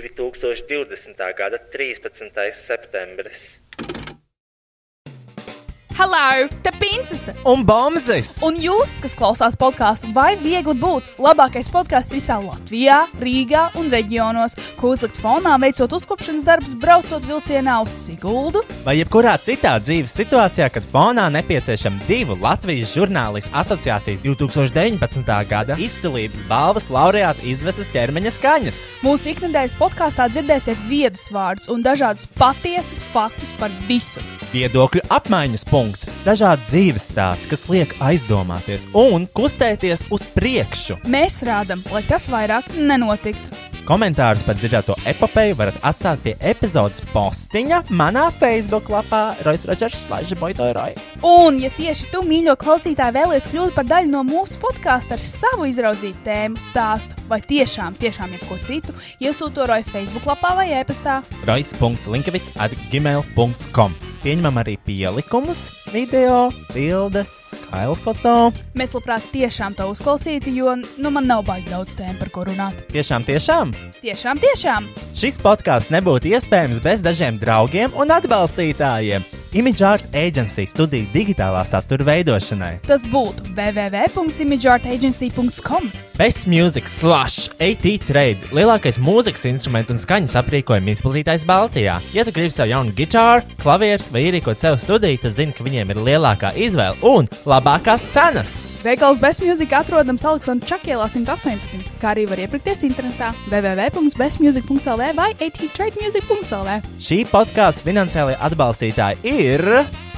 2020. gada 13. septembris. Hello, te princese! Un bombzis! Un jūs, kas klausās podkāstu, vai viegli būt labākais podkāsts visā Latvijā, Rīgā un reģionos, ko uzlikt fonā, veicot uzkopšanas darbus, braucot vilcienā uz Siguldu? Vai jebkurā citā dzīves situācijā, kad fonā nepieciešama divu Latvijas žurnālistu asociācijas 2019. gada izcilības balvas laureāta izdevesas ķermeņa skaņas? Mūsu ikdienas podkāstā dzirdēsiet viedus vārdus un dažādus patiesus faktus par visu. Viedokļu apmaiņas punkts, dažādi dzīves stāsti, kas liek aizdomāties un kustēties uz priekšu. Mēs rādām, lai tas vairāk nenotiktu. Komentārus par dzirdēto epopeju varat atstāt pie epizodes postiņa manā Facebook lapā Roisas Rodžers Slaža Boitoroj. Un, ja tieši tu, mīļo klausītāj, vēlies kļūt par daļu no mūsu podkāsta ar savu izraudzītu tēmu, stāstu vai tiešām, tiešām jebko citu, iesūto to roju Facebook lapā vai e-pastā. Roisas.linkavits at gmail.com Pieņemam arī pielikumus, video, bildes, kailfoto. Mēs labprāt tiešām to uzklausītu, jo nu, man nav baigi daudz tēmu, par ko runāt. Tiešām, tiešām! Tiešām, tiešām! Šis podkāsts nebūtu iespējams bez dažiem draugiem un atbalstītājiem. Image Art Agency studija digitālā satura veidošanai. Tas būtu www.imageartagency.com. Best Music Slash AT Trade - lielākais mūzikas instrumentu un skaņas aprīkojuma izplatītājs Baltijā. Ja tu gribi sev jaunu gitāru, klavierus vai ierīkot sev studiju, tad zini, ka viņiem ir lielākā izvēle un labākās cenas. Veikals Bestmusic atrodams Aleksandra Čakielā 118, kā arī var iepirkties internetā www.bestmusic.lv vai attrademusic.lv. Šī podkāstu finansiālajie atbalstītāji ir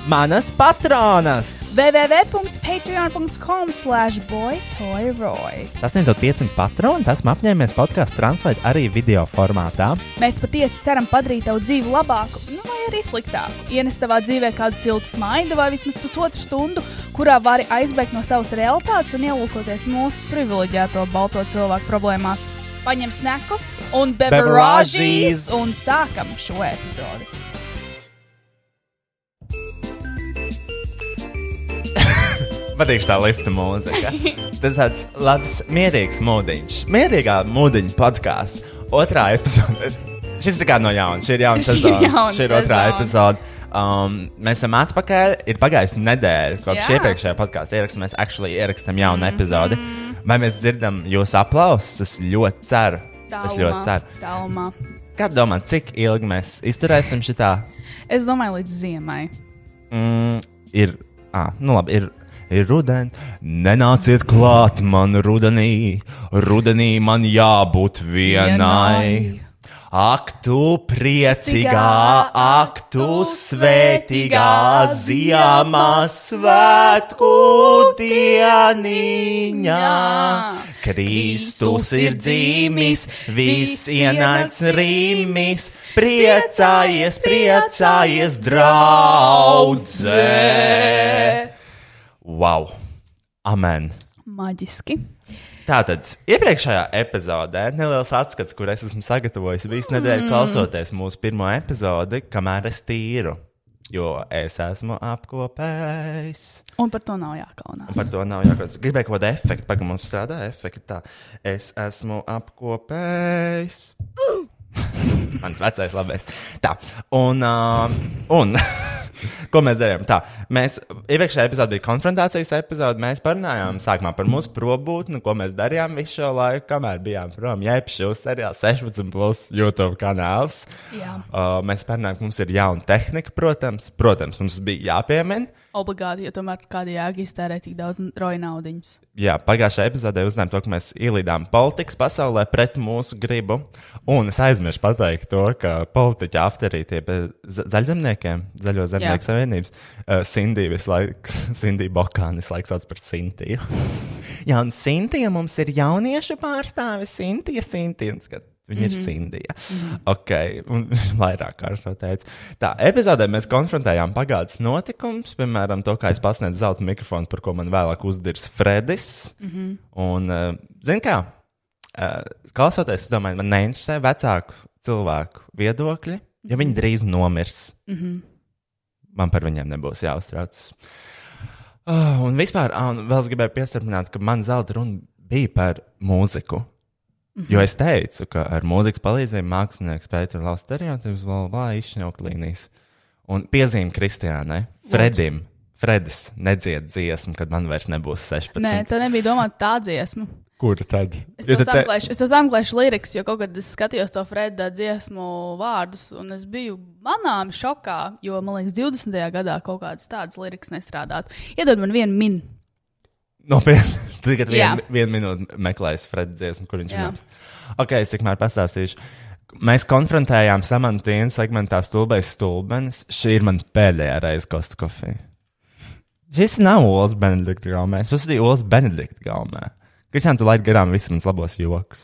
manas patronas! www.patreon.com slash boytoyroy. Sasniedzot 500 patronus, esmu apņēmies podkāstu translēt arī video formātā. Mēs patiesi ceram padarīt tavu dzīvi labāku, nu vai arī sliktāku. Ienest tavā dzīvē kādu siltu smaidu vai vismaz pusotru stundu, kurā vari aizbēgt no savas realitātes un ielūkoties mūsu privileģēto balto cilvēku problēmās. Paņem snekus un beverāžīs Beverāžīs! un sākam šo epizodi. Patīk tā lifta mūzika. Tas tāds labs, mierīgs mūdiņš. Mierīgā mūdiņa podkāsts. Otrā epizode. Šis ir kā no jauna. Šī ir jauna Šī ir sezona. jauna Šī ir otrā sezona. epizode. Um, mēs esam atpakaļ. Ir pagājusi nedēļa kopš Jā. Mhm. iepriekšējā podkāstu ieraksta. Mēs actually ierakstām jaunu mm -hmm. epizodi. Vai mēs dzirdam jūsu aplausus? Es ļoti ceru. Es ļoti ceru. Tālumā. Kā domā, cik ilgi mēs izturēsim šitā? Es domāju, līdz ziemai. Mm, ir, ah, nu labi, ir, ir rudenī. Nenāciet klāt man rudenī. Rudenī man jābūt vienai. Vienai. Ak, tu priecīgā, Tīgā, ak, tu tu svētīgā svētīgā ziemā svētku dieniņā. Kristus ir dzīmis, viss ienācis rīmis, priecājies, priecājies, draudzē! Wow! Amen! Maģiski. Tātad, iepriekšējā epizodē neliels atskats, kur es esmu sagatavojis visu nedēļu klausoties mūsu pirmo epizodi, kamēr es tīru. Jo es esmu apkopējis. Un par to nav Par jākaunās. to nav jākauts. Gribēju kaut kādu efektu, pagaidām, mums strādā efekti. Tā. Es esmu apkopējis. Mans vecais labais. Tā, un, uh, un ko mēs darījām? Tā, mēs iepriekšējā epizodē bija konfrontācijas epizode. Mēs parunājām sākumā par mūsu probūtni, ko mēs darījām visu šo laiku, kamēr bijām prom. Jā, šis seriāls 16 plus YouTube kanāls. Jā. Uh, mēs parunājām, ka mums ir jauna tehnika, protams. Protams, mums bija jāpiemina. Obligāti, jo tomēr kāda jēga iztērē tik daudz roja naudas. Jā, pagājušajā epizodē uzzinājām to, ka mēs ielīdām politikas pasaulē pret mūsu gribu. Un es aizmirsu pateikt to, ka politiķi afterītie bez za- zaļzemniekiem, Zaļo zemnieku Jā. savienības, uh, Sindija visu laiku, Sindija Bokāna visu laiku sauc par Sintiju. Jā, un Sintija mums ir jauniešu pārstāve, Sintija, Sintija. un skat, Viņa mm -hmm. ir Sindija. Mm -hmm. Ok, un vairāk kārt to teica. Tā, epizodē mēs konfrontējām pagātnes notikumus, piemēram, to, kā es pasniedzu zelta mikrofonu, par ko man vēlāk uzdirs Fredis. Mm -hmm. Un, uh, zini, kā, uh, klausoties, es domāju, man neinteresē vecāku cilvēku viedokļi, ja viņi drīz nomirs. Mm -hmm. Man par viņiem nebūs jāuztraucas. Ah, Un vispār, ah, un vēl es gribēju piesarpināt, ka man zelta runa bija par mūziku. Jo es teicu, ka ar mūzikas palīdzību mākslinieks pēta labu stereotipus, vēl vēl izšņaukt līnijas. Un piezīme Kristiānai, Fredim, Fredis nedzied dziesmu, kad man vairs nebūs 16. Nē, tā nebija domāta tā dziesma. Kur tad? Es to sameklēšu, es to sameklēšu lirikas, jo kaut kad es skatījos to Freda dziesmu vārdus, un es biju manām šokā, jo man liekas, 20. gadā kaut kādas tādas lirikas nestrādātu. Iedod man vienu minu. Nopietni. Tagad Jā. vien, vienu minūti meklēs Freds dziesmu, kur viņš Jā. ir. Ok, es tikmēr pastāstīšu. Mēs konfrontējām samantīnu segmentā stulbais stulbenis. Šī ir man pēdējā reize kostu kofiju. Šis nav Olas Benedikta galmē. Es pasūtīju Olas Benedikta galmē. Kristiāna, tu laid garām visus manus labos joks.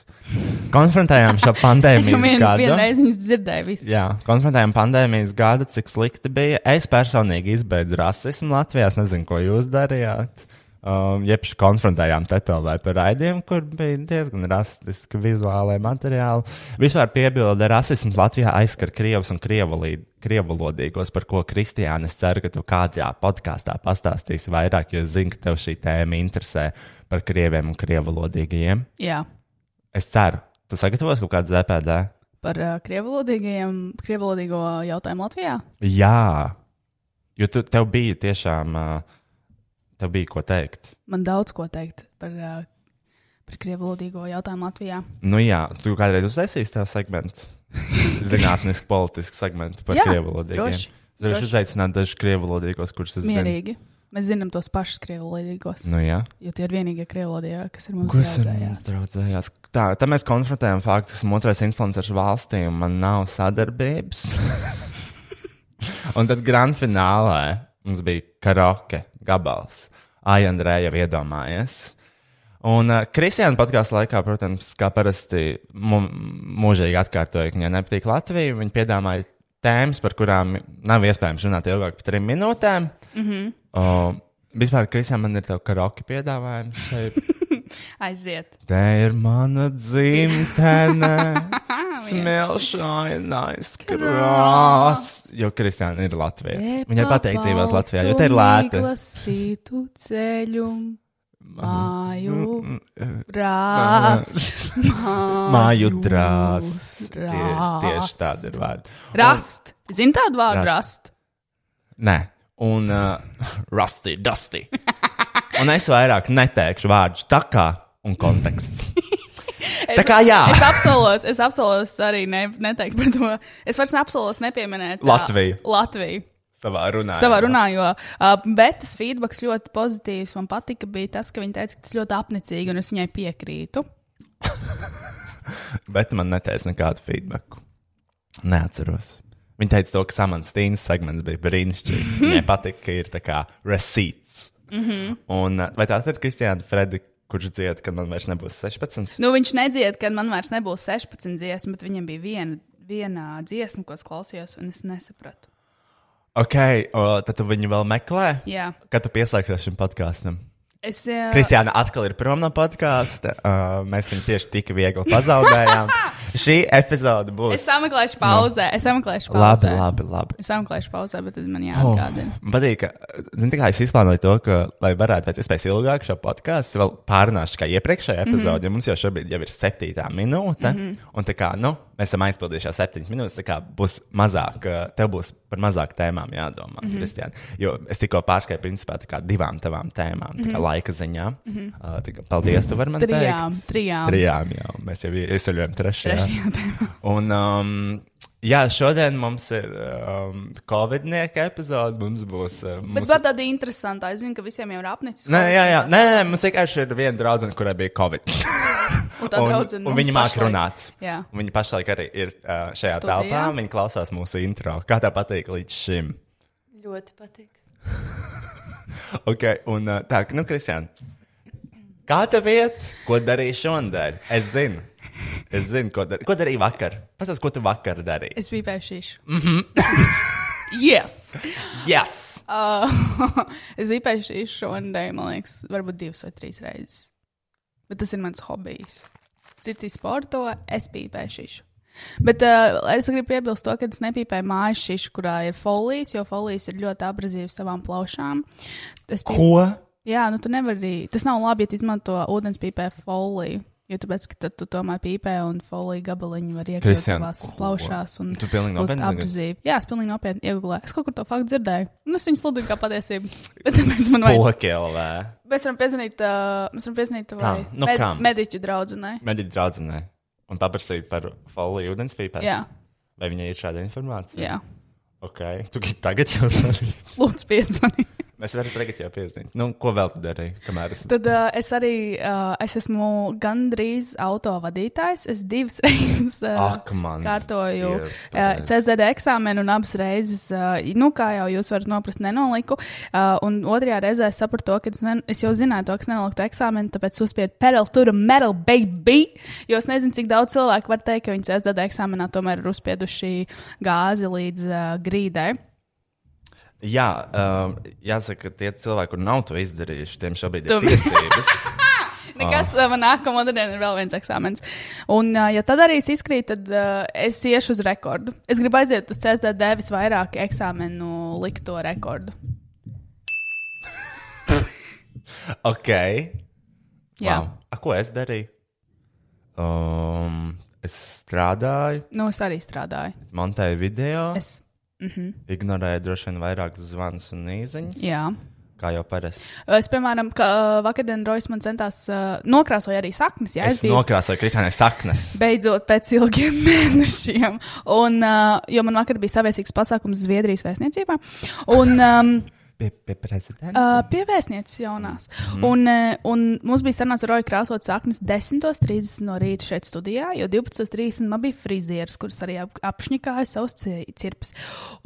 Konfrontējām Es šo jau pandēmiju. vien, gadu. vienreiz viņas dzirdēju, visu. Jā, konfrontējām pandēmijas gadu, cik slikti bija. Es personīgi izbeidzu rasismu Latvijā. Es nezinu, ko jūs darījāt. Um, Jepši konfrontējām tetovē par raidījumu, kur bija diezgan rasistiski vizuālai materiāli. Vispār piebilda, rasisms Latvijā aizskar krievus un krievulī- krievulodīgos, par ko Kristiāna es ceru, ka tu kādā podkāstā pastāstīsi vairāk, jo es zinu, ka tev šī tēma interesē par krieviem un krievulodīgajiem. Jā. Es ceru, tu sagatavos kaut kādu ZPD. Par uh, krievulodīgo jautājumu Latvijā. Jā, jo tu, tev bija tiešām, ā, tev bija ko teikt. Man daudz ko teikt par, uh, par krievulodīgo jautājumu Latvijā. Nu, jā, tu kādreiz uztaisīsi tādu segmentu, zinātnisku, politisku segmentu par Jā, krievulodīgiem. droši, Es varu droši. uzaicināt dažus krievulodīgos, kurus es zinu. Mierīgi. Mēs zinām tos pašus krievulodīgos, Nu, jā. jo tie ir vienīgie krievulodīgie, kas ir mums Kurš draudzējās. draudzējās? Tā, tā mēs konfrontējam faktu, ka esmu otrais influenceris valstī un man nav sadarbības. un tad grand finālē mums bija karaoke gabals. Ai, Andrej, jau iedomājies. Un uh, Kristiāna podkāstā laikā, protams, kā parasti mu- mūžīgi atkārtoja, ka viņai nepatīk Latvija. Viņa piedāvāja tēmas, par kurām nav iespējams runāt ilgāk par trim minūtēm. Mm Mhm. -hmm. uh, vispār, Kristiāna, man ir tev karaoke piedāvājums šeit. Aiziet! Te ir mana dzimtene, smilšainais krāsa. Jo Kristiāna ir Latvija. Viņai patīk dzīvot Latvijā, jo te ir lēti. Klasītu ceļu, māju, rāst. Māju drās. Tieši, rāst. tieši tādi ir vārdi. Rast! Zini tādu vārdu, Rast. rast? Nē, un uh, rusty, dusty. Un es vairāk neteikšu vārdus tā kā un konteksts. Tā kā jā. Es apsolos, es apsolos arī ne, neteikt par to. Es vairs neapsolos nepieminēt ā, Latviju. Latviju. Savā runā. Savā runā, jo uh, Betas feedback ļoti pozitīvs. Man patika, bija tas, ka viņa teica, ka tas ļoti apnicīgi, un es viņai piekrītu. Bet man neteica nekādu feedback. Neatceros. Viņa teica, to, ka samantīnas segments bija brīnišķīgs. Viņai patika, ka ir tā kā receipts. Mm -hmm. Mhm. Un, uh, vai tā ir Kristiāna Fredi, kurš dzied, kad man vairs nebūs 16? Nu, viņš nedzied, kad man vairs nebūs 16 dziesmas, bet viņam bija viena, viena dziesma, ko es klausījos, un es nesapratu. Ok, o, tad tu viņu vēl meklē. Jā, Uh, Kad tu pieslēgsies šim podkāstam? es, ā, Kristiāna atkal ir prom no podkāsta. Uh, mēs viņu tieši tik viegli pazaudējām. Šī epizode būs. es sameklēšu pauzē. Es sameklēšu Labi, pauzē. labi, labi. Es sameklēšu pauzē, bet tad man Oh, jāatgādina. Man patīk, ka zini, tā kā es izplānoju to, ka, lai varētu pēc iespējas ilgāk šo podkāstu vēl pārnāšu, kā iepriekšējā epizodē. Mm -hmm. Mums jau šobrīd jau ir septītā minūte, mm -hmm. un tā kā, nu, mēs esam aizpildījuši jau septiņas minūtes. Tā kā būs mazāk, eh, tev būs par mazāk tēmām jādomā, mm -hmm. Kristiāna. Jo es tikko pārskrēju principā tā kā divām tavām tēmām, tā kā laika ziņā. Mm -hmm. uh, tā kā, paldies, tu vari man Trijām, teikt. trijām. Trijām jau mēs jau iesaļojam trešajā. Trešajā tēmā. Un, um, jā, šodien mums ir um, Covid-nieka epizode. Mums būs. Uh, Bet mums... tā tāda interesanta. Es zinu, ka visiem jau ir apnicis. Nē, jā, jā. Covid, Nē, nē, mums vienkārši ir viena draudzene, kurai bija Covid. Un, tā draudzene un mums viņa māca pašlaik. runāt. Jā. Viņa pašlaik arī ir uh, šajā Studijā. telpā. Viņa klausās mūsu intro. Kā tā patīk līdz šim? Ļoti patīk. Okay, un, uh, tā, nu, Kristian, kā tev iet? Ko darīji šodien? Es zinu. Es zinu, ko, dar... ko darīju vakar. Pastāsti, ko tu vakar darīji. Es biju pēšīšu. Mm Mhm. -hmm. yes! Yes! Uh, es biju pēšīšu šodien, man liekas, varbūt divas vai trīs reizes. Bet tas ir mans hobijs. Citi sporto, es biju pēšīšu. Bet uh, es gribu piebilst to, ka es nepīpēju mājas šīšu, kurā ir folijas, jo folijas ir ļoti abrazīvas savām plaušām. Tas bija Ko? Jā, nu tu nevari. Tas nav labi, ja tu izmanto ūdenspīpē foliju. jo Jo tāpēc, ka tad tu tomēr pīpē un folija gabaliņu var iekļūt Kristian, savās ko? plaušās un Tu pilnīgi būt nopietni tagad? apdzīvi. Jā, es pilnīgi nopietni iegulēju. Es kaut kur to faktu dzirdēju. Un es viņu sludinu kā patiesību. Bet tāpēc man vajag. Pokelē. Mēs varam piezinīt, uh, mēs varam piezinīt tavai Kam? Nu, kam? mediķu draudzenei. Mēģiniet draudzenē un paprasīt par foliju ūdens pīpēm. Jā. Vai viņai ir šāda informācija? Jā, Ok, tu gribi tagad jau zvanīt. lūdzu, piezvani. Mēs varam tagad jau piezīmēt. Nu, ko vēl tu darīji? Kamēr es... Tad uh, es arī uh, es esmu gandrīz autovadītājs. Es divas reizes uh, Ak, mans kārtoju Dievs, uh, pareizi. CSDD eksāmenu, un abas reizes, uh, nu, kā jau jūs varat noprast, nenoliku. Uh, un otrajā reizē es sapratu, to, ka es, ne, es jau zināju, to, ka es nenoliktu eksāmenu, tāpēc uzspiedu pedal to the metal, baby. Jo es nezinu, cik daudz cilvēku var teikt, ka viņi CSDD eksāmenā tomēr ir uzspieduši gāzi līdz uh, grīdai. Jā, um, jāsaka, ka tie cilvēki, kur nav to izdarījuši, tiem šobrīd Tu- ir tiesības. Ah. Nekas, oh. man nākamā diena ir vēl viens eksāmens. Un, ā, ja tad arī es izkrītu, tad uh, es iešu uz rekordu. Es gribu aiziet uz CSDD visvairāk eksāmenu likto rekordu. ok. Jā, Wow. A, ko es darīju? Um, es strādāju, nu es arī strādāju. es montēju video, es... Es, ignorēju droši vien vairākus zvanus un īsiņas, jā. kā jau parasti. Es, piemēram, ka, uh, vakardien Rojas man centās uh, nokrāsot arī saknes. Jā, Es, es nokrāsoju kristālai saknes. Beidzot, pēc ilgiem mēnešiem. Un, uh, jo man vakar bija saviesīgs pasākums Zviedrijas vēstniecībā. Un, um, Pie, pie prezidenta. Uh, pie vēstnieces jaunās. Mhm. Mm. Un, eh, un mums bija sarunāts ar Roju krāsot saknes 10.30 no rīta šeit studijā, jo 12.30 man bija frizieris, kurš arī ap, apšņikāja savus ci- cirpes.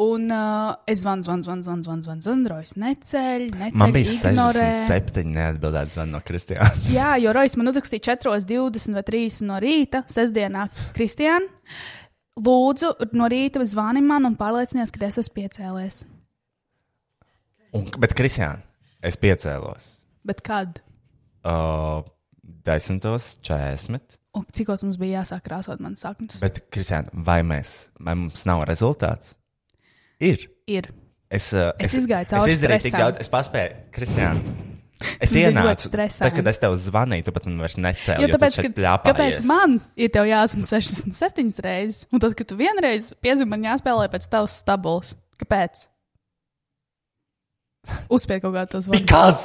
Un uh, es zvanu, zvanu, zvanu, zvanu, zvanu, zvanu, zvanu, Rojas neceļ, neceļ, Man bija ignorē. 67 neatbildēt zvanu no Kristiāna. Jā, jo Rojas man uzrakstīja 4.20 vai 3 no rīta, sestdienā, Kristiāna. Lūdzu, no rīta zvani man un pārliecinies, ka es esmu piecēlējis. Un, bet, Kristiāna, es piecēlos. Bet kad? Uh, 10.40. Un cikos mums bija jāsāk krāsot manas saknes? Bet, Kristiāna, vai, mēs- vai mums nav rezultāts? Ir. Ir. Es, uh, Es izgāju cauri Es izdarīju tik stresam. daudz, es paspēju, Kristiāna. Es Tu biji ļoti ienācu stresaini. Tad, kad es tev zvanīju, tu pat man vairs necēlies. Jo tāpēc, ka, ka kāpēc man ir tev jāzina 67 reizes, un tad, kad tu vienreiz piezvani, man jāspēlē pēc tavas stabulas? Kāpēc? Uzspied kaut kādu to zvanu. Kas?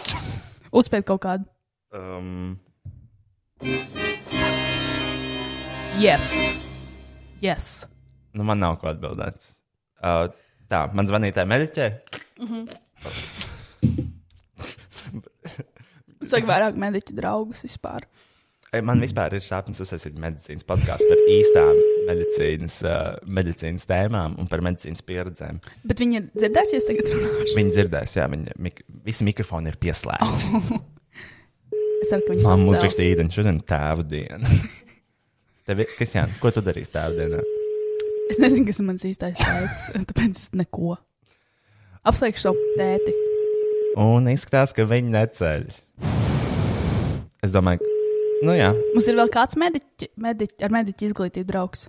Uzspied kaut kādu. Um, Yes! yes. nu, man nav ko atbildēt. Uh, tā, man zvanītāja mediķē. Mums vajag vairāk mediķu draugus vispār. Ei, Man vispār ir sapnis uzsākt medicīnas podkāstu par īstām medicīnas, uh, medicīnas tēmām un par medicīnas pieredzēm. Bet viņi ir dzirdēsies tagad runāšu. Viņi dzirdēs, jā, viņi, mik, visi mikrofoni ir pieslēgti. Es ceru, ka viņi Man atcels. uzrakstīja īdeni šodien tēva diena. Tev, ir- Kristian, ko tu darīsi tēva dienā? Es nezinu, kas ir mans īstais veids, tāpēc es neko. Apsveikšu savu tēti. Un izskatās, ka viņi neceļ. Es domāju, nu jā. Mums ir vēl kāds mediķi, mediķi, ar mediķu izglītību draugs.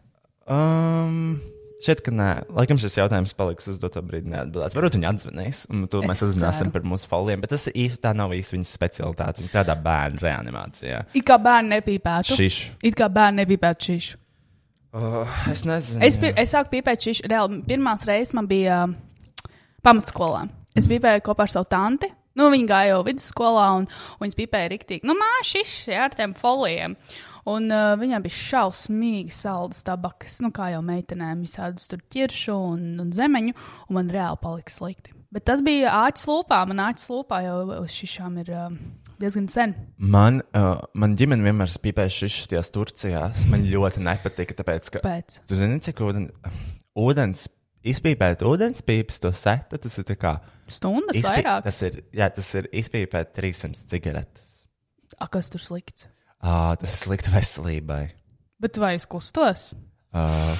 Um, šķiet, ka nē. Laikam šis jautājums paliks uz doto brīdi neatbildēts. Varbūt viņi atzvanīs, un to Es mēs uzzināsim ceru. par mūsu foliem. Bet tas īsti tā nav īsti viņas specialitāte. Viņa strādā bērnu reanimācijā. It kā bērni nepīpētu. Šiš. It kā bērni nebija pēc šīs. Uh, es nezinu. Es, pir- es sāku pīpēt šīs. Reāli, pirmās reizes man bija um, pamatskolā. Es pīpēju kopā ar savu tanti. Nu, viņa gāja jau vidusskolā, un, un viņas pīpēja rīktīgi. Nu, māšiņš jā, ar tiem folijiem. Un uh, viņām bija šausmīgi saldas tabakas, nu, kā jau meitenēm, visādus tur ķiršu un, un zemeņu, un man reāli palika slikti. Bet tas bija āķis lūpā. Man āķis lūpā jau uz šīm ir um, diezgan sen. Man, uh, man ģimene vienmēr spīpēja šis tajās Turcijās. Man ļoti nepatika, tāpēc, ka. Pēc. Tu zini, cik ūden, ūdens, izpīpēt ūdens pīpes, to sekta, tas ir tā kā. Stundas izpī- vairāk. Tas ir, jā, tas ir izpīpēt 300 cigaretes. A, kas tur slikts? Ah, tas ir slikti veselībai. Bet vai es kustos? Uh,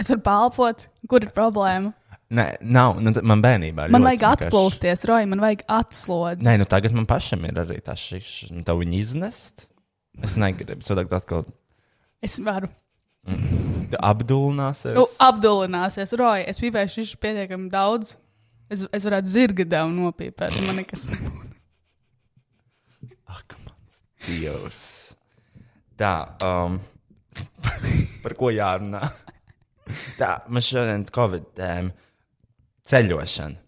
Es varu palpot, kur ir problēma. nē, nav, nu, tad man bērnībā ir. Man ļoti vajag vienkārši- atpūsties, Roja, man vajag atslodzi. Nē, nu tagad man pašam ir arī tā šis, un tev viņu iznest. Es negribu, tad atkal Es varu. tu apdulināsies. Nu, apdulināsies, Roja. Es pīpēju šis pietiekami daudz. Es, es varētu zirga devu nopīpēt, un man nekas nebūtu. Ak, mans dievs. Tā, um, par ko jārunā? Tā, man šodien ir Covid tēma. Ceļošana,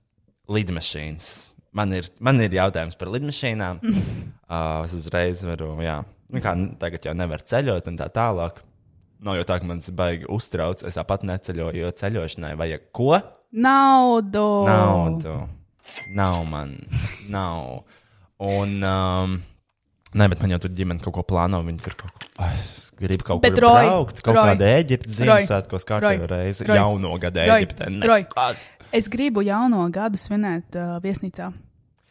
lidmašīnas. Man ir, man ir jautājums par lidmašīnām. Uh, es uzreiz varu, jā, nu kā nu, tagad jau nevar ceļot un tā tālāk. Nav jau tā, ka man tas baigi uztrauc. Es tāpat neceļoju, jo ceļošanai vajag ko? Naudu. Oh. Naudu. Nav man, nav. Un, um, nē, bet man jau tur ģimene kaut ko plāno. Viņi tur kaut ko Ai, grib kaut Bet, kur Roj, braukt. Kaut Roj, kādā Eģiptes Roj, Ziemassvētkos Roj, kārtībā reizi. Roj, Jauno gada Roj, Eģiptē. Uh, Roj. nekad. Es gribu jauno gadu svinēt uh, viesnīcā.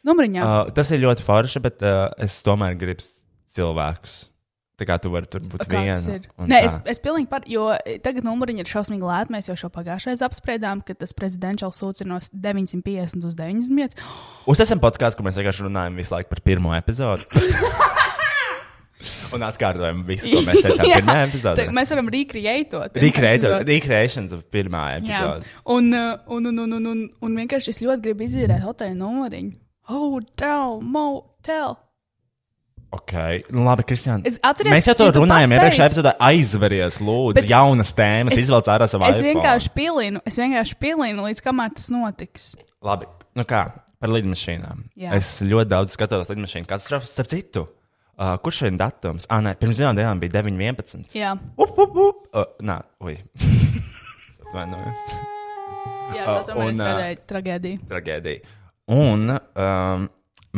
Numuriņā. Uh, tas ir ļoti forši, bet uh, es tomēr gribu s- cilvēkus. Tā kā tu vari tur būt Kāds viena. ir? un Nē, tā. es, es pilnīgi pat, jo tagad numuriņi ir šausmīgi lēti. Mēs jau šo pagājušajā reizē apspriedām, ka tas prezidentāls sūds ir no 950 uz 95. Uz esam podkāstā, kur mēs vienkārši runājam visu laiku par pirmo epizodi. Un atkārtojam visu, ko mēs teicām Jā, pirmajā tā- epizodē. Mēs varam recreatot. Rekreēšanas pirmā Jā, epizode. un, uh, un, un, un, un, un, un vienkārši es ļoti gribu izdarīt hotelu numuriņu. Hotel, motel. Ok, nu labi, Kristija. Es atceros, Mēs jau to ka tu runājam, pats iepriekšējā teici. epizodē aizveries, lūdzu, Bet bet jaunas tēmas, es- izvelc ārā savā. Es iPhone. vienkārši pilinu, es vienkārši pilinu, līdz kamēr tas notiks. Labi, nu kā par lidmašīnām. Jā. Es ļoti daudz skatos lidmašīnu katastrofas, starp citu. Uh, kurš šodien datums? Ah, nē, pirms divām dienām bija 9.11. Jā, Up, up, up. Uh, nā, ui. Es Atvainojos. jā tā Uh, tomēr ir un, uh, tragē- tragēdija. Tragēdija. Un um,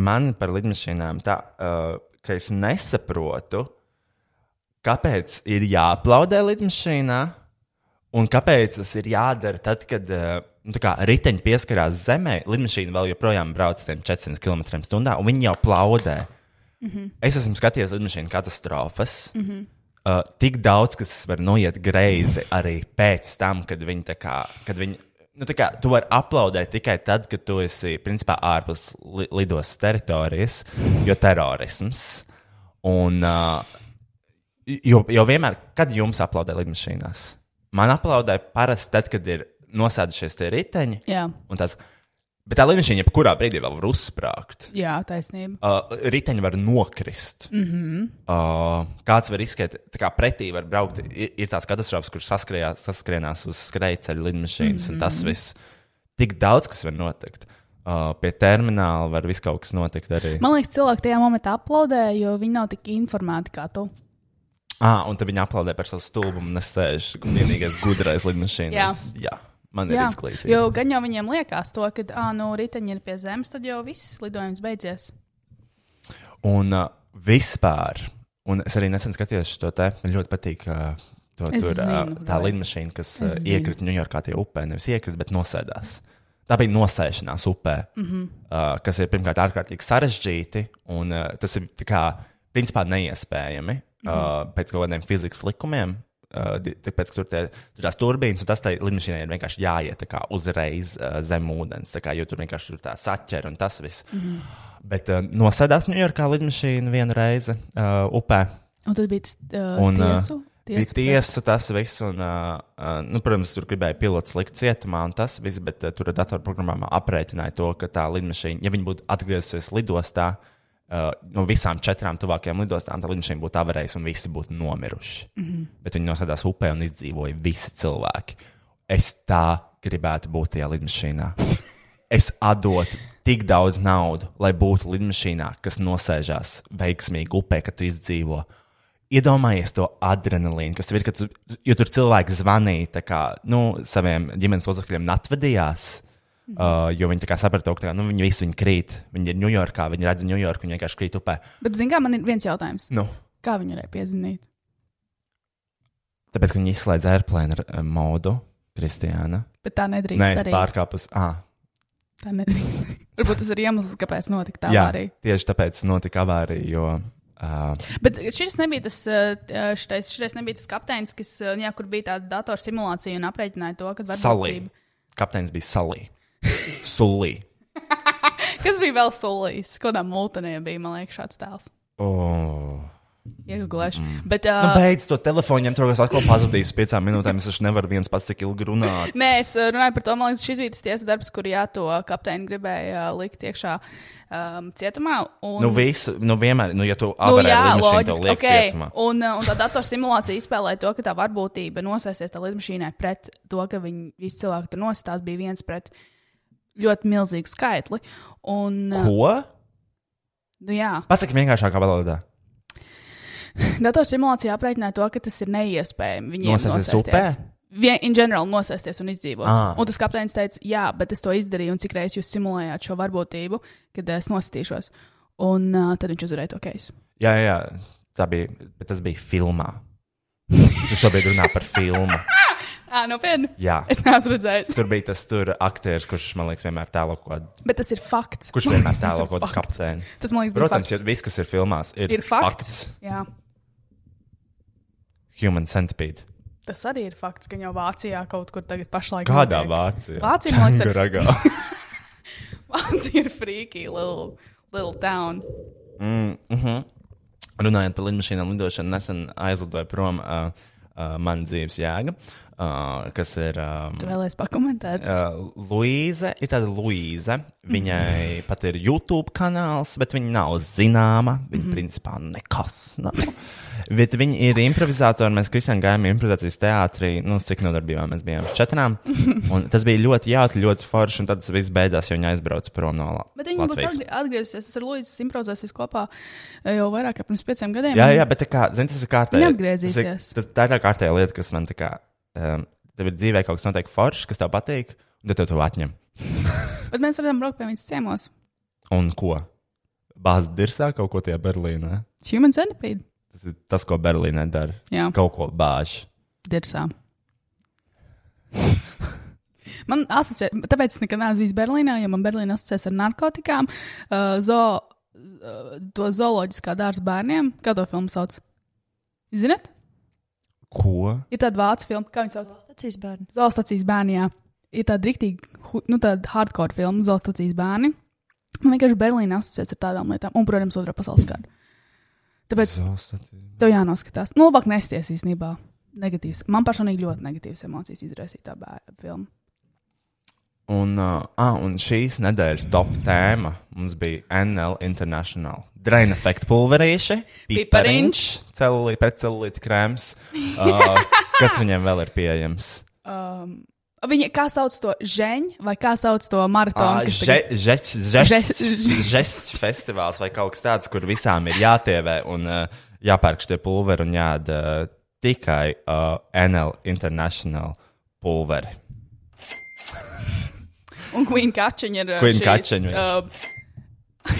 man par lidmašīnām tā, uh, ka es nesaprotu, kāpēc ir jāaplaudē lidmašīnā un kāpēc tas ir jādara tad, kad. Uh, Nu, tā kā riteņi pieskarās zemē, lidmašīna vēl joprojām brauc ar tiem 400 km/h, un viņi jau plaudē. Mm -hmm. Es esmu skatījies lidmašīnu katastrofas. Mm -hmm. uh, tik daudz, kas var noiet greizi arī pēc tam, kad viņi tā kā. Kad viņi, nu, tā kā tu vari aplaudēt tikai tad, kad tu esi principā ārpus li lidostas teritorijas, jo terorisms. Un, uh, jo, jo vienmēr, kad jums aplaudē lidmašīnās, man aplaudē parasti tad, kad ir nosēdušies tie riteņi. Jā, un tāds- Bet tā līnija, jebkurā brīdī vēl var uzsprāgt jā taisnība. uh, riteņi var nokrist. Mm Mhm. -hmm. uh, kāds var izskriet, tā kā pretī var braukt. Ir, ir tāds katastrofs, kurš saskrējās- saskrienās uz skrejceļa lidmašīnas, mm -hmm. un Mhm. tas viss. Tik daudz kas var notikt. Uh, pie termināla var viss kaut kas notikt arī. Man... Man liekas, cilvēki tajā momentā aplaudē, jo viņi nav tik informēti kā tu. Ah, un tad viņi aplaudē par savu stulbumu, nesēž vienīgais gudrais lidmašīnas. Jā. Jā, man ir Jā, izglītība. jo gan jau viņiem liekas to, ka, ah, nu, riteņi ir pie zemes, tad jau viss lidojums beidzies. Un uh, vispār, un es arī nesen skatījos šo te, man ļoti patīk. Uh, To, Es tur, uh, zinu, tā vai- līnija, kas uh, Es zinu. iekrita Ņujorkā, tie upē nevis iekrita, bet nosēdās. Tā bija nosēšanās upē, mm -hmm. uh, kas ir pirmkārt ārkārtīgi sarežģīti, un uh, tas ir tā kā, principā neiespējami mm -hmm. uh, pēc kaut kādiem fizikas likumiem. Uh, di- tāpēc, ka tur tie- tur tās turbīnas, un tas tai līnijai ir vienkārši jāiet tā kā, uzreiz uh, zem ūdens, tā kā, jo tur vienkārši tur tā saķera un tas viss. Mm -hmm. Bet uh, nosēdās Ņujorkā lidmašīna vienu reizi uh, upē. Un tas bija tas uh, Un, ā, tiesu. Bija tiesa, tas viss, un, uh, uh, nu, protams, tur gribēja pilots likt cietumā, un tas viss, bet uh, tur datorprogrammā aprēķināja to, ka tā lidmašīna, ja viņi būtu atgriezusies lidostā, uh, no visām četrām tuvākajām lidostām, tad lidmašīna būtu avarējusi un visi būtu nomiruši. Mm -hmm. Bet viņi nosēdās upē un izdzīvoja visi cilvēki. Es tā gribētu būt tajā lidmašīnā. Es atdotu tik daudz naudu, lai būtu lidmašīnā, kas nosēžās veiksmīgi upē, kad tu izdzīvo. Iedomājies to adrenalīnu, kas tev ir, kad tu, jo tur cilvēki zvanīja tā kā, nu, saviem ģimenes locekļiem, atvadījās. Mhm. Uh, jo viņi tā kā saprata, ka tā kā, nu, viņi visi viņi krīt. Viņi ir Ņujorkā, viņi redz Ņujorku, viņi vienkārši krīt upē. Bet, zinām, man ir viens jautājums. Nu, Kā viņi varēja piezīmēt? tāpēc, ka viņi izslēdz airplane ar, eh, modu, Kristiāna. Bet tā nedrīkst. Nē, es darīt. pārkāpu uz. Ah, Tā nedrīkst. darīt. Varbūt tas ir iemesls, kāpēc notika tā jā, arī. tieši tāpēc notika avārija, jo. Uh, Bet šis nebija tas, uh, šitais, šitais nebija tas kapteinis, kas, uh, jā, kur bija tāda datorsimulācija un aprēķināja to, ka salī. Kapteinis bija salī. Sulī. Kas bija vēl solījis? Kādā multenē bija, man liekas, šāds tēls. Oh. Iegūlēšu. Mm. Bet, Nu, uh, beidz to telefonu, ņemt rokas atkal pazudīs piecām minūtēm. Es taču nevaru viens pats tik ilgi runāt. Nē, es uh, runāju par to, man liekas, šis bija tas tiesas darbs, kur jā, to kapteini gribēja uh, likt iekšā um, cietumā. Un... Nu, visu, nu vienmēr, nu, ja tu apgājies līdz šim, tad okei. cietumā. Un, uh, un tā datorsimulācija izspēlēja to, ka tā varbūtība nosēsties tajā lidmašīnā pret to, ka viņi visi cilvēki tur nostās, bija viens pret ļoti milzīgu skaitli. Un, uh, Ko? nu, jā, Pasaki vienkāršākā valodā. datorsimulācija aprēķināja to, ka tas ir neiespējami. Viņiem Nosēsties nosēsties. upē? Ah. Vien, in general, nosēsties un izdzīvot. Ā. Un tas kapteinis teica, jā, bet es to izdarīju, un cik reizes jūs simulējāt šo varbūtību, kad es nosītīšos. Un uh, tad viņš uzvarēja to keisu. Jā, jā, jā, tā bija, bet tas bija filmā. Tu šobrīd runā par filmu. Ah, nopietni! Jā. Es neesmu redzējis, Tur bija tas tur aktieris, kurš man liekas, vienmēr tēlo kaut kādu. bet tas ir fakts. Kurš vienmēr Tas tēlo ir kaut kādu fakts. kapteini? Tas man liekas, bija Protams, jo fakts. viss, kas ir filmās, ir, ir fakts. Jā, Human centipede. tas arī ir fakts, ka jau Vācijā kaut kur tagad pašlaik. Kādā notiek. Vācijā? Vācija, man liekas, Tur agā. Vācija ir frīkī, little, little town. Mm, mhm. Runājot par lidmašīnām, lidošanu nesen aizlidoja prom uh, uh, mana dzīves jēga, uh, kas ir. Um, Tu vēlēsies pakomentēt? Uh, Luīze ir tāda Luīze. Viņai pat ir YouTube kanāls, bet viņa nav zināma. Viņa, mm -hmm. principā, nekas nav. bet viņa ir improvizātori. Mēs kristāli gājām improvizācijas teātrī. Nu, cik no darbībām mēs bijām? Četrām. Un tas bija ļoti jautri, ļoti forši. Un tad tas viss beidzās, jo viņa aizbrauca prom no Latvijas. Bet viņi būs atgrie- atgriezusies. Es ar Lūdzu improvizēsies kopā eh, jau vairāk kā pirms pieciem gadiem. Jā, jā, bet tā kā, zini, tas ir kārtīgi. Neatgriezīsies. Tas, ir- tas, tā ir tā kārtējā lieta, kas man tā kā, um, tev ir dzīvē kaut kas notiek foršs, kas tev patīk, un tad tev to atņem. Bet mēs varam braukt pie viņas ciemos. Un ko? Bāzes dirzā kaut ko tajā Berlīnē. Human centipede. Tas ir tas, ko Berlīnē dara. Jā, Kaut ko bāž. dirsā. Man asociē, tāpēc es nekad neesmu bijis Berlīnā, jo man Berlīna asociēs ar narkotikām, uh, zo, uh, to zooloģiskā dārza bērniem. Kā to filmu sauc? Ziniet, Ko? ir tāda vācu filma, kā viņas sauc? Stācijas bērni. Zvaigznes bērni, jā. Ir tāda rīktīva, nu, tāda hardcore filma, Zvaigznes bērni. Man vienkārši Berlīna asociēts ar tādām lietām, un, protams, Otrā pasaules kara. Tāpēc Zostat- tev jānoskatās. Nu, labāk nesties īstenībā. Negatīvs. Man personīgi ļoti negatīvas emocijas izraisīja tā bērna filma. Un, uh, ah, un šīs nedēļas top tēma mums bija NL International. Drain efekta pulverīši, Pipariņš. celulīte, pretcelulīte krēms. Uh, kas viņiem vēl ir pieejams? Viņa kā sauc to žēņu, vai kā sauc to maratonu? kas tagad- Žes- Žests festivāls vai kaut kas tāds, kur visām ir jātievē un uh, jāpērk šie pulveri un jādara uh, tikai uh, NL International pulveri. Un Queen Kačeņa ir. uh, Queen šīs, Kačeņa uh,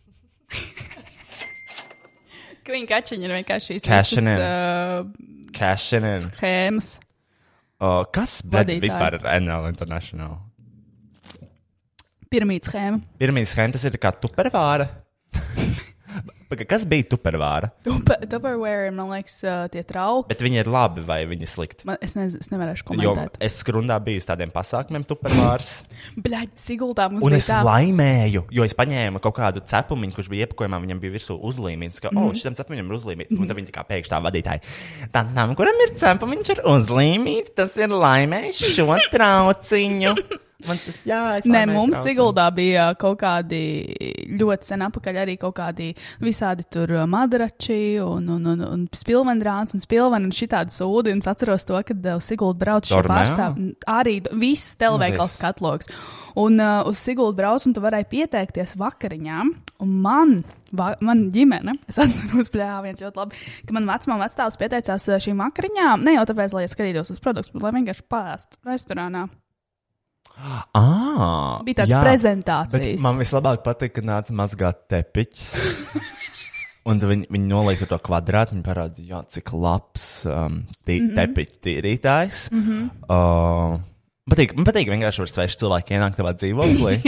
Queen Kačeņa ir vienkārši šīs Kašenin. visas, uh, Cash in. in. schēmas. Uh, kas bet, Vadītāji. vispār ir NL International? Piramīdas schēma. Pirmā schēma tas ir tā kā tupervāra. Paga, Kas bija tupervāra? Tupe- Tupperware, ir, man liekas, ā, tie trauki. Bet viņi ir labi vai viņi slikti? Man, es, ne, es nevarēšu Jo komentēt. es skrundā biju uz tādiem pasākumiem, tupervārs. Bļaigi, Sigultā mums Un bija es tā. laimēju, jo es paņēmu kaut kādu cepumu, kurš bija iepakojumā, viņam bija virsū uzlīmīts, ka, mm Mhm. -hmm. oh, šim cepumam ir uzlīmīts. Un tad viņi tā kā pēkšņi tā vadītāji. Tad tam, kuram ir cepums, ir uzlīmīts, tas ir laimējis šo trauciņu. Man tas jāizsaka. Nē, mums Sigultā bija uh, kaut kādi ļoti sen apakaļ arī kaut kādi visādi tur ā, madrači un, un, un, un spilvendrāns un spilveni un šitādi sūdi. Un es atceros to, kad ā, uz Sigultu braucu šo Dormē? pārstāvu. Arī d- viss telveikals Nice. katloks. Un uh, uz Sigultu braucu un tu varēji pieteikties vakariņām. Un man, va, man ģimene, es atceros, plēā viens ļoti labi, ka man vecmā vectāvs pieteicās ā, šīm vakariņām. Ne jau tāpēc, lai es skatītos uz produktu, bet lai vienkārši pēstu restorānā. Ah, Bija tāds prezentācijas. Bet man vislabāk patīk, ka nāca mazgāt tepiķis. Un viņi, viņi nolika to kvadrātu, viņi parādīja, jā, cik labs um, tī, Mhm. mm -hmm. tepiķis tīrītājs. Mm -hmm. uh, patīk, man patīk vienkārši ar svešu cilvēku ienākt tavā dzīvoklī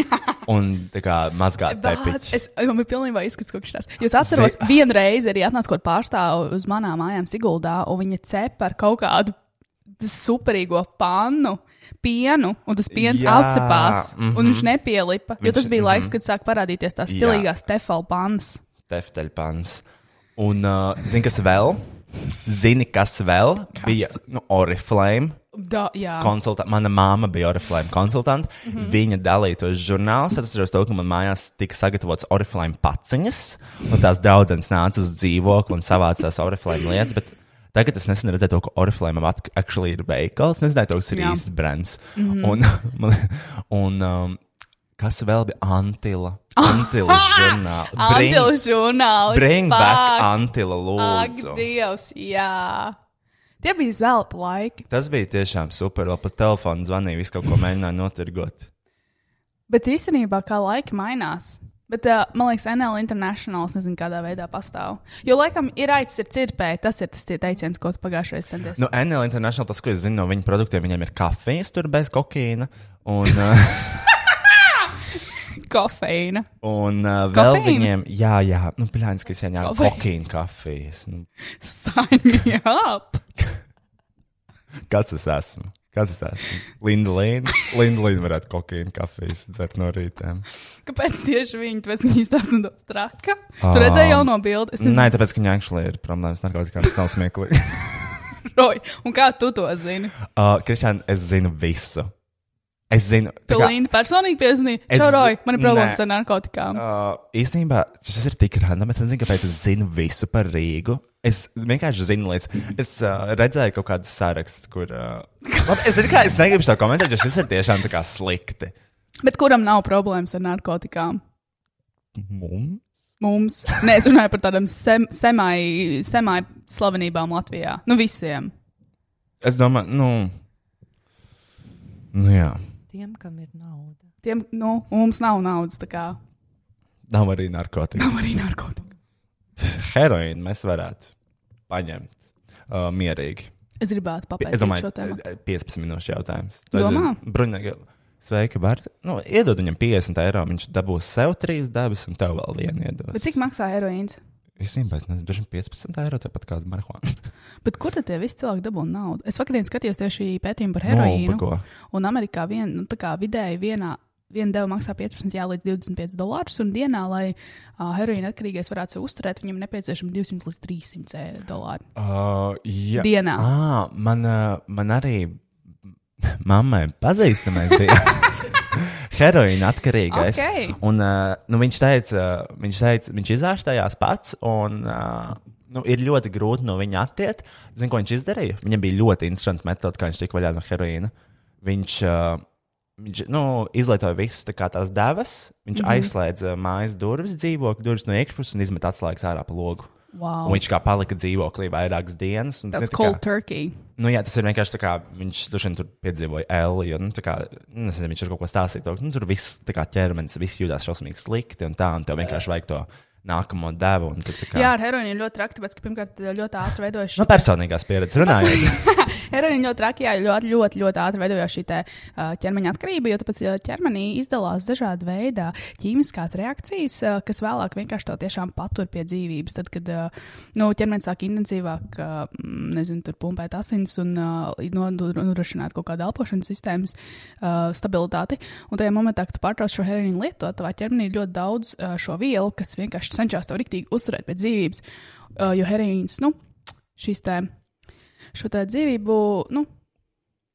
un tā kā mazgāt Vāc, tepiķi. Es domāju, ka pilnībā izskatās kaut kas tāds. Jūs atceros, Zin... vienu reizi arī atnāca kaut pārstāvu uz manām mājām Siguldā, un viņa cep ar kaut kādu superīgo pannu. Pienu, un tas piens Jā, atcepās, mm -hmm. un mhm. viņš nepielika. Jo Viņš- tas bija mhm. laiks, kad sāka parādīties tās Jā. stilīgās tefalpanas. Tefteļpans. Un uh, zini, kas vēl? Zini, kas vēl kas? bija nu, Oriflame? Da, jā, konsultante. Mana māma bija Oriflame konsultante. Mm Mhm. -hmm. Viņa dalītos žurnālā. Es atceros, to, ka man mājās tika sagatavots Oriflame paciņas, un tās daudzas nāca uz dzīvokli un savāca tās Oriflame lietas. Bet tagad es nesen redzēju, to, ka Oriflame at- actually ir veikals. Es nezināju, to, kas ir Jā. Mhm. īsts brands. Un, man- un um, kas vēl bija Antila? Antila žurnāla. Antila Bring, žurnāli. bring back fuck, Antila Ak, lūdzu. Dievs, jā. Tie bija zelta laiki. Tas bija tiešām super. Vēl pa telefonu zvanīja, visu kaut ko mēģināja notirgot. Bet īstenībā, kā laiki mainās. Bet, uh, man liekas, NL Internationals nezinu, kādā veidā pastāv. Jo, laikam, ir aicis ir cirpēji. Tas ir tas tie teiciens, ko tu pagājušajā reizē centies. Nu, NL International, tas, ko es zinu no viņu produktiem, viņiem ir kafijas, tur bez kokaīna. Un, uh, Kofeīna. un uh, vēl Kofeīna? viņiem, jā, jā, nu, plāns, kas jāņem Kofeīna. kokaīna kafijas. Nu, Sign me up! kāds es esmu? Kāds es esmu? Linda Līna. Linda Līna varētu kokaīna kafijas dzert no rīta. Kāpēc tieši viņi? Tāpēc, ka viņi stāsta nedaudz traka. Ah. Tu redzēji jau no bildes. Nē, tāpēc, ka viņai actually ir problēmas ar narkotikām, tas nav smieklīgi. Roji, un kā tu to zini? Uh, Kristiāna, es zinu visu. Es zinu, tā Tu kā- Līna personīgi piezīmēji, Es- ka Roji, man ir problēmas nē. ar narkotikām. Uh, īstenībā tas ir tik randam. Es nezinu, kāpēc es zinu visu par Rīgu. Es vienkārši zinu lietas. Es uh, redzēju kaut kādu sarakstu, kur. Uh, labi, es, zinu, kā, es negribu to komentēt, jo šis ir tiešām tā kā slikti. Bet kuram nav problēmas ar narkotikām? Mums? Mums, nē, es runāju par tādām sem, semai, semai slavenībām Latvijā. Nu, visiem. Es domāju, nu. Nu, jā. Tiem, kam ir nauda. Tiem, nu, mums nav naudas, tā kā Nav arī narkotikas. nav arī narkotika. Heroīnu mēs varētu paņemt uh, mierīgi. Es gribētu Pie- Es papētīt domāju, eh, šo tēmu. 15 minūšu jautājums. eh, Domā? Bruņģa, sveiki, var. Nu, iedod viņam 50 eiro, viņš dabūs sev trīs dabas, un tev vēl vienu iedod. Bet cik maksā heroīns? Es nezinu, dažiem 15 eiro, tāpat kā marihuāna. Bet kur tad tie visi cilvēki dabū naudu? Es vakar skatījos tieši pētījumu par Nu, heroīnu. par ko? Un Amerikā vien, nu, tā kā vidēji vienā, viena deva maksā 15 jā, līdz 25 dolārus, un dienā, lai uh, heroīna atkarīgais varētu sevi uzturēt, viņam nepieciešami 200 līdz 300 e- dolāri. Uh, jā. Dienā. À, man, uh, man arī mammai pazīstamais bija heroīna atkarīgais. Ok. Un, uh, nu, viņš teica, viņš teica, viņš izārstējās pats. Un, uh, Nu, ir ļoti grūti no viņa attiekt. Zini, ko viņš izdarīja? Viņam bija ļoti interesanti metode, kā viņš tika vaļā no heroīna. Viņš, uh, viņš nu, izlietoja visas tā kā, tās devas, viņš mm -hmm. aizslēdza mājas durvis, dzīvokļa durvis no iekšpuses un izmet atslēgas ārā pa logu. Wow. Un viņš kā palika dzīvoklī vairākas dienas. Un, Tas zini, ir tā kā- cold turkey. Nu, jā, tas ir vienkārši tā, kā viņš droši vien tur piedzīvoja Eliju. Un, tā kā, nu, nezinu, viņš ir kaut ko stāstījis. to, ka, Nu, tur viss tā kā ķermenis, viss jūtas šausmīgi slikti un tā, un tev vienkārši vajag to nākamo devu. un tu tā kā- Jā, ar heroīnu ir ļoti traki, tāpēc, ka pirmkārt ļoti ātri veidojas No šī personīgās pieredzes runājot. heroīna, ļoti traki, jā, ļoti, ļoti, ļoti ātri veidojas šī te, uh, ķermeņa atkarība, jo tāpēc uh, ķermenī izdalās dažādi veidi ķīmiskās reakcijas, uh, kas vēlāk vienkārši to tiešām patur pie dzīvības. Tad, kad uh, nu, ķermenis sāk intensīvāk, uh, mm, nezinu, tur pumpēt asins un uh, no- nu- nodrošināt kaut kādu elpošanas sistēmas uh, stabilitāti, un tajā momentā, kad tu pārtrauc šo heroīnu lietot, tavā ķermenī ir ļoti daudz uh, šo vielu, kas vienkārši cenšas tev riktīgi uzturēt pie dzīvības, uh, jo heroīns, nu, šīs tēmas šo tā dzīvību, nu,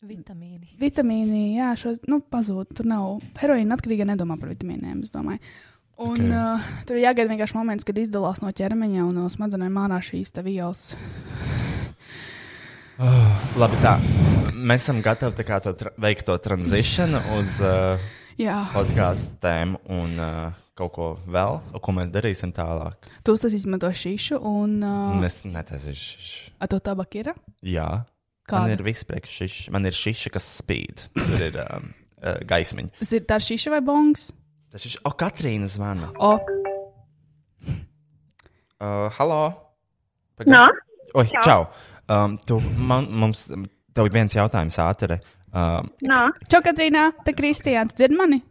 Vitamīni. vitamīni, jā, šo nu, pazūd. Tur nav heroīna atkarīga, nedomā par vitamīniem, es domāju. Un okay. Ok. uh, tur ir jāgaida vienkārši moments, kad izdalās no ķermeņa un no smadzenēm ārā šīs te vielas. Labi, tā. Mēs esam gatavi tā kā, to tra veikt to tranzīciju uz uh, Jā, podkāstu tēmu un uh, kaut ko vēl, ko mēs darīsim tālāk. tu tas izmanto šīšu un uh, Mēs neteicām. ar to tabaku ir. Jā. Man Kāda? ir viss priekšā. Man ir šis, kas spīd. Tur ir um, uh, gaismiņa. Tas ir tā ir šīša vai bongs? Tas ir. O, Katrīna zvana. O, Uh, halo! Pagaid- No, Oi, čau! čau. Um, tu, man, mums, um, tev ir viens jautājums ātri. Um, no, čau, Katrīnā, te Kristiāns, dzird mani?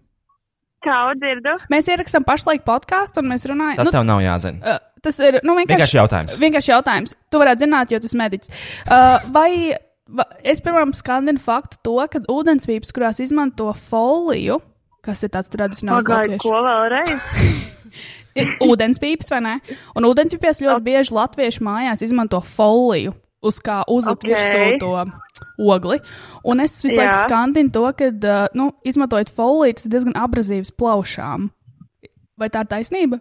čau, dzirdu. Mēs ierakstām pašlaik podkāstu un mēs runājam. tas nu, tev nav jāzina. Uh, tas ir nu, vienkārši, Vienkārši jautājums. vienkārši jautājums. Tu varētu zināt, jo tu esi mediķis. Uh, vai, vai es pirmām skandinu faktu to, ka ūdensvīpes, kurās izmanto foliju, kas ir tāds tradicionāls Pagaidu, latviešu, ko vēlreiz? Ir ūdenspīpes, vai ne? Un ūdenspīpēs ļoti bieži latvieši mājās izmanto foliju. Uz kā uzlikt Ok. okay. virsū to ogli. Un es visu laiku Jā. skandinu to, ka, uh, nu, izmantojot foliju, tas ir diezgan abrazīvs plaušām. Vai tā ir taisnība?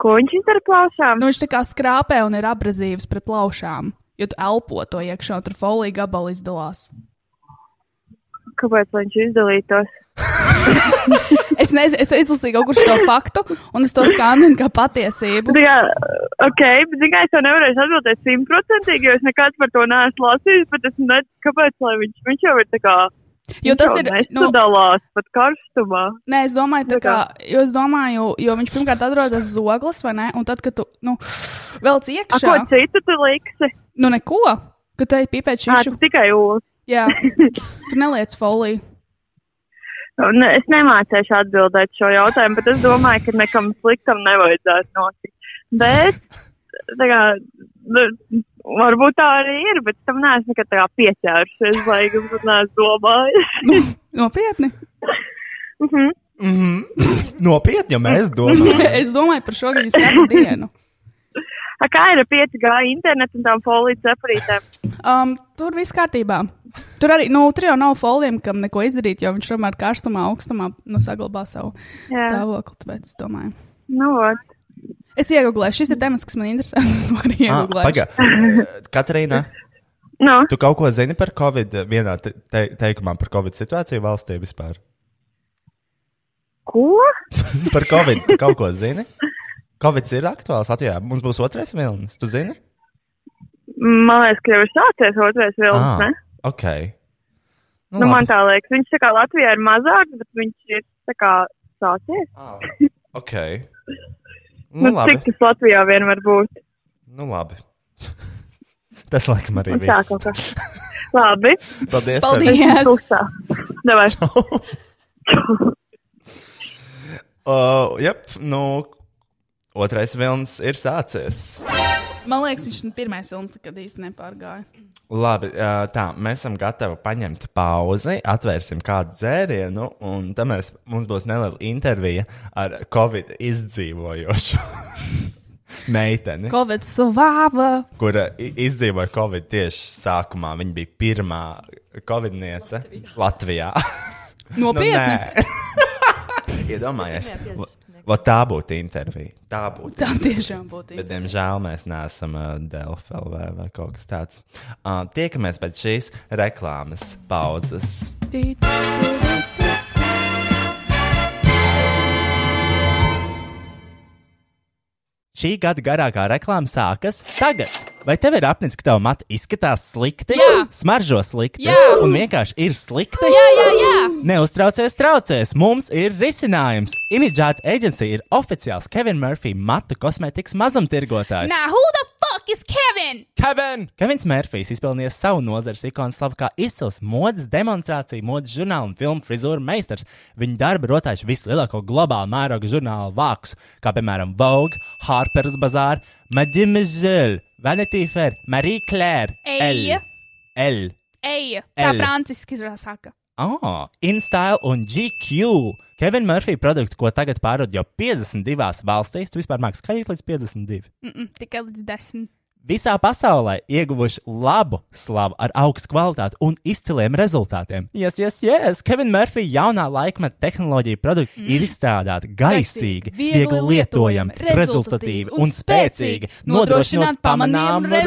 Ko viņš izdara plaušām? Nu, viņš tā kā skrāpē un ir abrazīvs pret plaušām, jo tu elpo to iekšā, un tur folija gabali izdalās. Kāpēc lai viņš izdalītos? Es nezinu, es izlasīju kaut kur šo faktu, un es to skandinu kā patiesību. Nu, Tā kā, ok, bet tikai es to nevarēšu atbildēt simtprocentīgi, jo es nekad par to neesmu lasījis, bet es nezinu, kāpēc lai viņš, viņš jau ir tā kā. Jo tas ir. Nu, Nedalās pat karstumā. nē, es domāju, tā Nu kā, kā? jo es domāju, jo viņš pirmkārt atrodas zoglis, vai ne? Un tad, kad tu nu, velc A, ko iekšā, citu tu liksi? nu neko, ka te ir pipēta Ā, šīšu. tu tikai ūs. Jā, tu neliec foliju. Ne, Nu, es nemācīšu atbildēt šo jautājumu, bet es domāju, ka nekam sliktam nevajadzētu notikt. Bet, tā kā, nu, varbūt tā arī ir, bet tam neesmu nekad tā kā pieķērusies, lai gan pat neesmu domājis. Nu, nopietni. Mhm. Mm. Nopietni, ja mēs domājam. Es domāju par šo gadu katru dienu. A, kā ir ar 5G internetu un tām folijas separītēm? Um, tur viss kārtībā. Tur arī nu, tur jau nav foliem, kam neko izdarīt, jo viņš tomēr karstumā, augstumā nu, saglabā savu Jā. stāvokli. Tāpēc es domāju, Nu, vot. es iegūlēju. Šis ir temats, kas man interesē. Es to arī Ah, iegūlēju. Pagaid, Katrīna, Nu, tu kaut ko zini par Covid, vienā te te teikumā par Covid situāciju valstī vispār? ko? Par Covid tu kaut ko zini? Covid ir aktuāls Latvijā. Mums būs otrais vilnis, tu zini? Man liekas, ka jau ir sācies otrais vilnis, Ā, ne? Ah, ok. Nu, man labi. tā liekas, viņš tā kā Latvijā ir mazāks, bet viņš ir tā kā sācies. Ā, Ah, Ok. Nu, Nu, nu, labi. cik tas Latvijā vien var būt? Nu, labi. Tas laikam arī Un tā viss. kaut kas. Labi, Paldies! par- Paldies! pusā. Davai. Uh, jep, nu, otrais vilnis ir sācies. Man liekas, viņš ir pirmais filmas, kad īsti nepārgāja. Labi, uh, tā, mēs esam gatavi paņemt pauzi, atvērsim kādu dzērienu, un tad mēs, mums būs neliela intervija ar Covid izdzīvojošu meiteni, Covid savāva. kura i- izdzīvoja Covid tieši sākumā. Viņa bija pirmā Covidniece Latvijā. Nu, Nopietni! nē. Iedomājies, Pirmajā va- 50. va tā būtu intervija. Tā būtu. Tā tiešām būtu. Bet, diemžēl, mēs neesam uh, Delphi LV vai kaut kas tāds. Uh, tiekamies pēc šīs reklāmas pauzes. Šī gada garākā reklāma sākas tagad. Vai tev ir apnicis, ka tava matra izskatās slikti, Jā. smaržo slikti Jā. un vienkārši ir slikti? Jā, jā, jā! Neuztraucies, traucēs! Mums ir risinājums! Imidžāta aģentūra ir oficiāls Kevina Murphy matu kosmētikas mazumtirgotājs. Nā, who the fuck is Kevin? Kevin! Kevins Mērfijs izpelnījis savu nozares ikonu slavu kā izcils modes demonstrāciju, modes žurnāla un filmu frizūru meistars. Viņa darbi rotājuši vislielāko globālu mēroga žurnālu vākus, kā piemēram Vogue, Harper's Bazaar, Madimizil, Vanity Fair, Marie Claire, Eja. L, L, Ej, tā L. franciski saka. oh, InStyle un GQ. Kevina Mērfija produktu, ko tagad pārdod jau 52 valstīs, tu vispār māks skaļīt līdz 52. Mm -mm, tikai līdz desmit. visā pasaulē ieguvuši labu slavu ar augstu kvalitāti un izciliem rezultātiem. Yes, yes, yes. Kevin Murphy jaunā laikmeta tehnoloģija produkti mm. ir izstrādāti gaisīgi, Gaisīgi, viegli viegli lietojami, lietojami, rezultatīvi rezultatīvi un un spēcīgi, spēcīgi, nodrošinot nodrošinot pamanāmu pamanāmu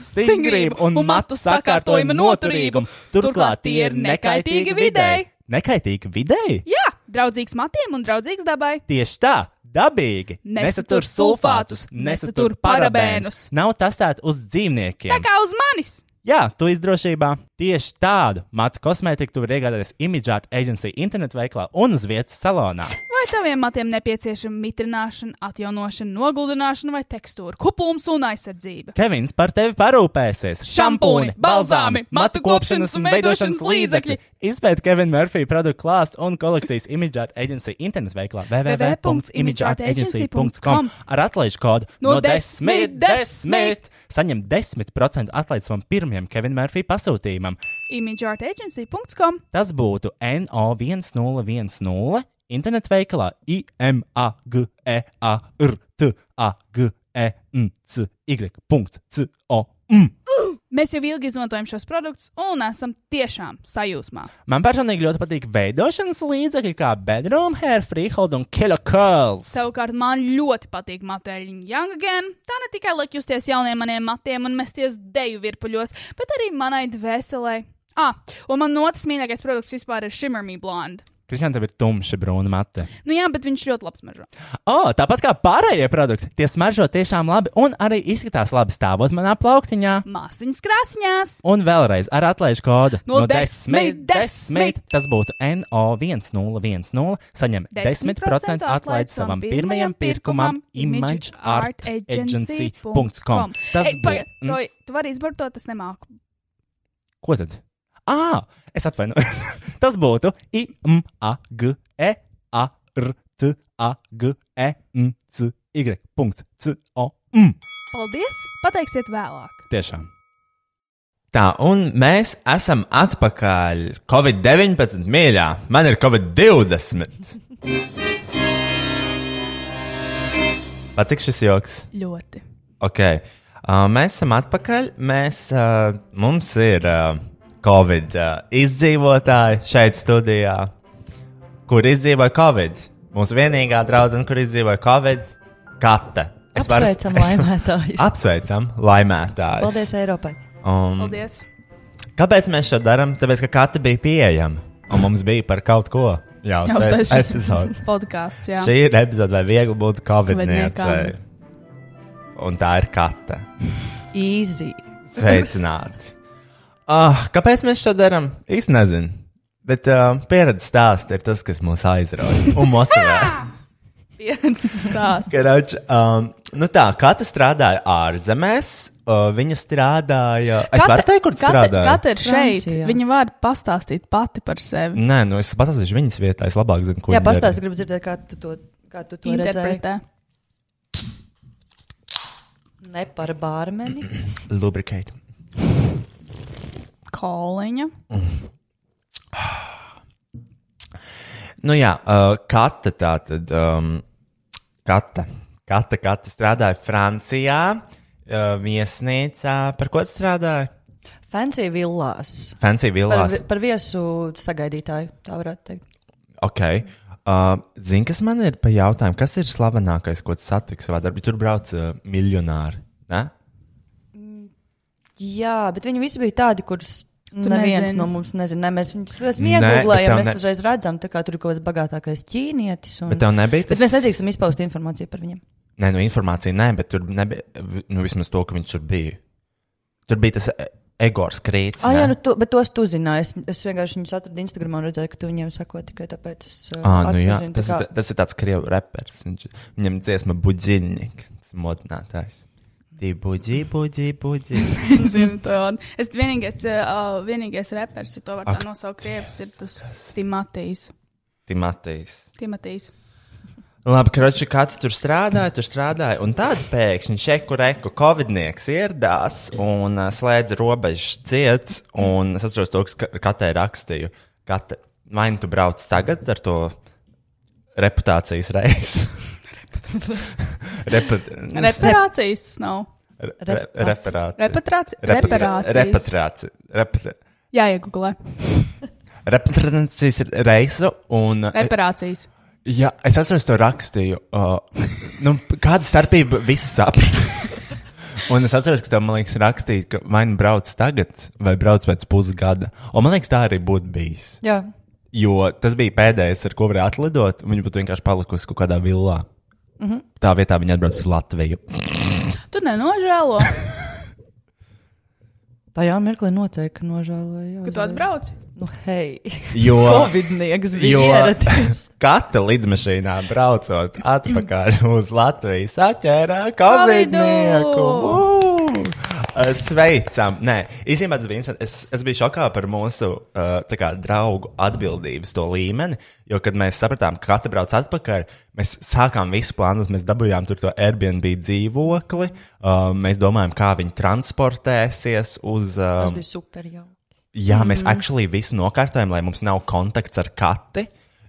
rezultātu, stingrību un un matu matu sakārtojuma sakārtojuma noturīgumu. noturīgumu. Turklāt tie ir nekaitīgi videi. Nekaitīgi videi? Jā, draudzīgs matiem un draudzīgs dabai. Tieši tā, dabīgi. Nesatur Nesatur sulfātus, sulfātus, nesatur nesatur parabēnus. parabēnus. Nav testēta uz dzīvniekiem. Tā kā uz manis! Jā, tu esi drošībā. Tieši tādu matu kosmētiku tu vari iegādāties Imidžāta aģentūra internetu veiklā un uz vietas salonā. Vai taviem matiem nepieciešama mitrināšana, atjaunošana, noguldināšana vai tekstūra, kuplums un aizsardzība? Kevins par tevi parūpēsies. Šampūni, balzāmi, matu kopšanas un veidošanas līdzekļi. Izpēt Kevina Murphy produktu klāstu un kolekcijas Imidžāta aģentūra internetu veiklā www.imidžātaagency.com ar atlaižu kodu No no 10, desmit, 10. Saņem 10% atlaides savam pirmajam Kevina Murphy pasūtījumam. imageartagency.com Tas būtu NO1010, Internet veikalā E imagērtagny.com. Mēs jau ilgi izmantojam šos produktus un esam tiešām sajūsmā. Man personīgi ļoti patīk veidošanas līdzekļi, kā bedroom hair, freehold un kilo curls. Savukārt, man ļoti patīk matēļiņa Young Again. Tā ne tikai liek justies jauniem maniem matiem un mesties deju virpuļos, bet arī manai dvēselē. Ah, un man otrs mīļākais produkts vispār ir Shimmer Me Blonde. Kristian, tev ir tumša brūna mate. Nu jā, bet viņš ļoti labs mažo. Oh, tāpat kā pārējie produkti, tie smaržo tiešām labi un arī izskatās labi stāvot manā plauktiņā. Māsiņas krāsņās! Un vēlreiz ar atlaižu kodu No desmit, desmit. Tas būtu NO1010. Saņem 10% atlaidi savam pirmajam pirkumam imageartagency.com. Tas Ei, būtu. pagaid, mm. Roy, Tu vari izbarot, tas nemāku. Ko tad? Ah, es atvainojos. Tas būtu E IMAGEARTAGNCY.com. Paldies! Pateiksiet vēlāk! Tiešām. Tā, un mēs esam atpakaļ. Covid-19 mīļā, man ir Covid-20. Patīk šis joks. Ļoti! Okay. Uh, mēs esam atpakaļ. Mēs, uh, mums ir uh, Covid uh, izdzīvotāji šeit studijā, kur izdzīvoja Covid. Mūsu vienīgā draudzene, kur izdzīvoja Covid, Kata. Es varu- Apsveicam laimētājus. Apsveicam laimētājus. Paldies Eiropai. Um, Paldies! Kāpēc mēs to darām? Tāpēc, ka katra bija pieejama un mums bija par kaut ko jāuztais Jāuztais šis epizode. Podkāsts, jā. Šī ir epizode, vai viegli būt Covid-niecei. Covidniekam. Un tā ir katra. Easy. Sveicināti! Ah, kāpēc mēs to darām? Es nezinu. Bet uh, pieredze stāsts ir tas, kas mūs aizrauja un motivē. Pieredzes stāsts. Karoč, um, nu tā, katra strādāja ārzemēs, uh, viņa strādāja. Es varu teikt, kur tu strādāji? Katra ir šeit. Francijā. Viņa var pastāstīt pati par sevi. Nē, nu es patasīšu viņas vietā, es labāk zinu, ko Jā, viņa darīja. pastāsti, gribu dzirdēt, kā tu to, kā tu to redzēji. Interpretē. Ne par bārmeni. Lubricate. Koliņa. Nu, jā, uh, kata tā tad. Um, kata. Kata, kata strādāja Francijā, uh, viesnīcā. Par ko tu strādāji? Fancy villās. Fancy Par, villās. vi- par viesu sagaidītāju, tā varētu teikt. Ok. Uh, Zini, kas man ir pa jautājumu, kas ir slavenākais, ko tu satiksi savā darbā? Tur brauc uh, miljonāri. Ne? Jā, bet viņi visi bija tādi, kurus neviens nezini. no mums nezina. Ne, mēs viņus mēs Nē, bet iegūlējam, tev mēs ne- dažreiz redzam, tā kā tur ir kaut kāds bagātākais ķīnietis. Un... Bet tev nebija tas. Bet mēs nedrīkstam izpaust informāciju par viņiem. Nē, nu informācija, nē, bet tur nebija, nu vismaz to, ka viņš tur bija. Tur bija tas e, Egors Krīts. Ah, ne? jā, nu, tu, bet tos tu zināji. Es, es vienkārši viņus atradu Instagram un redzēju, ka tu viņiem sako tikai tāpēc. Es, uh, Ah, nu jā, atpazinu, tā tas, kā- ir, tas ir tāds krievu reperis. Viņš, viņam dziesma buģiņķis, tas modinātājs. Tī buģī, buģī, buģī. Zinu to. Es vienīgais, uh, vienīgais reperis, ja to var Ak, tā nosaukt, riepas, ir tas Timotejs. Timotejs. Timotejs. Labi, kroči, kā tu tur strādāji, tur strādāji. Un tad pēkšņi šeku reku covidnieks ieradās un uh, slēdza robežas ciet. Un es atceros to, kas ka- katai rakstīju. Kata, vai nu tu brauc tagad ar to reputācijas reizi? Reput... Reparācijas tas nav. Re- re- Reparācija. Repatrāci- Reparācijas. Repatrācija. Jā, iegūlē. Repatrācijas reisu. Un, Reparācijas. jā, es atceros to rakstīju. Uh, nu, kāda starpība visi saprata? Un es atceros, ka tev, man liekas, rakstīja, ka vai nu brauc tagad, vai brauc pēc pusgada. Un man liekas, tā arī būtu bijis. Jā, Jo tas bija pēdējais, ar ko varēja atlidot. un Viņa būtu vienkārši palikusi kaut kādā villā. Mm -hmm. Tā vietā viņa atbrauc uz Latviju. Tu nenožēlo, tajā mirklī noteikti nožēloju. ka tu atbrauc. Nu, hei, Jo. Covidnieks bija Jo ieradies. katra lidmašīnā braucot atpakaļ uz Latviju, saķērā covidnieku. Ū! Sveicam! Nē, īstenībā tas bija interesanti. Es, es biju šokā par mūsu uh, tā kā, draugu atbildības to līmeni, jo, kad mēs sapratām, ka katra brauc atpakaļ, mēs sākām visu plānot. Mēs dabūjām tur to Airbnb dzīvokli, uh, mēs domājām, kā viņi transportēsies uz. Uh, Tas bija super jauki. Mhm. Jā, mēs mm. actually visu nokārtojam, lai mums nav kontakts ar kati.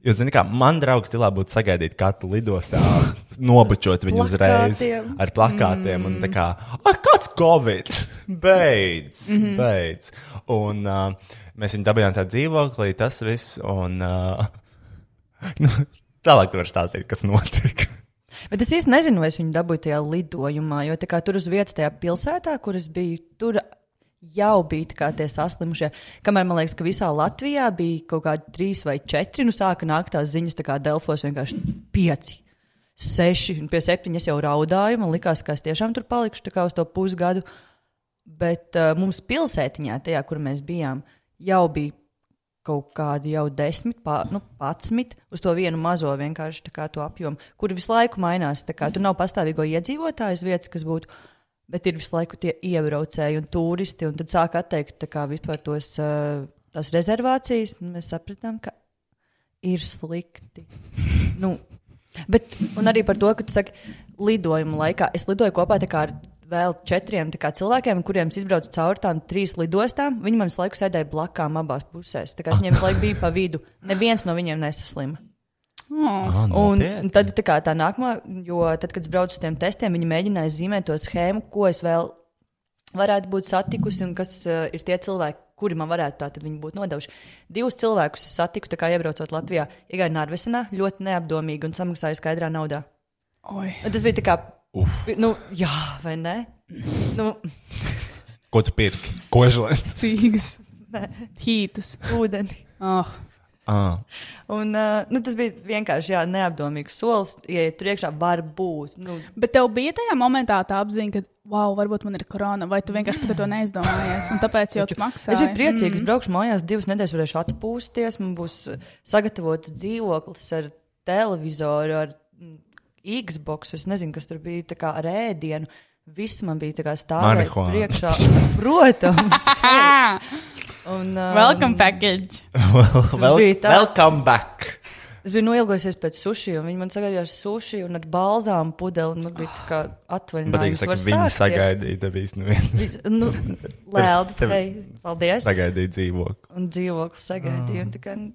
Jo, zini, kā man draugs Dilā būtu sagaidīt katru lidostā, nobučot viņu uzreiz Plakātiem. ar plakātiem. Mm. Un tā kā, ah, kāds Covid! Beidz! Mm -hmm. Beidz! Un uh, mēs viņu dabījām tā dzīvoklī, tas viss. Un, uh, nu, tālāk tu vari stāstīt, kas notika. Bet es īstenībā nezinu, vai es viņu dabūju tajā lidojumā, jo tā kā tur uz vietas, tajā pilsētā, kur es biju, tur jau bija tā kā tie saslimušie. Kamēr man liekas, ka visā Latvijā bija kaut kādi trīs vai četri, nu sāka nākt tās ziņas, tā kā Delfos vienkārši pieci. Seši, un pie septiņiem es jau raudāju. Man liekas, ka es tiešām tur palikšu tā kā uz to pusgadu. Bet uh, mums pilsētiņā, tajā, kur mēs bijām, jau bija kaut kādi jau desmit, pār, nu, patsmit uz to vienu mazo vienkārši tā kā to apjomu, kur visu laiku mainās. tā Kā, tur nav pastāvīgo iedzīvotāju uz vietas, kas būtu, bet ir visu laiku tie iebraucēji un turisti, un tad sāk atteikt tā kā vispār tos, uh, tās rezervācijas, un mēs sapratām, ka ir slikti. Nu, bet, un arī par to, ka tu saki, lidojuma laikā es lidoju kopā tā kā ar vēl četriem tā kā, cilvēkiem, kuriem es izbraucu cauri tām trīs lidostām. Viņi man visu laiku sēdēja blakām abās pusēs. Tā kā es viņiem visu laiku biju pa vidu. Neviens no viņiem nesaslima. Oh, Ah, Un, notiek. un tad tā, kā, tā nākamā, jo tad, kad es braucu uz tiem testiem, viņi mēģināja zīmēt to schēmu, ko es vēl varētu būt satikusi un kas uh, ir tie cilvēki, kuri man varētu tā tad viņi būt nodevuši. Divus cilvēkus es satiku, tā kā iebraucot Latvijā, iegāju Nārvesenā ļoti neapdomīgi un samaksāju skaidrā naudā. Oi. Un tas bija tā kā, nu, jā, vai ne? Nu, Ko tu pirki? Kožlēns. Cīgas. Hītus. ūdeni. Oh. Ah, Un, uh, nu, tas bija vienkārši jā, neapdomīgs solis. Iet tur iekšā, var būt. Nu, Bet tev bija tajā momentā tā apziņa, ka, wow, varbūt man ir korona, vai tu vienkārši par to neizdomājies, un tāpēc jau tu maksā. es biju priecīgs, mm. braukšu mājās, divas nedēļas varēšu atpūsties. Man būs uh, sagatavots dzīvoklis ar televizoru, ar mm, Xbox. Es nezinu, kas tur bija tā kā ar ēdienu. Viss man bija tā kā stāvot Marihuāna. priekšā. Protams. un, uh, Welcome package! well, bija tāds. welcome back! Es biju noilgojusies pēc sushi, un viņi man sagaidīja ar sushi un ar balzām pudeli. un Man bija tā kā Patīk, atvaļinājums. ka var viņi sākties. sagaidīja, tevis neviens. Vis- Nu, Lēldi, tev- patei- paldies. Sagaidīja dzīvokli. Un dzīvoklis sagaidīja. Un, tā kā, nu,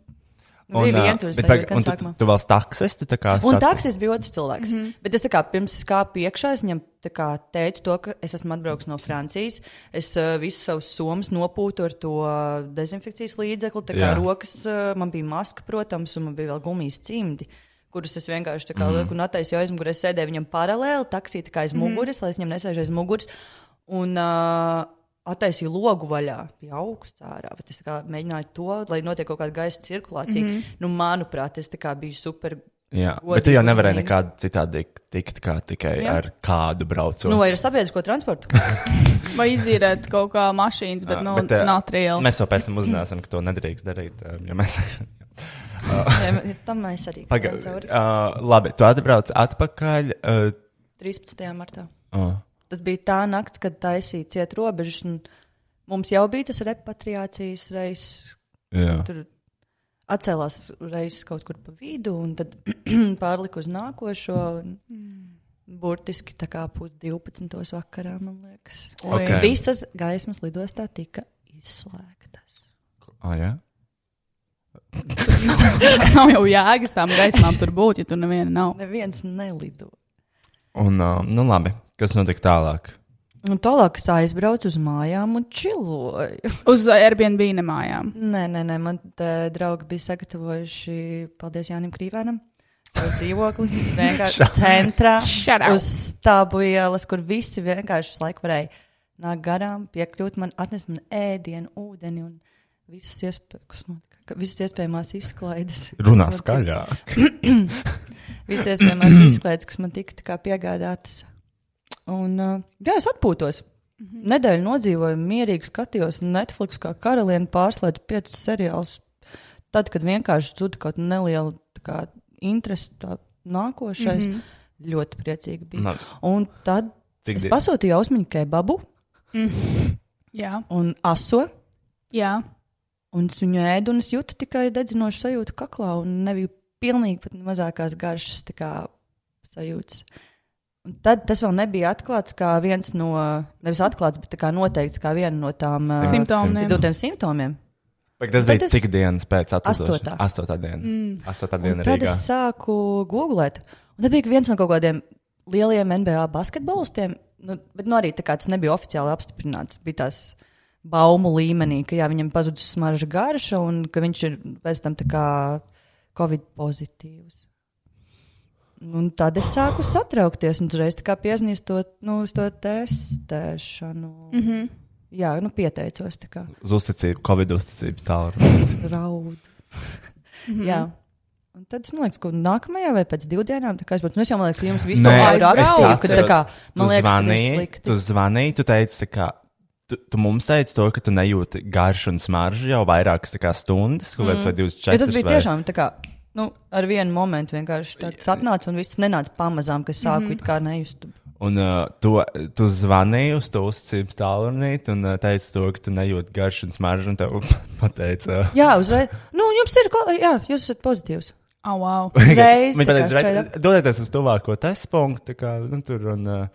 Un, bija ā, vientuļs bet sajūta paga- un tu, sākumā. tu vēl taksisti tā kā Un sat- taksis bija otrs cilvēks. Mm -hmm. Bet es tā kā pirms es kāpu iekšā, es viņam tā kā teicu, to, ka es esmu atbraucis no Francijas. Es uh, visu savus somas nopūtu ar to ā, dezinfekcijas līdzekli. Tā kā Jā. rokas uh, man bija maska, protams, un man bija vēl gumijas cimdi. Kurus es vienkārši tā kā lieku un attaisīju aiz muguras, sēdēju viņam paralēli, taksī tā kā aiz muguras, mm. lai es viņam nesēžu aiz muguras. Un uh, attaisīju logu vaļā, bija augsts ārā. Bet es tā kā mēģināju to, lai notiek kaut kāda gaisa cirkulācija. Mm. Nu, manuprāt, es tā kā biju super Jā, Godīgi bet tu jau nevarēji uzmanīgi. nekādu citādi tikt, kā tikai Jā. ar kādu braucot. Nu, vai ar sabiedrisko transportu? Vai izīrēt kaut kā mašīnas, bet, Ā, nu, Ah, bet, eh, ā, not real. Mēs jau pēc tam uzzināsim, ka to nedrīkst darīt. ā, Ja mēs... Jā, man- Tam mēs arī gājām Pagaidām, cauri. uh, labi, tu atbrauc atpakaļ. Uh, 13. martā. uh, Tas bija tā nakts, kad taisīja ciet robežas, un mums jau bija tas repatriācijas reizes. jā. Tur atcēlās reizes kaut kur pa vidu, un tad pārlika uz nākošo. Un... Burtiski tā kā pusdivpadsmitos vakarā, man liekas. Oi. Ok. Visas gaismas lidostā tika izslēgtas. Ah, jā? Nav jau jēgas tām gaismām tur būt, ja tur neviena nav. Neviens nelido. Un, uh, nu, labi, kas notika tālāk? Un tālāk es aizbraucu uz mājām un čiloju. Uz Airbnb nemājām. Nē, nē, nē man te draugi bija sagatavojuši, paldies Jānim Krīvēnam, savu dzīvokli. Vienkārši centrā, Shout out. uz stābu ielas, kur visi vienkārši uz laiku varēja nākt garām, piekļūt man, atnest man ēdienu, ūdeni un visas iespējas. Visas iespējamās izklaides. Runā kas man skaļāk. tika- Visas iespējamās izklaides, kas man tika tā kā piegādātas. Un, uh, jā, es atpūtos. Nedēļu nodzīvoju, mierīgi skatījos Netflix, kā karaliene pārslēdz piecus seriālus. Tad, kad vienkārši zuda kaut kāda neliela tā kā, interese tā nākošais, mm -hmm. ļoti priecīgi bija. Labi. Un tad Nu, Cik es die- pasūtīju ausmiņu kebabu Jā, un aso. jā. Un es viņu ēdu, un es jūtu tikai dedzinošu sajūtu kaklā, un nebija pilnīgi pat mazākās garšas tā kā, sajūtas. Un tad tas vēl nebija atklāts kā viens no, nevis atklāts, bet tā kā noteikts kā viena no tām uh, ā, Simptomiem. vidūtiem simptomiem. Bet tas Tad bija es- cik dienas pēc Astotā. atlidošanas? Astotā diena. Mm. Astotā Un diena tad Rīgā. es sāku googlēt. Un tad bija viens no kaut kādiem lieliem NBA basketbolistiem, nu, bet nu, arī tā kā tas nebija oficiāli apstiprināts. Bija tās baumu līmenī, ka jā, viņam pazudus smarža garša un ka viņš ir pēc tam tā kā covid pozitīvs. Un tad es sāku satraukties un uzreiz tā kā piezīmēju to, nu, uz to testēšanu. Mm -hmm. Jā, nu, pieteicos tā kā Uz uzticību, Covid uzticības tālu. raudu. Mm -hmm. Un tad es domāju, ka nākamajā vai pēc divām dienām, tā kā es, braucu, nu, es jau man liekas, ka jums visiem Nē, ir rakstīts, ka tā atceros. kā Tu man liekas, tas ir zvanīji, tu slikti. zvanīji, tu teici, tā kā, tu, tu mums teici to, ka tu nejūti garšu un smaržu jau vairākas tā kā, stundas, kaut kāds mm. vai Jo 24. Mhm. tas bija vai... tiešām tā kā, nu, ar vienu momentu vienkārši tāds atnāca un viss nenāca pamazām, kas sāku mm -hmm. it kā nejust. Un uh, tu, tu zvanīji uz to uzticības tālrunīti un uh, teici to, ka tu nejūti garšu un smaržu, un tev pateica. Uh, Jā, uzreiz. Nu, jums ir, ko, jā, jūs esat pozitīvs. Oh, wow. Uzreiz, Viņa tā kā pateica, straight uzreiz, up. dodieties uz tuvāko testu punktu. tā Kā, nu, tur, un, uh,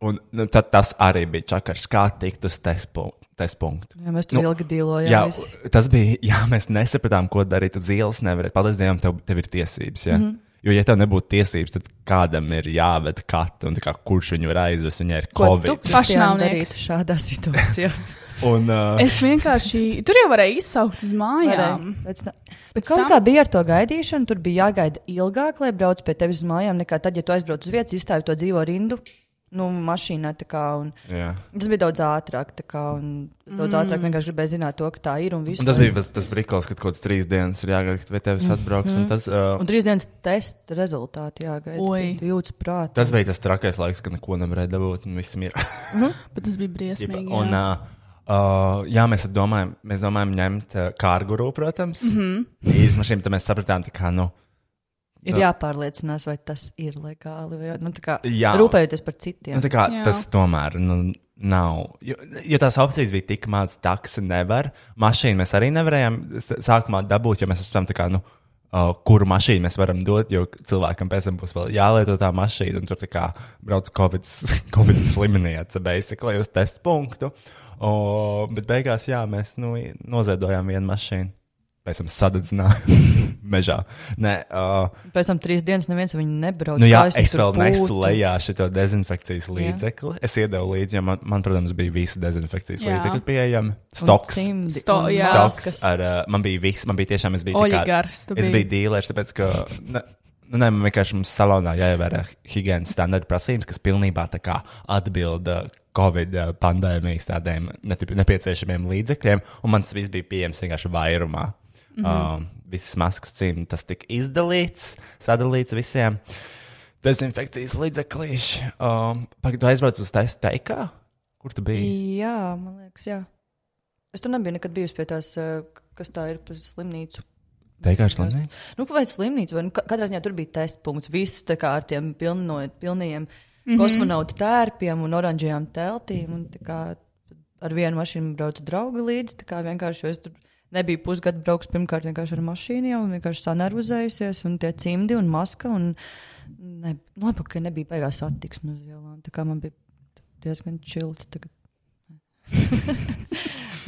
un, nu, tad tas arī bija čakars, kā tikt uz testu test punktu. Jā, mēs tur Nu, ilgi dīlojām. Jā, visi. tas bija. Jā, mēs nesapratām, ko darīt. Uz ielas nevarēja. Paldies Dievam, tev, tev ir tiesības. Jā. Mm -hmm. Jo, ja tev nebūtu tiesības, tad kādam ir jāved katra un tā kā, kurš viņu var aizvest. Viņai ir Ko tu covid. pašnāvnieks Pašnāvnieks. darītu šādā situācijā? Un, uh, Es vienkārši tur jau varēju izsaukt uz mājām. Varēja. Pēc tam- Pēc Kaut tam- kā bija ar to gaidīšanu, tur bija jāgaida ilgāk, lai brauc pie tevis uz mājām, nekā tad, ja tu aizbrauc uz vietas, izstāvi to dzīvo rindu. Nu, mašīnā tā kā. Un... jā. Tas bija daudz ātrāk. tā Kā, un es daudz mm. ātrāk vienkārši gribēju zināt, to, ka tā ir. Un, visu, un tas bija tas, tas brīnums, kad kaut kāds trīs dienas ir jāgaida, vai tevis atbrauks. Mm -hmm. tas, uh, Un trīs dienas testa rezultāti jāgaida. Oi. Tu jūti prātā. tas bija tas trakais laiks, kad neko nevarēja dabūt un viss mierā. Bet tas bija Jeb- briesmīgi. Un, jā. uh, uh, jā, mēs tad domājam, mēs domājam ņemt uh, kārguru, protams. Mm -hmm. Īres mašīnu, tad mēs sapratām, tā kā, nu, Ir jāpārliecinās, vai tas ir legāli. Vai, nu, tā kā, Jā. Rūpējoties par citiem. nu tā kā Jā. tas tomēr nu, nav. Jo, jo tās opcijas bija tik maz, taksi nevar, mašīnu mēs arī nevarējām s- sākumā dabūt, jo mēs esam tā kā, nu, uh, kuru mašīnu mēs varam dot, jo cilvēkam pēc tam būs vēl jālieto tā mašīna, un tur tā kā brauc Covid, COVID slimnīca, basically, uz testu punktu. O, bet beigās, jā, mēs nu, i- noziedojām vienu mašīnu. Pēc tam sadedzinājām mežā. Nē, uh, Pēc tam trīs dienas neviens viņu nebrauc. Nu, jā, kā es tur vēl nesu būtu? lejā šo dezinfekcijas līdzekli. Es iedevu līdzi, jo man, man protams, bija visi dezinfekcijas Jā. līdzekļi pieejami. Un Stoks. cimdi Sto- un jā. Stoks maskas. ar, uh, man bija viss, man bija tiešām, es biju tā kā- Oligārs tu Es biji. biju dīlers, tāpēc ka. Ne, Nu, nē, man vienkārši mums salonā jāievēro higiēnas standarta prasības, kas pilnībā tā kā atbild uh, Covid uh, pandēmijas tādiem netip- nepieciešamiem līdzekļiem, un man tas viss bija pieejams vienkārši vairumā. Mhm. Mm -hmm. um, visas maskas cimdi, tas tika izdalīts, sadalīts visiem. Dezinfekcijas līdzeklīši. Um, Pagaidu, tu aizbrauc uz taisu teikā? Kur tu biji? Jā, man liekas, jā. Es tur nebiju nekad bijusi pie tās, eh, kas tā ir par slimnīcu. Teikā ir slimnīca? Nu, vai slimnīca, vai nu, ka- katrā ziņā tur bija testa punkts. Viss tā kā ar tiem pilno, pilniem mm -hmm. kosmonautu tērpiem un oranžajām teltīm. Un, tā kā, ar vienu mašīnu brauca draugi līdzi. tā kā Vienkārši jo es tur nebiju pusgadu braucis pirmkārt vienkārši ar mašīnu, jau un vienkārši sanervozējusies. Un tie cimdi un maska. Un, ne, nu, labi, ka nebija beigās attiksme uz ielām. Tā kā man bija diezgan čils. tagad.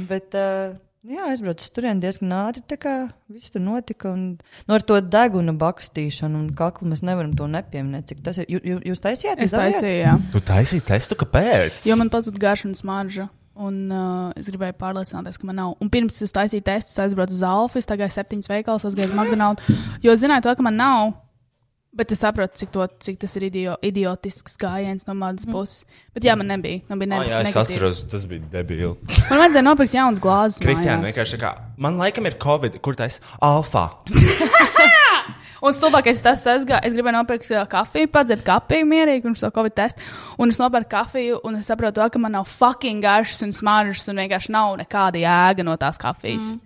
Bet, uh, jā, aizbraucu uz turieni diezgan ātri. Tā kā viss tur notika. Un, nu, ar to degunu bakstīšanu un kaklu mēs nevaram to nepieminēt. Cik tas ir? Jū, jū, jūs taisījāt? Es Jūs darījāt? taisīju, jā. Tu taisīji testu, kāpēc? Jo man pazuda garša un smarža. Un uh, es gribēju pārliecināties, ka man nav. Un pirms es taisīju testus, es aizbraucu uz Alfa, es gāju septiņas veikalas, es gāju uz McDonald's. Jo es zināju, to, ka man nav. Bet es saprotu, cik, to, cik tas ir idio, idiotisks gājiens no manas puses. Bet jā, man nebija. Man bija ne, Ah, Mm. jā, es negatīvs. atceros, tas bija debīli. Man vajadzēja nopirkt jaunas glāzes. Kristiāna mājās. vienkārši tā kā, man laikam ir covid, kur tas ir alfa. Un stulbākais tas esmu. Es gribēju nopirkt uh, kafiju, padzert kafiju mierīgi pirms to covid testa. Un es nopirku kafiju, un es saprotu, to, ka man nav fucking garšas un smaržas, un vienkārši nav nekāda jēga no tās kafijas. Mm.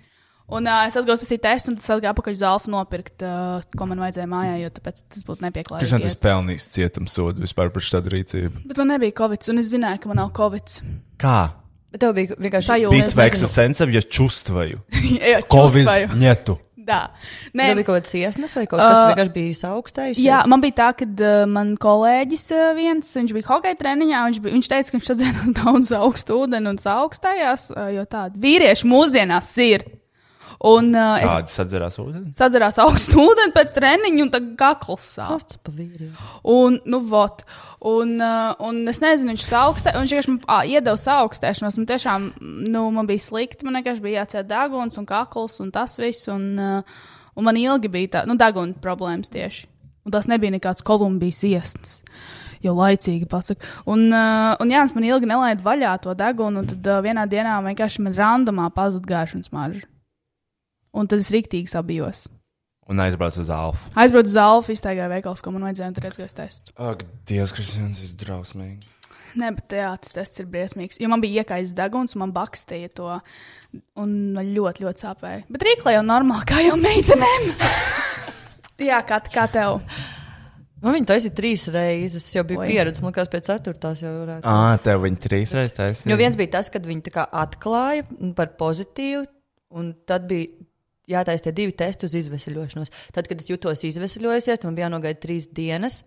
Un uh, es atgūstu tas tests, un tas atgāja apakaļ uz alfa nopirkt, uh, ko man vajadzēja mājā, jo tāpēc tas būtu Kristiāna, nepieklājīgi. tas pelnījis cietumsodu vispār par šādu rīcību. Bet man nebija covid, un es zināju, ka man nav covid. Kā? Bet tev bija vienkārši Sajūta. Bīt Es veiks nezinu. ar sensam, ja čustvaju. Jā, Covid netu. Jā, Tev bija kaut kāds iesnes vai kaut kas Uh, tāds, kas vienkārši bija saukstējis. Jā, man bija tā, ka uh, man kolēģis uh, viens, viņš bija hokeja treniņā, viņš, bija, viņš teica, ka viņš atzīst daudz augstu ūdeni un augstējās, uh, jo tādi vīrieši mūsdienās ir. Un uh, es Kāda sadzerās ūdeni? sadzerās augstu ūdeni pēc treniņa, un tā kakls sāp. Pastas pa vīriem. Un, nu, vot. Un, uh, un es nezinu, viņš augstē, un viņš vienkārši man ā, iedeva saaugstēšanos. Man tiešām, nu, man bija slikti, man vienkārši bija jāciet deguns un kakls un tas viss. Un, uh, un man ilgi bija tā, nu, deguna problēmas tieši. Un tas nebija nekāds kolumbijas iesnas. Jau laicīgi pasakā. Un, uh, un Jānis man ilgi nelaida vaļā to degunu, un tad uh, vienā dienā vienkārši man randomā pazuda gāršanas marža. Un tad es riktīgi sabijos. Un aizbraucu uz Alfa. Aizbraucu uz Alfa, iztaigāju veikals, ko man vajadzēja, un tur redzēju, ka es testu. Ak, Dievs, Kristians, tas ir drausmīgi. Nē, bet teātris tests ir briesmīgs. Jo man bija iekais deguns, man bakstīja to. Un man ļoti, ļoti sāpēja. Bet rīklē jau normāli, kā jau meitenēm. Jā, kā, kā tev. Nu, viņa taisīja trīs reizes, jau bija Oi. pieredze. Man liekas, pēc ceturtās jau varētu. Ā, tev viņi trīs reizes taisīja. Jo viens bija tas, kad viņi tā kā atklāja par pozitīvu, un tad bija jātaisa tie divi testi uz izvesaļošanos. Tad, kad es jutos izvesaļojusies, tad man bija jānogaida trīs dienas.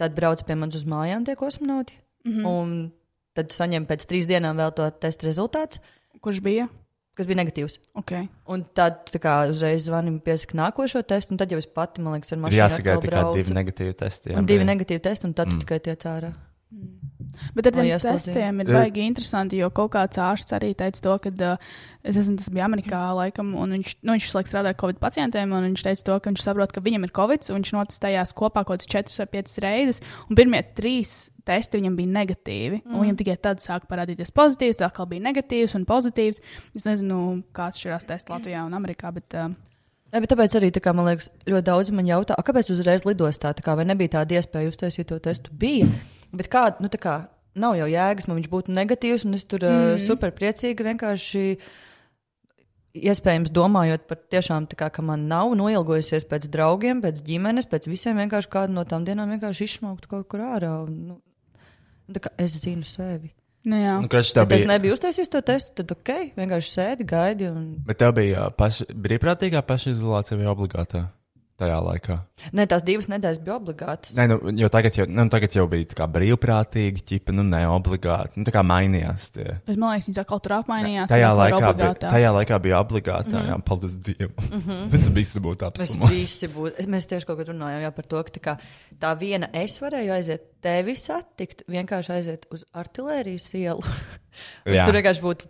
Tad brauc pie manis uz mājām tie kosmonauti. Mm Mhm. -hmm. Un tad saņem pēc trīs dienām vēl to testu rezultātu, Kurš bija? kas bija negatīvs. Okay. Un tad tā kā, uzreiz zvanīja, piesaka nākošo testu, un tad jau es pati, man liekas, ar Ir mašīnu jāsagaida atkal tikai braucu. divi negatīvi testi. jā, Un divi bija. negatīvi testi, un tad mm. tu tikai tiec ārā. Bet ar Lai tiem ieslodzītu. testiem ir baigi interesanti, jo kaut kāds ārsts arī teica to, ka uh, es nezinu, tas bija Amerikā laikam, un viņš, nu, viņš laikam strādāja ar covid pacientiem, un viņš teica to, ka viņš saprot, ka viņam ir covid, un viņš notestējās kopā kaut kādas četras vai piecas reizes, un pirmie trīs testi viņam bija negatīvi, mm. un viņam tikai tad sāka parādīties pozitīvs, tad atkal bija negatīvs un pozitīvs. Es nezinu, kāds šķirās tests Latvijā un Amerikā, bet uh, Ne, bet tāpēc arī tā kā, man liekas, ļoti daudz man jautā, "A, kāpēc uzreiz lidostā tā kā, vai nebija tāda iespēja uztaisīt to testu. Bija. Bet kā, nu, tā kā nav jau jēgas, man viņš būtu negatīvs, un es tur mm. super priecīgi vienkārši. Iespējams, domājot par tiešām tā, kā, ka man nav noilgojusies pēc draugiem, pēc ģimenes, pēc visiem vienkārši kādu no tām dienām vienkārši izsmauktu kaut kur ārā. Un, nu, tā kā es zinu sevi. nu jā. Nu, Kroči, Ja tev es bija, nebiju uztaisījis to testu, tad ok, vienkārši sēdi, gaidi. Un... bet tev bija ā, paši, brīvprātīgā pašizolācija vai obligātā tajā laikā? Nē, tās divas nedēļas bija obligātas. Nē, nu, jo tagad jau, nu, tagad jau bija tā kā brīvprātīgi, ķipa, nu, ne obligāti. Nu, tā kā mainījās. Tie. Bet man liekas, viņi atkal tur apmainījās. Tajā un atkal ir laikā, bija, obligātā. Mhm. tajā laikā bija obligātā. Mm -hmm. Jā, paldies Dievam. Mm -hmm. Tas viss būtu Mēs apsumā. visi būtu. Mēs tieši kaut kad runājām jā, par to, ka tā, kā, tā viena es varēju aiziet tevi satikt, vienkārši aiziet uz artērijas ielu. Un Jā. Tur vienkārši būtu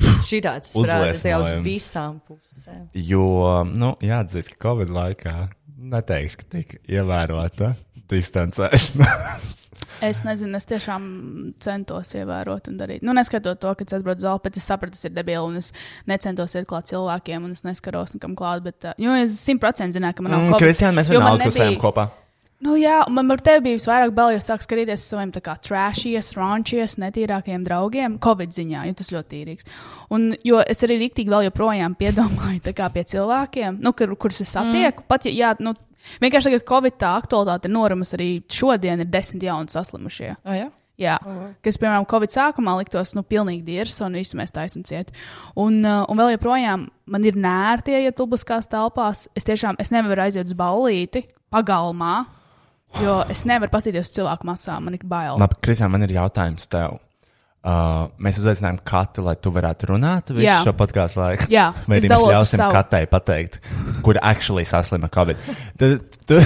šī tāds sprādziens jau uz Uzliesmojums. visām pusēm. Jo, nu, jāatzīst, ka Covid laikā neteiks, ka tika ievērota distancēšanās. Es nezinu, es tiešām centos ievērot un darīt. Nu, neskatot to, ka es aizbraucu uz zāli, pēc es sapratu, tas ir debīli, un es necentos iet klāt cilvēkiem, un es neskaros nekam klāt. Bet, ā, jo es simtprocentīgi zināju, ka man nav Mm, COVID, Kristiāna, mēs jo man vienalga pusēm nebija- kopā. Nu, jā, un man ar tevi bija visvairāk bail, jo sāk skatīties uz saviem tā kā trashies, rančies, netīrākajiem draugiem, covid ziņā, jo tas ļoti tīrīgs. Un, jo es arī rīktīgi vēl joprojām piedomāju tā kā pie cilvēkiem, nu, kur, kurus es satieku. Mm. Pat, ja, jā, nu, vienkārši tagad covid tā aktualitāte ir norimusi arī šodien ir desmit jauni saslimušie. Ah, jā? Jā, kas, piemēram, Covid sākumā liktos, nu, pilnīgi dīrs, un visu mēs taisam ciet. Un, uh, un vēl joprojām man ir nērti iet publiskās telpās. Es tiešām es nevaru aiziet uz ballīti pagalmā, jo es nevaru paskatīties uz cilvēku masām. Man ir bail. Labi, Kristiāna, man ir jautājums tev. Uh, mēs uzaicinājām Kati, lai tu varētu runāt visu Jā. šo podkāstu laiku. Jā, Vai es arī mēs dalos ar ļausim savu. Katai pateikt, kur actually saslima Covid. Tad, tu,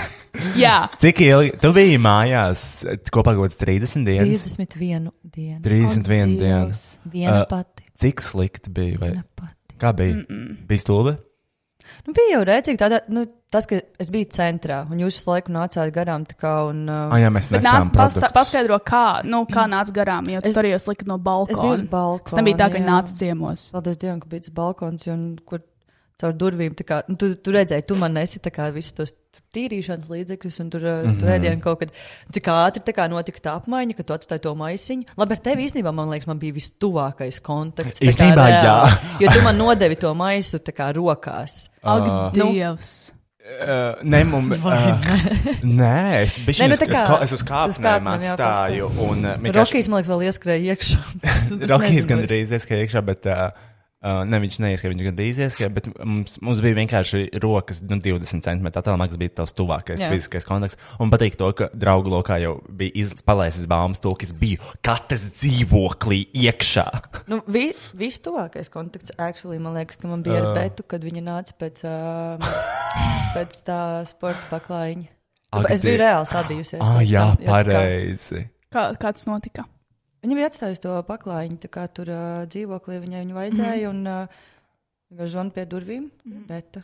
Jā, Cik ilgi tu biji mājās? Kopā kaut kāds 30 dienas. 31 dienu. 31 dienas. Viena Ā. uh, pati. Cik slikti bija? Vai? Viena pati. Kā bija? Mm -mm. Bija stulbi? Nu, bija jau redzīgi, tādā, nu, tas, ka es biju centrā, un jūs visu laiku nācāt garām. tā Kā, un, uh, Ah, jā, mēs bet nāc, nesam pasta- produktus. paskaidro, kā, nu, kā nāca garām. Jo Mm. Es- tas arī jūs likat no es biju uz balkona. balkona. Tas nebija tā, ka viņi jā. nāca ciemos. Paldies Dievam, ka bija tas balkons, jo, nu, kur caur durvīm tā kā, nu, tu, tu redzēji, tu man nesi tā kā visus tos tīrīšanas līdzekļus, un tur mm Mhm. -hmm. tu ēdienu kaut kad cik ātri tā kā notika tā apmaiņa, ka tu atstāji to maisiņu. Labi, ar tevi īstenībā, man liekas, man bija vistuvākais kontakts. tā kā Īstenībā, jā. reāli, Jo tu man nodevi to maisu tā kā rokās. Ak, Nu. Dievs! Uh, nē, mums, uh, nē, es biju Nē, nu šeit. tā kā- Es uz uz kāpnēm kāpnēm, jā, atstāju. Un, uh, Rokijas, man liekas, vēl ieskrēja iekšā. Es Rokijas nezinu, vai- gandrīz ieskrēja iekšā, bet uh, uh, Uh, ne, viņš neieskaitīja, viņš gandrīz ieskaitīja, bet mums, mums bija vienkārši rokas, nu, 20 centimetri attālumā, kas bija tavs tuvākais Jā. Jā. fiziskais kontakts. Un patīk to, ka draugu lokā jau bija iz- palaisis baumas to, kas bija katrs dzīvoklī iekšā. Nu, vi, Viss tuvākais kontakts, actually, man liekas, ka man bija Ah. ar Betu, kad viņa nāca pēc, um, pēc tā sporta paklājiņa. Ak, es biju die- reāli sadījusies. Ah, pēc jā, tam, jo tā kā- pareizi. Kā, kāds notika? Viņa bija atstājusi to paklājiņu, tā kā tur uh, dzīvoklī viņai viņu vajadzēja. Mm -hmm. Un uh, žona pie durvīm, mm -hmm. bet uh,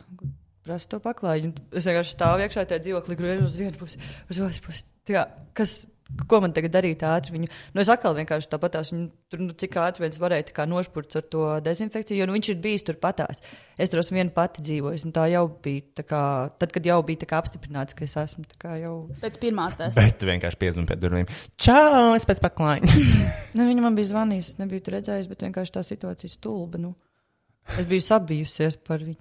prasa to paklājiņu. Un Es vienkārši stāvu iekšā tajā dzīvoklī, griežu uz vienu pusi, uz otru pusi. Tā kā, Kas, ko man tagad darīt ātri? Viņu, nu es atkal vienkārši tāpatās, viņu, tur, nu, cik ātri viens varēja tā kā nošpurts ar to dezinfekciju, jo nu, viņš ir bijis tur patās. Es tur esmu viena pati dzīvojusi, un tā jau bija, tā kā, tad, kad jau bija tā kā apstiprināts, ka es esmu tā kā jau. Pēc pirmā testa. Bet vienkārši piezvanīja pie durvīm. Čau, es pēc paklājiņa. Nu, viņa man bija zvanījusi, es nebiju tur redzējusi, bet vienkārši tā situācija ir stulba. Nu. Es biju sabijusies par viņu.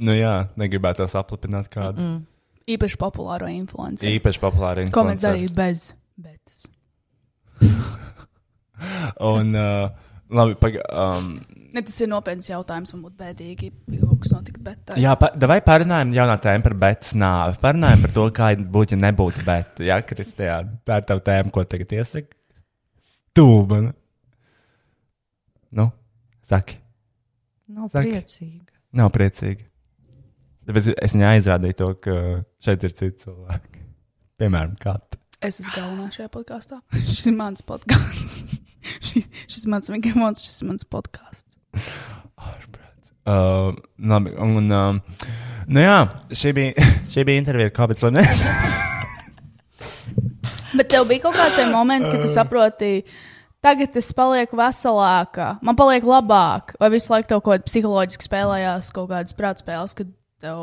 nu jā, negribētu aplipināt kādu. Mm. Īpaši populāro influenceru. Īpaši populāri. Ko mēs influenceri. darītu bez betas? Un, uh, labi, paga, um, Ne, tas ir nopietns jautājums, man būtu bēdīgi, ja kaut kas notika. Bet, tā- jā, pa, vai pārunājam jaunā tēma par bētas nāvi? Parunājam par to, kā būtu, ja nebūtu bēta. Jā, Kristijā, tā ir tava tēma, ko tagad iesaka. Stūbana. Nu, saki, Nav Saki. Saki. priecīga. nav priecīgi. Tāpēc es viņai aizrādīju to, ka šeit ir citi cilvēki. Piemēram, kāds. Es esmu galvenā šajā podkāstā. Šis ir mans podkāsts. šis, šis ir mans mikrofons, šis ir mans podkāsts. Uh, labi, un, um, nu jā, šī bija, šī bija intervija ar Kāpēc Lemnes. Bet tev bija kaut kādi momenti, kad tu saproti, tagad es palieku veselāka, man paliek labāk, vai visu laiku tev kaut kāda psiholoģiski spēlējās, kaut kādas prātspēles, kad tev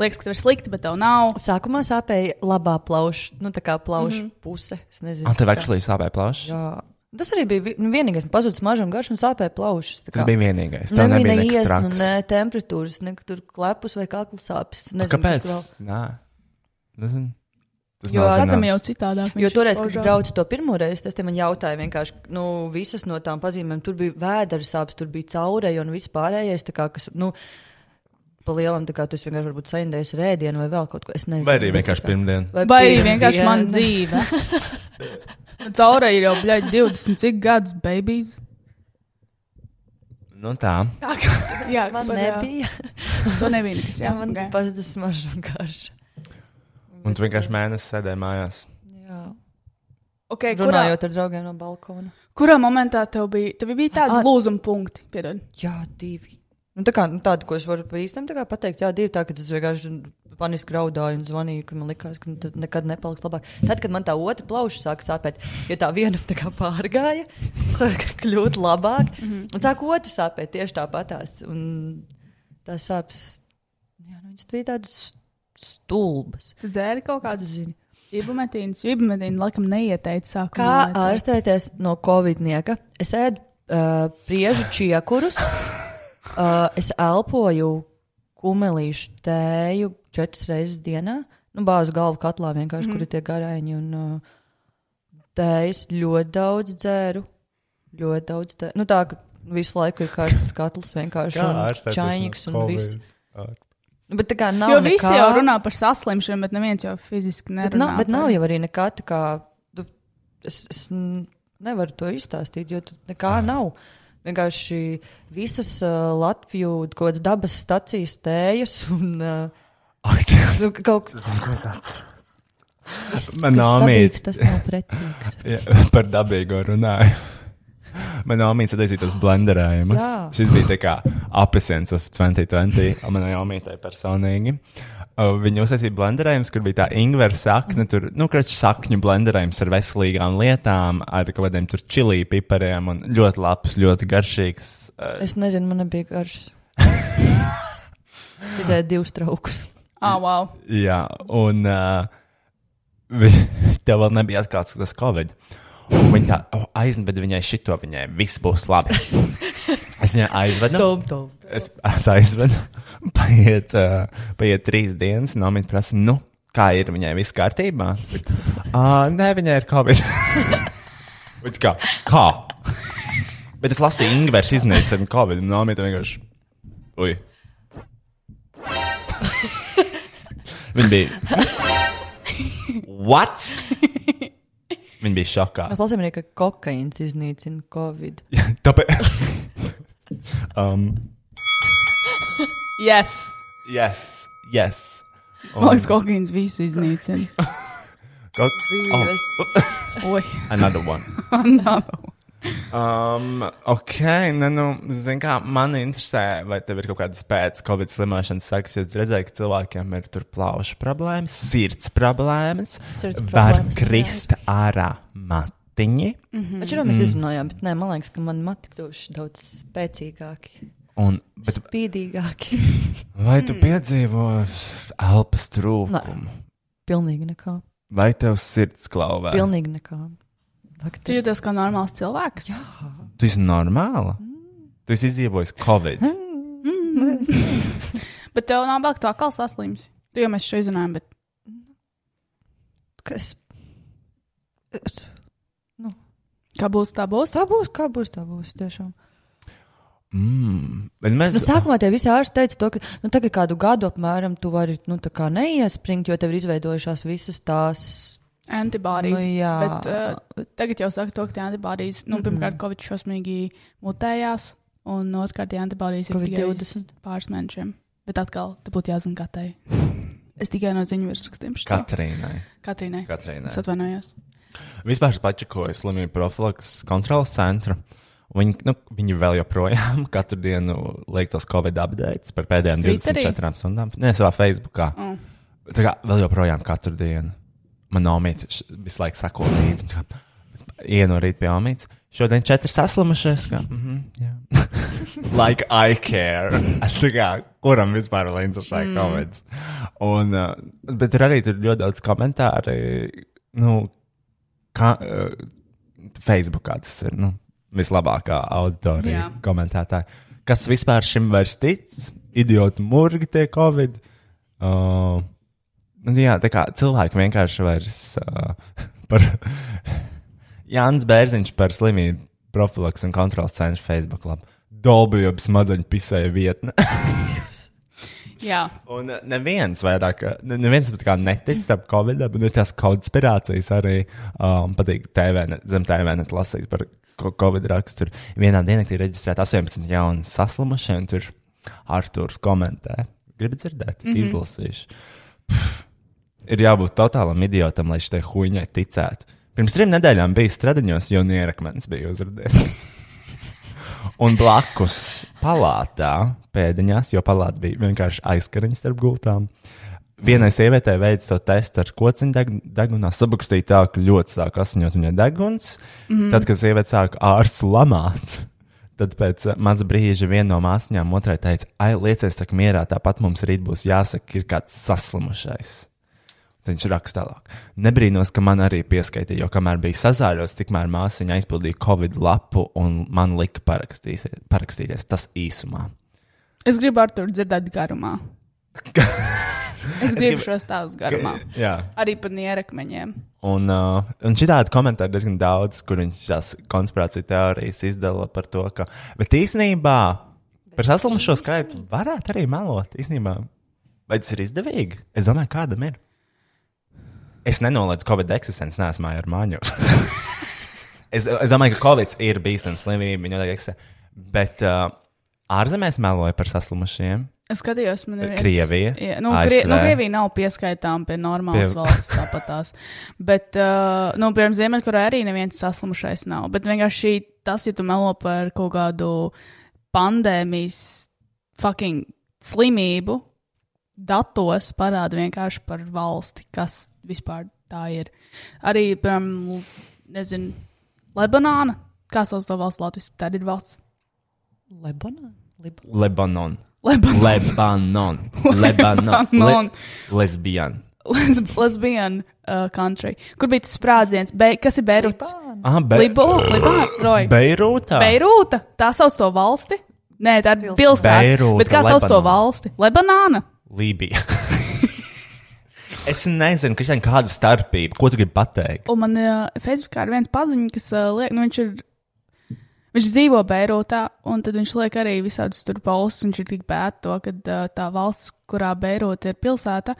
liekas, ka tev ir slikti, bet tev nav. Sākumā sāpēja labā plauša, nu tā kā plauša mm -hmm. puse. Es nezinu, Ah, Tev kā. akšlī sāpēja plāšs. Jā. Tas arī bija vi- nu, vienīgais, kas pazuda smaržam garšu un sāpēja plaušas. tā kā. Tas bija Nu, vienīgais. Tev Nebija nebija ne nekas iesnu, traks. ne temperatūras, ne tur klepus vai kakla sāpes. Nu, Nezinu, kas Kāpēc? vēl. Nā, nezinu. Tas Jo- nav Katram jau zināms. citādāk. Jo viņš toreiz, kad es izpaužās. braucu to pirmo reizi, tas te man jautāja, vienkārši, nu, visas no tām pazīmēm, tur bija vēders sāpes, tur bija caureja un viss pārējais, tā kā, kas, nu, pa lielam, tā kā tu esi vienkārši varbūt saindējies rēdienu vai vēl kaut ko, es nezinu. Vai arī vienkārši pirmdien. Vai arī vienkārši pirmdiena. mana dzīve. Caurē ir jau, bļaigi, 20 cik gadus, babies. Nu tā. Tā kā, jā, Man par, jā, nebija, To nebija nekas, jā. jā, man okay. pazuda smarža un garša. Un tu vienkārši mēnesi sēdēji mājās. Jā, Okay, kurā, runājot ar draugiem no balkona. kurā momentā tev bija, tev bija tādi Ah. lūzuma punkti? Piedod. Jā, divi. Nu, tā kā nu, tāda, ko es varu pa īstam tā kā pateikt, jā, divi tā, ka es vienkārši paniski raudāju un zvanīju, ka man likās, ka nu, tad nekad nepaliks labāk. Tad, kad man tā otra plauša sāka sāpēt, jo tā viena tā kā pārgāja, sāka kļūt labāk, mm -hmm. un sāka otra sāpēt tieši tāpatās. Un tās sāpes, jā, nu, viņas bija tādas stulbas. Tu dzēri kaut kādu zini. Ibumetīnas, ibumetīna laikam neieteica sākumā. Kā ārstēties no covidnieka? Es ēdu uh, priežu čiekurus, uh, es elpoju kumelīšu tēju četras reizes dienā. Nu, bāzu galvu katlā vienkārši, mm. kur ir tie garaiņi. Un, uh, tējas ļoti daudz dzēru. Ļoti daudz tēju. Nu, tā, ka visu laiku ir karsts katls vienkārši. un Čainiks un viss. Nu, Bet tā kā nav. Jo visi nekā- jau runā par saslimšanu, bet neviens jau fiziski nerunā. Bet nav, bet nav par- jau arī nekā tā, kā nu, es, es n- nevaru to izstāstīt, jo tur nekā nav. Vienkārši visas uh, Latvijas kaut kādas dabas stācijas tējas un uh, Ak, tas nu, kaut kas ir ko es atceros. tāds - Man nomīt. tas nav pretīgs. Jā, par dabīgo runāju. Man nomīts atzīst tos blenderējumus. Jā. Šis bija tā kā apelsīns of 2020, un manai omītai personīgi. Uh, Viņa uztaisīja blenderējumus, kur bija tā ingvera sakne, tur, nu, kračs sakņu blenderējums ar veselīgām lietām, ar kaut kādiem tur čilī pipariem, un ļoti labs, ļoti garšīgs. uh, Es nezinu, man nebija garšas. Citēji divus traukus. Ah, wow. Jā, un uh, vi- tev vēl nebija atklāts tas covid. Un Viņa tā oh, aizveda viņai šito, viņai viss būs labi. Es viņai aizvedu. Tom, tom, tom. Es, es aizvedu. Paiet, uh, paiet trīs dienas, un Nomita prasa, nu, kā ir viņai viss kārtībā? Uh, nē, viņai ir covid. Viņa kā? Kā? Bet es lasīju Ingūru, iznīcinu Covid. Nē, mītā vienkārši. Ui. Viņa bija. What? Viņa bija šokā. Mēs lasām arī, ka kokaīns iznīcina covid. Tāpēc. um, Yes! yes, yes. Un- Mākslinieks kokaīns visu iznīcina. Ko- Oh. Divas. Oi, Another one. nav. Um, ok, ne, nu, zin kā, man interesē, vai tev ir kaut kādas pēc Covid slimošanas sekas, jo es redzēju, ka cilvēkiem ir tur plaušu problēmas, sirds problēmas, Sirds var problēmas, krist ārā matiņi, Mhm. Mēs jau Mm. mēs izrunājām, bet nē, man liekas, ka man mati kļuvuši daudz spēcīgāki, un bet, spīdīgāki. vai Mm. tu piedzīvo elpas trūkumu, Pilnīgi nekā. vai tev sirds klauvē? Pilnīgi nekā. Tu jūties kā normāls cilvēks. Tu esi normāla? Tu esi izdzīvojis Covid. Mm. Bet tev nav vēl tā kā saslims. Tu jau mēs šo izrunājam, bet Kas? kā būs, tā būs. Tā būs, kā būs, tā būs. Tiešām. Mm. Bet mēs Nu, sākumā tie visi ārsti teica, to, ka nu, tagad kādu gadu apmēram tu vari nu, tā kā neiespringt, jo tev ir izveidojušās visas tās. Antibodies. Nu, jā. Bet, uh, tagad jau saka, to, ka tie antibodies, nu, pirmkārt, Covid šausmīgi mutējās, un otrkārt, tie antibodies ir tikai uz Covid-20. pāris mēnešiem. Bet atkal, te būtu jāzina katrai. Es tikai no ziņu virsrakstiem šķiet. Katrīnai. Katrai. Katrīnai. Es atvainojos. Vispār es pačakoju slimību profilakses kontrolas centru. Viņi, nu, viņi vēl joprojām katru dienu liek tos covid updates par pēdējām Twitterī? 24 stundām. Nē, savā Facebookā. Mm. Tā kā vēl joprojām katru dienu. Man omīte š- visu laiku sako līdzi. tā kā es Ienorīt pie omītes. Šodien četri saslimušies. Kā, mm -hmm, jā. like I care. Tā kā, kuram vispār vēl interesē mm. komēdijas? Un, uh, bet tur arī tur ļoti daudz komentāru. Nu, kā, uh, Facebookā tas ir nu, vislabākā auditorija, Jā. komentētāja. Kas vispār šim vairs tic? Idioti murgi tie covid. Uh, nu jā, tā kā cilvēki vienkārši vairs uh, par Jānis Bērziņš par slimību profilaks un kontrols centra Facebook lapu. Dolbija ap smadzeņu pisēja vietne. Jā, Un eh, neviens vairāk, eh, ne- neviens pat kā netic tam Covid-am, bet ir tās konspirācijas arī um, patīk TV, net- zem TV net lasīt par ko- Covid raksturu. Vienā dienā ir reģistrēta 18 jauni saslimušie, un tur Arthurs komentē. Gribu dzirdēt, mm -hmm. izlasīšu. Pff, Ir jābūt totālam idiotam, lai šitai huņai ticētu. Pirms trim nedēļām bija stradiņos, jo nierakmens bija uzrādījis. Un blakus palātā, pēdiņās, jo palāta bija vienkārši aizkariņa starp gultām. Vienai sievietei veica to testu ar kociņu deg- degunā, sabukstīja tā, ka ļoti sāk asiņot viņa deguns. Mm. Tad, kad sieviete sāka ārsts lamāt, tad pēc eh, maza brīža viena no māsām otrai teica, ai, lieciet, tā kā mierā, tāpat mums rīt būs jāsaka, ka ir kāds saslimušais. Tad Viņš raksta tālāk. Nebrīnos, ka man arī pieskaitīja, jo kamēr bija sazāļos, tikmēr māsiņa aizpildīja Covid lapu un man lika parakstīsi- parakstīties. Tas īsumā. es gribu ar to dzirdēt garumā. es gribu šo stāstu garumā. Jā. Arī par nierakmeņiem. Un, uh, un šitādi komentāri diezgan daudz, kur viņš tās konspirācijas teorijas izdala par to, ka. Bet īsnībā par saslimušo skaitu varētu arī melot. Īsnībā. Vai tas ir izdevīgi? Es domāju, kādam ir. Es nenoliedzu Covid eksistenci, nesmu ar māņu. es, es domāju, ka Covid ir bīstama slimība, viņa noteikti eksistē. Bet uh, ārzemēs meloja par saslimušiem. Es skatījos, man ir viens- Krievija, Jā, nu, Krie, ASV. nu, Krievija nav pieskaitām pie normālas Pie- pie... valsts tāpatās. Bet, uh, nu, piemēram, Ziemeļkorejā arī neviens saslimušais nav. Bet vienkārši tas, ja tu melo par kaut kādu pandēmijas fucking slimību, datos parāda vienkārši par valsti, kas vispār tā ir. Arī, piemēram, nezinu, Lebanāna, kā sauc to valsts Latvijas, tad ir valsts. Lebanā? Lebanā? Lebanon. Lebanāna. Lebanon. Lebanon. Lebanon. Le lesbian. lesb- lesbian uh, country. Kur bija tas sprādziens? Be kas ir Beiruts? Ah, Be Beirūta. Beirūtā. Beirūta. Tā sauc to valsti. Nē, tā ir pilsēta. Beirūta, Bet kā sauc to Lebanona. valsti? Lebanāna. Lībija. es nezinu, Kristian, kāda starpība. Ko tu gribi pateikt? Un man uh, Facebookā ir viens paziņš, kas uh, liek, nu viņš ir. Viņš dzīvo Beirūtā, un tad viņš liek arī visādus tur valsts. Viņš ir tik bēta to, ka uh, tā valsts, kurā Beirūta ir pilsēta,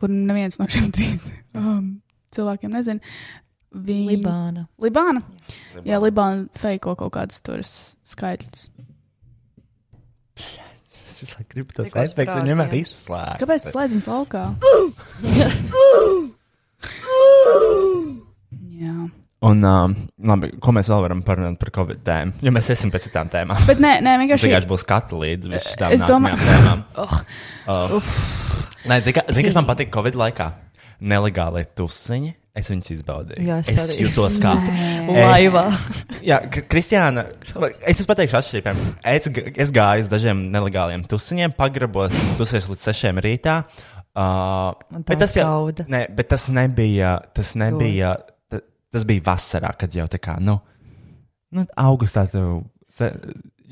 kur neviens no šiem trīs um, cilvēkiem nezina. Viņi... Libāna. Libāna. Jā, Jā Libāna feiko kaut kādus tur skaitļus. Es visu laiku gribu tos Tikko aizbēgt, sprādz, un jā. vienmēr izslēgt. Kāpēc tas slēdzams laukā? Jā. Un, um, labi, ko mēs vēl varam parunāt par covid tēmu? Jo mēs esam pēc citām tēmām. Bet nē, nē Tas vienkārši. vienkārši būs katra līdz visām Es domāju- nākamajām tēmām. Um, Oh, Nē, zini, ka- zini, kas man patīk Covid laikā? Nelegālie tusiņi. Es viņus izbaudīju. Jā, es es arī. jutos kā. Laivā. Jā, K- Kristiāna, es jums pateikšu, atšķirībām. Es, g- es gāju uz dažiem nelegāliem tusiņiem, pagrabos, tusies līdz sešiem rītā. Uh, Man tā bet, tas jau, skauda. ne, bet tas nebija, tas nebija, ta- tas bija vasarā, kad jau tā kā, nu, nu augustā, tev, se,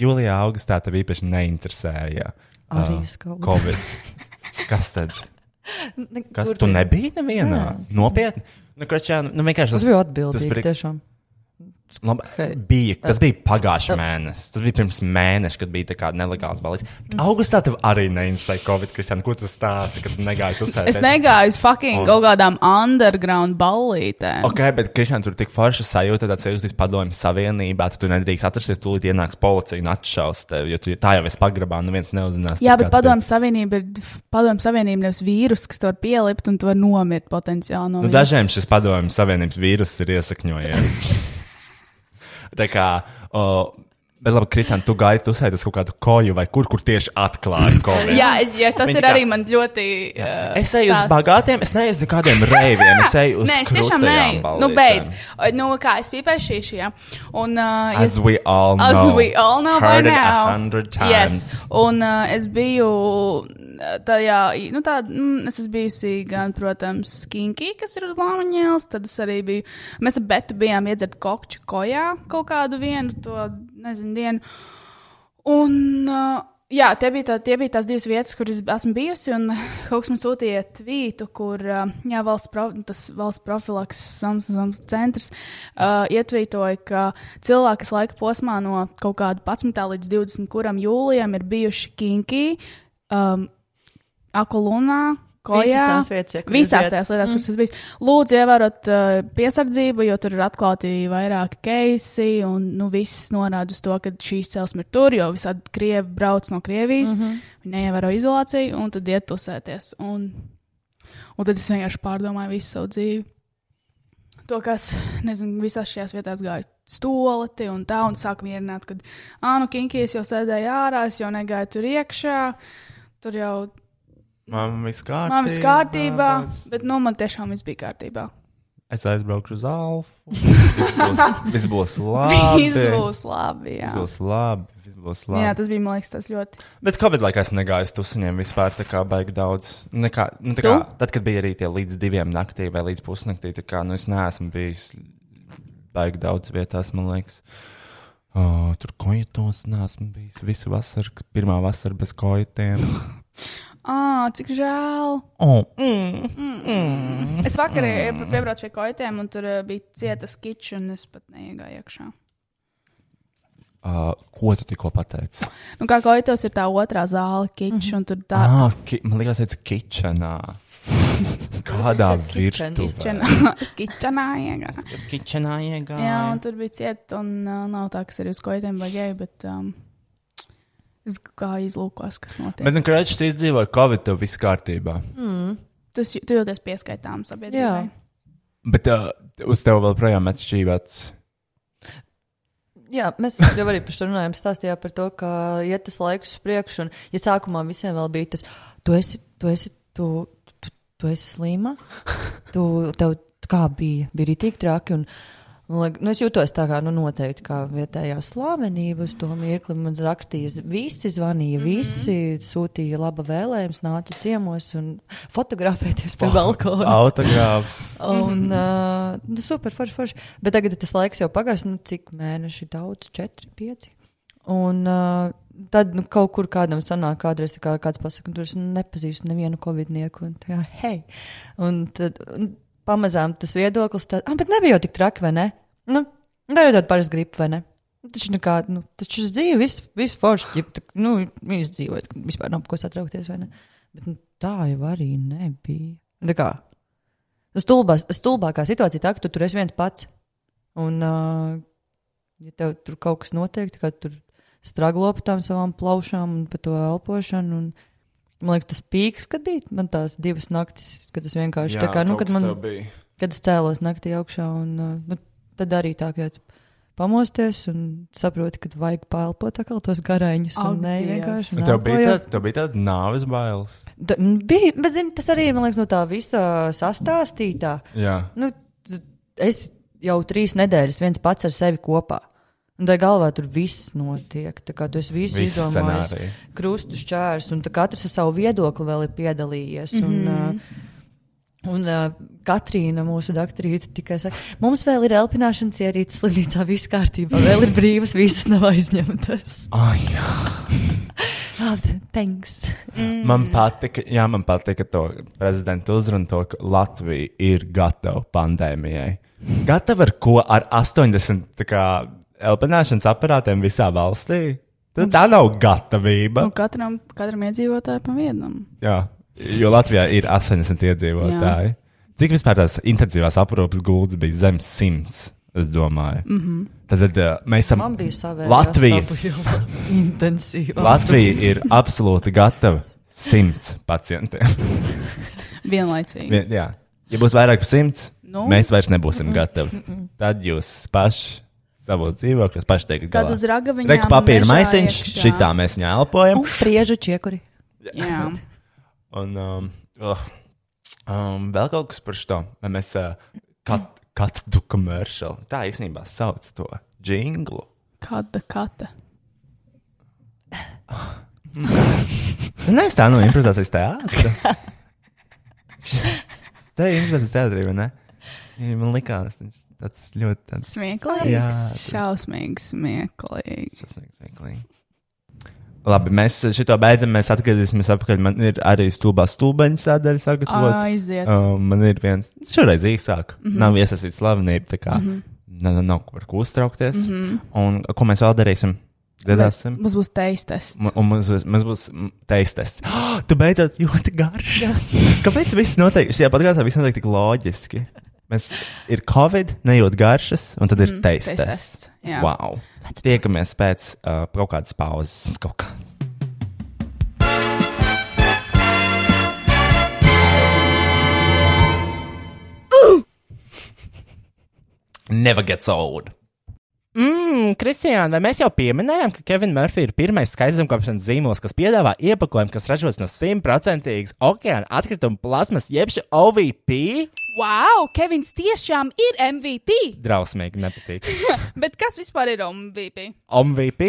jūlijā, augustā tev īpaši neinteresēja. ā, Arī skauda. Covid. Kas tad? Kas Tur tu nebija nevienā? Nopietni? Nu, kračā, nu, vienkārši Tas bija atbildīgi. tas Tas bija- bija tiešām. Labi, Hei. bija, tas bija pagājušā mēnesis. Tas bija pirms mēneša, kad bija tā kā nelegāls balīgs. Augustā tev arī neinteresēja Covid, Kristian, ko tu stāsti, kad tu negāji tu sēdi. es negāju uz fucking kaut kādām underground ballītēm. Ok, bet Kristian, tur tik forša sajūta, tad jūties padomju savienībā, tad tu nedrīkst atrasties, tūlīt ienāks policija un atšaus tevi, jo tu, tā jau esi pagrabā, nu viens neuzzinās. Jā, tu bet kāds padomju savienība ir padomju savienība nevis vīrus, kas to var pielikt un tu vari nomirt potenciāli no Nu, viņa. dažiem šis padomju savienības vīrus ir iesakņojies. tā kā, o, bet labi, Kristian, tu gāji, tu sēdi uz kaut kādu koju vai kur, kur tieši atklāji Covid. Jā, es, ja, tas Viņi ir tā- arī man ļoti. Uh, Es eju uz bagātiem, es neeju uz kādiem reiviem. Es eju uz Nē, es tiešām nē, nu krūtajām ballītēm. beidz. O, Nu, kā es pīpēju šī šī, jā. Un, uh, As we all know. As we all know by Heard it now. a hundred times. Yes. Un uh, es biju uh, tajā, nu tā, mm, es esmu bijusi gan, protams, skinky, kas ir lāmaņēls, tad es arī biju, mēs ar Betu bijām iedzert kokču kojā kaut kādu vienu, to, nezinu, dienu. Un, uh, jā, tie bija, tā, tie bija tās divas vietas, kur es esmu bijusi, un kaut kas man sūtīja tvītu, kur, uh, jā, valsts, pro, tas valsts profilaks samsams centrs uh, ietvītoja, ka cilvēki, kas laika posmā no kaut kāda 11. līdz 20. kuram jūlijam ir bijuši kinki, um, akulunā. Kojā, Visas tās Mm. vietas, ja, kur visās jūs bijat. tajās lietās, kuras es biju. Lūdzu, ievērot uh, piesardzību, jo tur ir atklāti vairāki keisi, un nu, viss norāda uz to, ka šīs celsmes ir tur, jo visādi krievi brauc no Krievijas, mm Mhm. -hmm. viņi neievēro izolāciju, un tad iet uzsēties. Un, un tad es vienkārši pārdomāju visu savu dzīvi. To, kas, nezinu, visās šajās vietās gāja stolti un tā, un sāku mierināt, ka, ah, nu, kinkijas jau sēdēja ārā, es jau negāju tur iekšā, tur jau Man viss kārtībā. Man viss kārtībā, bet nu, man tiešām viss bija kārtībā. Es aizbraukšu uz Alfu. Viss būs- Viss būs labi. Viss būs labi. Jā. Viss būs labi. Viss būs labi. jā, tas bija, man liekas, tas ļoti. Bet Covid laikā es negāju uz tusiņiem vispār, tā kā baigi daudz. Nekā, nu, tā kā, tad, kad bija arī tie līdz diviem naktī vai līdz pusnaktī, tā kā nu, es neesmu bijis baigi daudz vietās, man liekas. Uh, tur kojotos nesmu bijis visu vasaru, kad pirmā vasara bez kojotiem. Ah, cik žēl. Oh, Es vakar mm. piebraucu pie kojotiem, un tur eh, bija cieta skiča, un es pat neiegāju iekšā. uh, ko tu tikko pateici? Nu, kā kojotos ir tā otrā zāle, kiča, un tur tā. Ah, ki, man liekas, tas ir kitchenā. Kādā virtuvē? Skičanā iegāja. Kitchenā iegāja. Jā, un tur bija cieta, un uh, nav tā, kas ir uz kojotiem vai geju, bet um, es gāju izlūkos, kas notiek. Bet, nu, krāšņi, tu izdzīvoji Covid, tev viss kārtībā. Mm. Tas, tu jūties pieskaitāms sabiedrībai. Jā. Bet uh, uz tevi vēl projām atšķīvāts. Jā, mēs jau arī par to runājām. Stāstījā par to, ka iet tas laiks uz priekšu. Un, ja sākumā visiem vēl bija tas, tu esi, tu esi, tu, tu, tu esi slima, tu tev kā bija, bija arī tik traki. Un, man liek- Nu, es jūtos tā kā nu, noteikti kā vietējā slavenība. Uz to mirkli man rakstīja, visi zvanīja, visi mm -hmm. sūtīja laba vēlējumus, nāca ciemos un fotografēties pie balkona. Autogrāfs. Un, uh, nu, super, forši, forši. Bet tagad ir tas laiks jau pagājis, nu, cik mēneši daudz, četri, pieci. Un uh, tad nu, kaut kur kādam sanāk, kādreiz tā kā, kāds pasakā, tur es nepazīstu nevienu covidnieku. Un, tā, kā, hei. un tad un pamazām tas viedoklis, tad, ah, bet nebija jau tik traki, vai ne? Nu, tā jau tāda parasta gripa, vai ne? Taču nekāda, nu, taču es dzīvoju, viss vis forši, ja tā, nu, izdzīvot, vispār nav par ko satraukties, vai ne? Bet nu, tā jau arī nebija. Tā kā stulbās, stulbākā situācija tā, ka tu tur esi viens pats. Un, uh, ja tev tur kaut kas notiek, tad tu tur straglo par tām savām plaušām un par to elpošanu. Un, man liekas, tas pīks, kad bija man tās divas naktis, kad es vienkārši Jā, tā kā, nu, kaut kad kas man, tev bija. kad es cēlos naktī augšā un uh, nu, tad arī tā, ka tu pamosties un saproti, ka vajag paelpot atkal tos garaiņus. Ak, un nē, Dievs. vienkārši. Un Tev bija, neelpoju. tā, tev bija tāda nāves bailes. Da- Bija, bet zini, tas arī man liekas, no tā visa sastāstītā. Jā, Nu, t- es jau trīs nedēļas viens pats ar sevi kopā. Un tā galvā tur viss notiek. Tā kā tu esi visu Visi izdomājis, scenāriji. krustu šķērs, un tā katrs ar savu viedokli vēl ir piedalījies. Un, mm -hmm. Un uh, Katrīna, mūsu doktorīte, tikai saka, mums vēl ir elpināšanas ierīce slimnīcā, viss kārtībā, vēl ir brīvas, visas nav aizņemtas. oh, jā. Ah, thanks! Mm. Man patika, jā, man patika to prezidenta uzrunu, to, ka Latvija ir gatava pandēmijai. Gatava ar ko? Ar 80 tā kā, elpināšanas aparātiem visā valstī. Tā, tā nav gatavība. Nu, katram, katram iedzīvotājam pa vienam. Jā, jo Latvijā ir 80 iedzīvotāji. Jā. Cik vispār tās intensīvās aprūpes gultas bija zem 100? Es domāju. Mm -hmm. Tad, tad uh, mēs esam. Man bija savā Latvija. Intensīva. Oh. Latvija ir absolūti gatava 100 pacientiem. Vienlaicīgi. Vien, jā. Ja būs vairāk par 100, Nu. nu? mēs vairs nebūsim gatavi. Tad jūs paši savā dzīvoklī paši teikt, Tad galā. uz ragaviņām Reku papīra mežā maisiņš, iekšā. Uh. šitā mēs viņā elpojam. Un priežu čiekuri. Jā. Un um, uh, um, vēl kaut kas par šo. Vai Mēs uh, kat, katru komerciālu tā īstenībā sauc to jinglu. Kāda kata? Nu, nē, es tā no improvizācijas teātras. tā ir improvizācijas teātris, vai ne? Ja Man likās, tas tāds ļoti tāds Smieklīgs. Jā, Jā, tas- Šausmīgs, smieklīgs. šausmīgs, smieklīgi. Labi, mēs šito beidzam. Mēs atgriezīsimies atpakaļ. Man ir arī stulbā stulbaņa sadaļa Ah, sagatavota. Aiziet. Um, man ir viens, šoreiz īsāk, mm -hmm. nav iesaistīts slavenība. Tā kā mm -hmm. nav, nav par ko uztraukties. Mm -hmm. Un ko mēs vēl darīsim? Dzirdēsim. Mums būs teistests. Un- Un mums, būs- mums būs mm, teiks tests. Oh, tu beidzot jūti garšas. Kāpēc viss notiek? Šajā podkāstā viss notiek tik loģiski. Mēs ir covid, nejūt garšas, un tad ir mm, teiks taste tests. tests, jā. Wow. Tiekamies pēc uh, kaut kādas pauzes. Kaut kādas. Never gets old. Mm, Kristija, vai mēs jau pieminējām, ka Kevins Mārfī ir pirmais skaistumkopšanas zīmols, kas piedāvā iepakojumu, kas ražots no simtprocentīgas okeāna atkrituma plasmas, jeb šī OVP? Wow, Kevins tiešām ir MVP! Drausmīgi, nepatīk. Bet kas vispār ir MVP? OVP?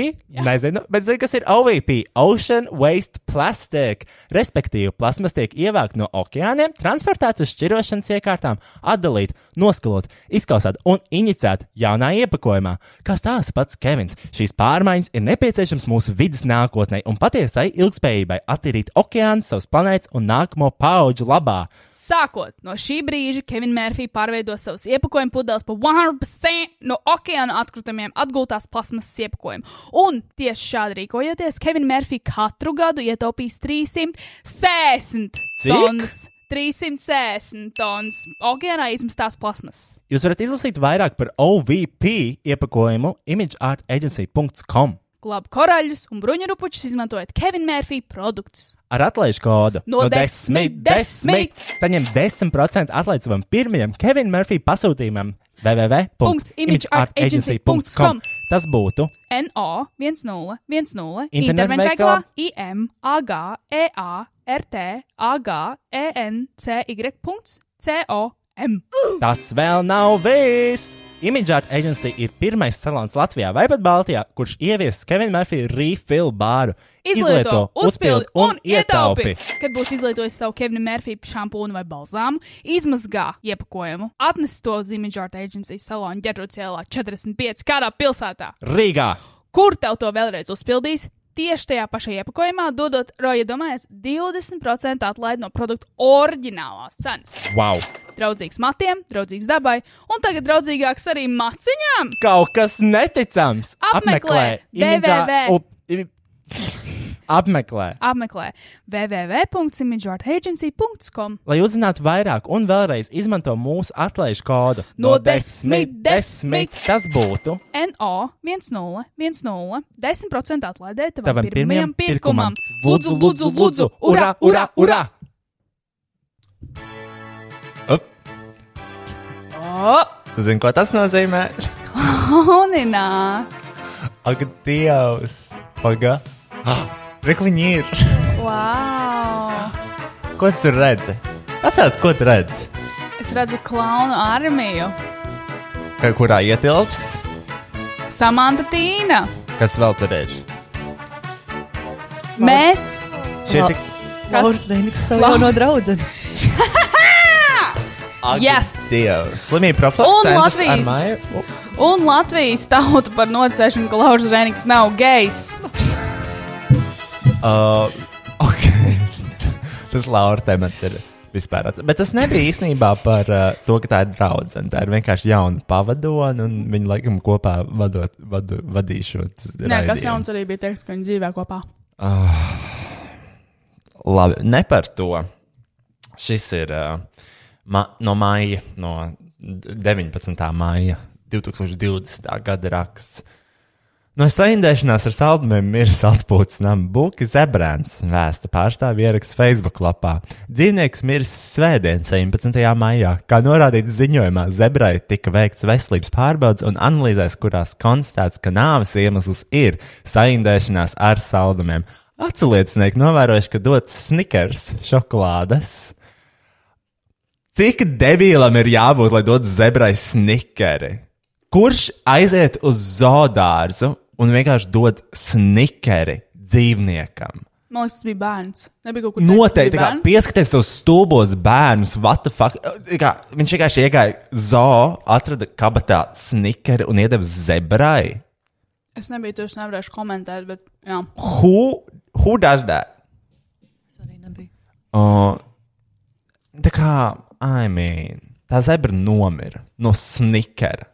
Nezinu, bet zinu, kas ir OVP - Ocean Waste Plastic. Respektīvi, plasmas tiek ievākta no okeāniem, transportēta uz šķirošanas iekārtām, atdalīta, noskalot, izkausēta un inicēta jaunā iepakojumā. Kā stāsta pats Kevins, šīs pārmaiņas ir nepieciešamas mūsu vidas nākotnē un patiesai ilgspējībai attīrīt okeānu savas planētas un nākamo pauģu labā. Sākot no šī brīža, Kevins Mārfī pārveido savus iepakojumu pudeles par 100% no okeāna atkritumiem atgūtās plasmasas iepakojumu. Un tieši šādi rīkojoties, Kevins Mārfī katru gadu ietaupīs 360 Cik? tonnas. 360 tonnas okeānā izmestās plasmasas. Jūs varat izlasīt vairāk par OVP iepakojumu imageartagency.com Glāb korāļus un bruņurupučus izmantojot Kevina Mārfī produktus. ar atlaižu kodu No desmit, desmit. Saņem 10% atlaidi savam pirmajam Kevina Murphy pasūtījumam www.imageartagency.com. Tas būtu NO 1010 Internetveikalā. internetveikalā IM AG EA RT AG E ENCY.com. tas vēl nav viss! Imageart Agency ir pirmais salons Latvijā vai pat Baltijā, kurš ievies Kevina Murphy refill bāru. uzpildi Kad būs izlietojis savu Kevina Mārfī šampūnu vai balzāmu, izmazgā iepakojumu, atnes to uz Image Art Agency salonu ģerbrocelā 45 kādā pilsētā. Rīgā! Kur tev to vēlreiz uzpildīs? Tieši tajā pašā iepakojumā, dodot Roja domājas 20% atlaidi no produkta oriģinālās cenas. Wow! Draudzīgs matiem, draudzīgs dabai, un tagad draudzīgāks arī maciņām. Kaut kas neticams! Apmeklē Imidžā- www. up- imi- Apmeklē! Apmeklē www.imidžartagency.com. Lai uzzinātu vairāk, un vēlreiz izmanto mūsu atlaižu kodu No desmit, Tas būtu NO 1010 10% atlaidē tavam, tavam pirmajam pirkumam. Lūdzu, lūdzu, lūdzu, ura, ura, ura! Up, O, Tu zini, ko tas nozīmē? Honinā! Ak, Dievs! Paga! Ah, Rek viņi ir! Wow! Ko tu tur redzi? Pasāc, ko tu redzi? Es redzu klaunu armiju. Ka- Kurā ietilpst? Samanta Tīna! Kas vēl tur ir? Mēs! Šie tik Lauris Veiniks savu Lauris. jauno draugu. Ak, Yes! Dievs! Slimība Un profilaks centrs ar Latvijas. māju. Un Latvijas tauta par nocēšanu, ka Lauris Zenigs nav gejs. Uh, ok. tas Laura temats ir vispār atsevišķi. Bet tas nebija īstenībā par uh, to, ka tā ir draudzene. Tā ir vienkārši jauna pavadone, un viņi laikam kopā vadot, vadu, vadīšot. Nē, kas jauns arī bija teiks, ka viņi dzīvē kopā. Labi, ne par to. Šis ir uh, ma no maija, no 19. maija 2020. gada raksts. No saindēšanās ar saldumiem miris atpūtas nama buki Zebrēns, vēsta pārstāvja ieraksts Facebook lapā. Dzīvnieks miris svētdien, 17. maijā. Kā norādīts ziņojumā, zebrai tika veikts veselības pārbaudas un analīzēs, kurās konstatēts, ka nāves iemesls ir saindēšanās ar saldumiem. Atcelietnieki novērojuši, ka dots snikers, šokolādes. Cik debīlam ir jābūt, lai dotu zebrai snikeri? Kurš aiziet uz zoodārzu un vienkārši dod snikeri dzīvniekam? Man liekas, tas bija bērns. Nebija kaut kur Noteikti, teikts, kā ka bija bērns. pieskaties uz stulbos bērnus, what the fuck. Tā Kā, viņš vienkārši iegāja zoo, atrada kabatā snikeri un iedeva zebrai. Es nebiju tur, es nevarēšu komentēt, bet jā. Who, who does that? Uh, tā kā, I mean, tā zebra nomira no snikera.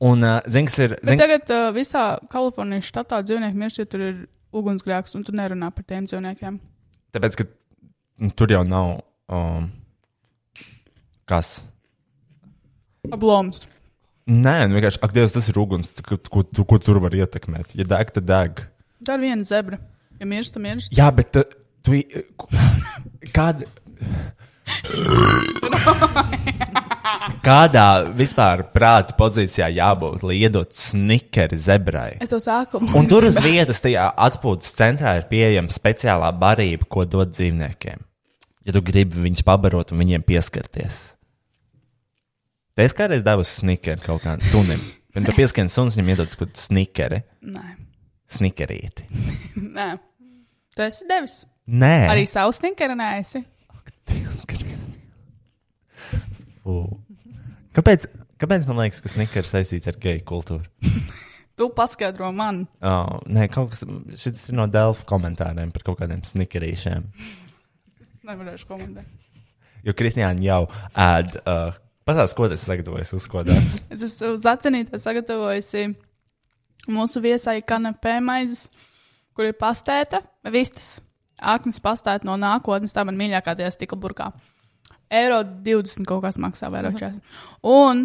Un, uh, zini, kas ir. Bet Zin, tagad uh, visā Kalifornijas štatā dzīvnieki mirst, jo tur ir ugunsgrēks, un tu nerunā par tiem dzīvniekiem. Tāpēc, ka nu, tur jau nav. Um, kas? Abloms. Nē, nu vienkārši, ak, Dievs, tas ir uguns, ko, ko, tu- ko tur var ietekmēt. Ja deg, tad deg. Tā ir viena zebra. Ja mirst, tad mirst. Jā, bet uh, tu. i- ku- Kād... Kādā vispār prāta pozīcijā jābūt, lai iedot snikeri zebrai? Es to sāku. Un tur uz vietas, tajā atpūtas centrā, ir pieejama speciālā barība, ko dod dzīvniekiem. Ja tu gribi viņus pabarot un viņiem pieskarties. Te es kādreiz devu snikeri kaut kādam sunim. Viņam pieskarās suns, viņam iedod kaut kādu snikeri, Nē, snikerīti. nē. Tu esi devis. Nē, Arī savu snickeri nē, esi. Dievs, Kristi. Fū. Kāpēc, kāpēc man liekas, ka snikeri saistīts ar geju kultūru? Tu paskaidro man. Oh, nē, kaut kas šis ir no Delfa komentāriem par kaut kādiem snikerīšiem. Es nevarēšu komentēt. Jo Kristiāna jau ēd. Uh, Pastāstiet, ko tas sagatavojas, uzkodās. Es esmu zacenītē sagatavojusi mūsu viesai kanapē maizes, kur ir pastēta, vistas, aknas pastēta no nākotnes, tā man mīļākā tajā stikla burkā. Eiro 20 kaut kas maksā vairāk četri. Un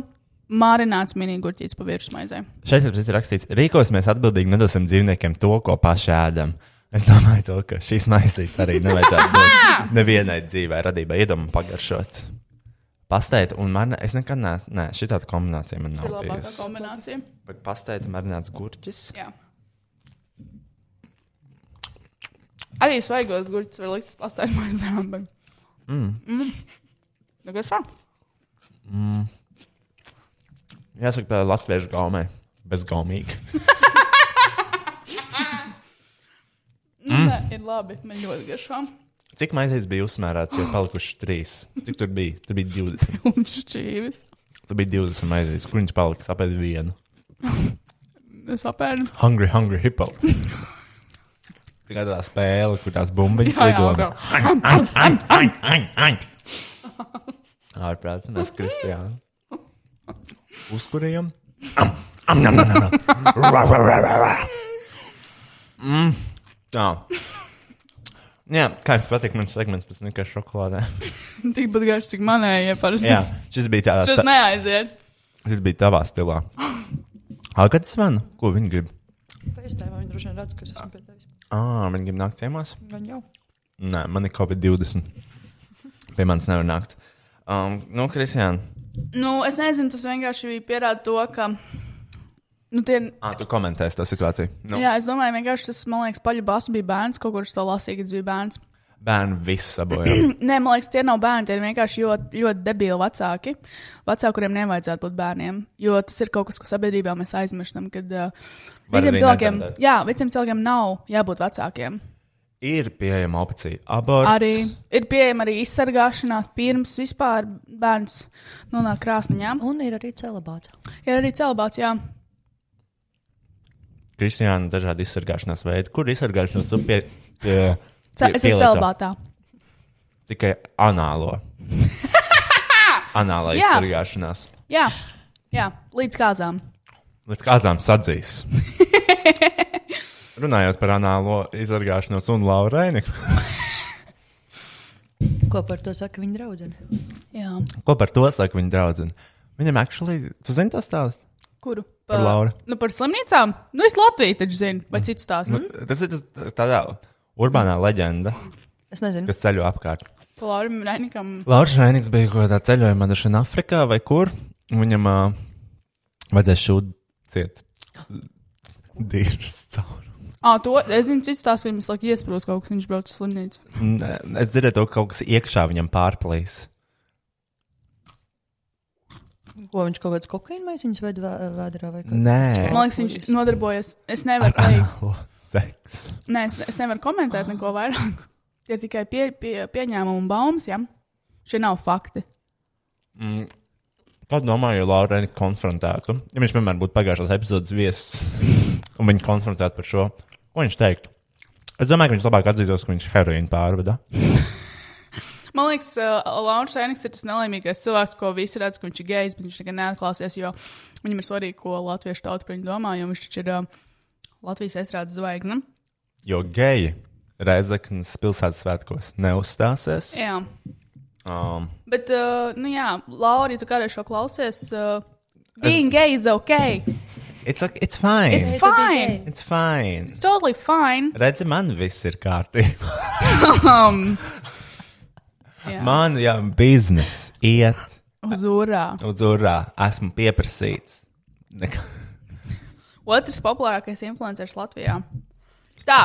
mārināts minigurķīts pa virsmu maizē. Šeit ir rakstīts, rīkosimies atbildīgi, nedosim dzīvniekiem to, ko paši ēdam. Es domāju, to, ka šīs maisītes arī nevajadzētu būt nevienai dzīvē, radībai, iedomam pagaršot. Pasteita un marināta. Es nekad neesmu, nē, šī tāda kombinācija man Tā ir nav labākā bijusi. kombinācija. Bet pasteita marināts gurķis. Jā. Arī svaigos gurķus var likt uz pastēta maizēm. Bet... Mm. Mm. Tā Jāsaka, tā ir latviešu gaumē, bezgaumīga. mm. ir labi. Man ļoti garšo. Cik maisītes bija uzsmērēts, jo palikuši trīs? Cik tur bija? Tur bija 20. Un šķīvis. Tur bija 20 maisītes, kur viņš palika, apēd vienu. Es apēdu. Hungry, hungry hippo. Tā kā tā spēle, kur tās bumbiņas lido. jā, Ārprāts, mēs Kristiānu. Uzkurējam? Mm, Tā. Jā, kā jums patīk mans segments pēc nekā šokolādē? Tikpat garš, cik manējie parasti. Jā, šis bija tā, Šis tā, neaiziet. šis bija tavā stilā. Agats Svena, ko viņi grib? Pēctēmā viņi droši vien redz, ka es esmu pie tevis. Ā, viņi grib nākt ciemās? Gan jau. Nē, man ir COVID-20. Pie manis nevar nākt. Um, nu, Kristiāna, Nu, es nezinu, tas vienkārši pierāda to, ka. Nu, tie, ah, tu komentēsi to situāciju. Nu, jā, es domāju, vienkārši tas, man liekas, paļbās bija bērns, kaut kur es to lasīju, kad es biju bērns. bērni visu sabojā. Nē, man liekas, tie nav bērni. Tie ir vienkārši ļoti, ļoti debili vecāki. Vecāki, kuriem nevajadzētu būt bērniem. Jo tas ir kaut kas, ko sabiedrībā mēs aizmirstam. Kad uh, Var visiem, arī cilvēkiem, nedzemdēt. jā, visiem cilvēkiem nav jābūt vecākiem. ir pieejama opcija. Aborts. Arī ir pieejama arī izsargāšanās pirms vispār bērns nonāk krāsniņā. Un ir arī celibāts. Ir arī celibāts, jā. Kristiāna, dažādi izsargāšanās veidi. Kur izsargāšanos tu pie, pie, pie, Ce, es esmu pielieto? celibātā. Tikai anālo. Anālā Jā. izsargāšanās. Jā, jā, līdz kāzām. Līdz kādām sadzīs. Runājot par anālo izsargāšanos un Lauraini. Ko par to saka viņa draudzene? Jā. Ko par to saka viņa draudzene? Viņam actually, tu zini tas stāsts? Kuru? Par Lauru. Nu, par slimnīcām? Nu, es Latviju taču zinu, vai citu stāstu. Mm. Tas ir tas- tādā urbānā leģenda, Es nezinu. kas ceļo apkārt. Par Lauru Reinikam. Lauris Reinīgs bija kaut kādā ceļojumā, droši vien Afrikā vai kur. un Viņam uh, vajadzēja šūdu ciet. Dīrs caur. Ah, to es zinu, cits tās viņam slēdz iesprūst kaut kas, viņš brauc uz slimnīcu. Nē, Es dzirdēju, to, ka kaut kas iekšā viņam pārplīs. Ko viņš kaut kāds kokaīna maisiņš vai vēdā vai kā? Nē, Man liekas, viņš nodarbojas. Es nevaru pateikt, Anālo seks. nē, es, es nevaru komentēt neko vairāk. Tie ir tikai pie, pie, pieņēmumi un baumas, ja? Šie nav fakti. Kad domāju, ja Laura Reinīga konfrontētu, ja viņš vienmēr būtu pagājušās epizodes viesis un viņu konfrontētu par šo, ko viņš teiktu? Es domāju, ka viņš labāk atzītos, ka viņš heroīnu pārveda. Man liekas, uh, Launis Šēniks ir tas nelaimīgais cilvēks, ko visi redz, ka viņš ir gejs, bet viņš nekad neatklāsies, jo viņam ir svarīgi, ko latviešu tauta par viņu domā, jo viņš taču ir uh, Latvijas aizrādes zvaigzne. Jo geji Reizeknas pilsētas svētkos neuzstāsies. Jā, Um, bet, uh, nu jā, Laura, ja tu kādreiz šo klausies, uh, being gay is okay. it's, ok- it's fine. It's fine. it's fine. It's totally fine. Redzi, man viss ir kārtībā. Um, jā. Man jau biznesa iet Uz urā. uz urā. Esmu pieprasīts. Nekā. Otrs populārākais influenceris Latvijā. Tā,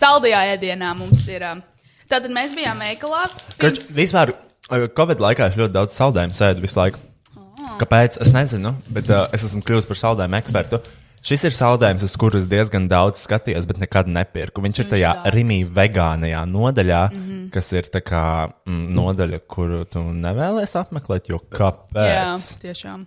saldajā ēdienā mums ir. um, Tātad mēs bijām veikalā. Taču vispār eh, Covid laikā es ļoti daudz saldējumu sēdu visu laiku. Kāpēc? Es nezinu, bet uh, es esmu kļuvis par saldējumu ekspertu. Šis ir saldējums, uz kuru es diezgan daudz skatījos, bet nekad nepirku. Viņš ir tajā Rimī vegānajā nodaļā, mm -hmm. kas ir tā kā mm, nodaļa, kuru tu nevēlies apmeklēt, jo Jā, kāpēc? tiešām.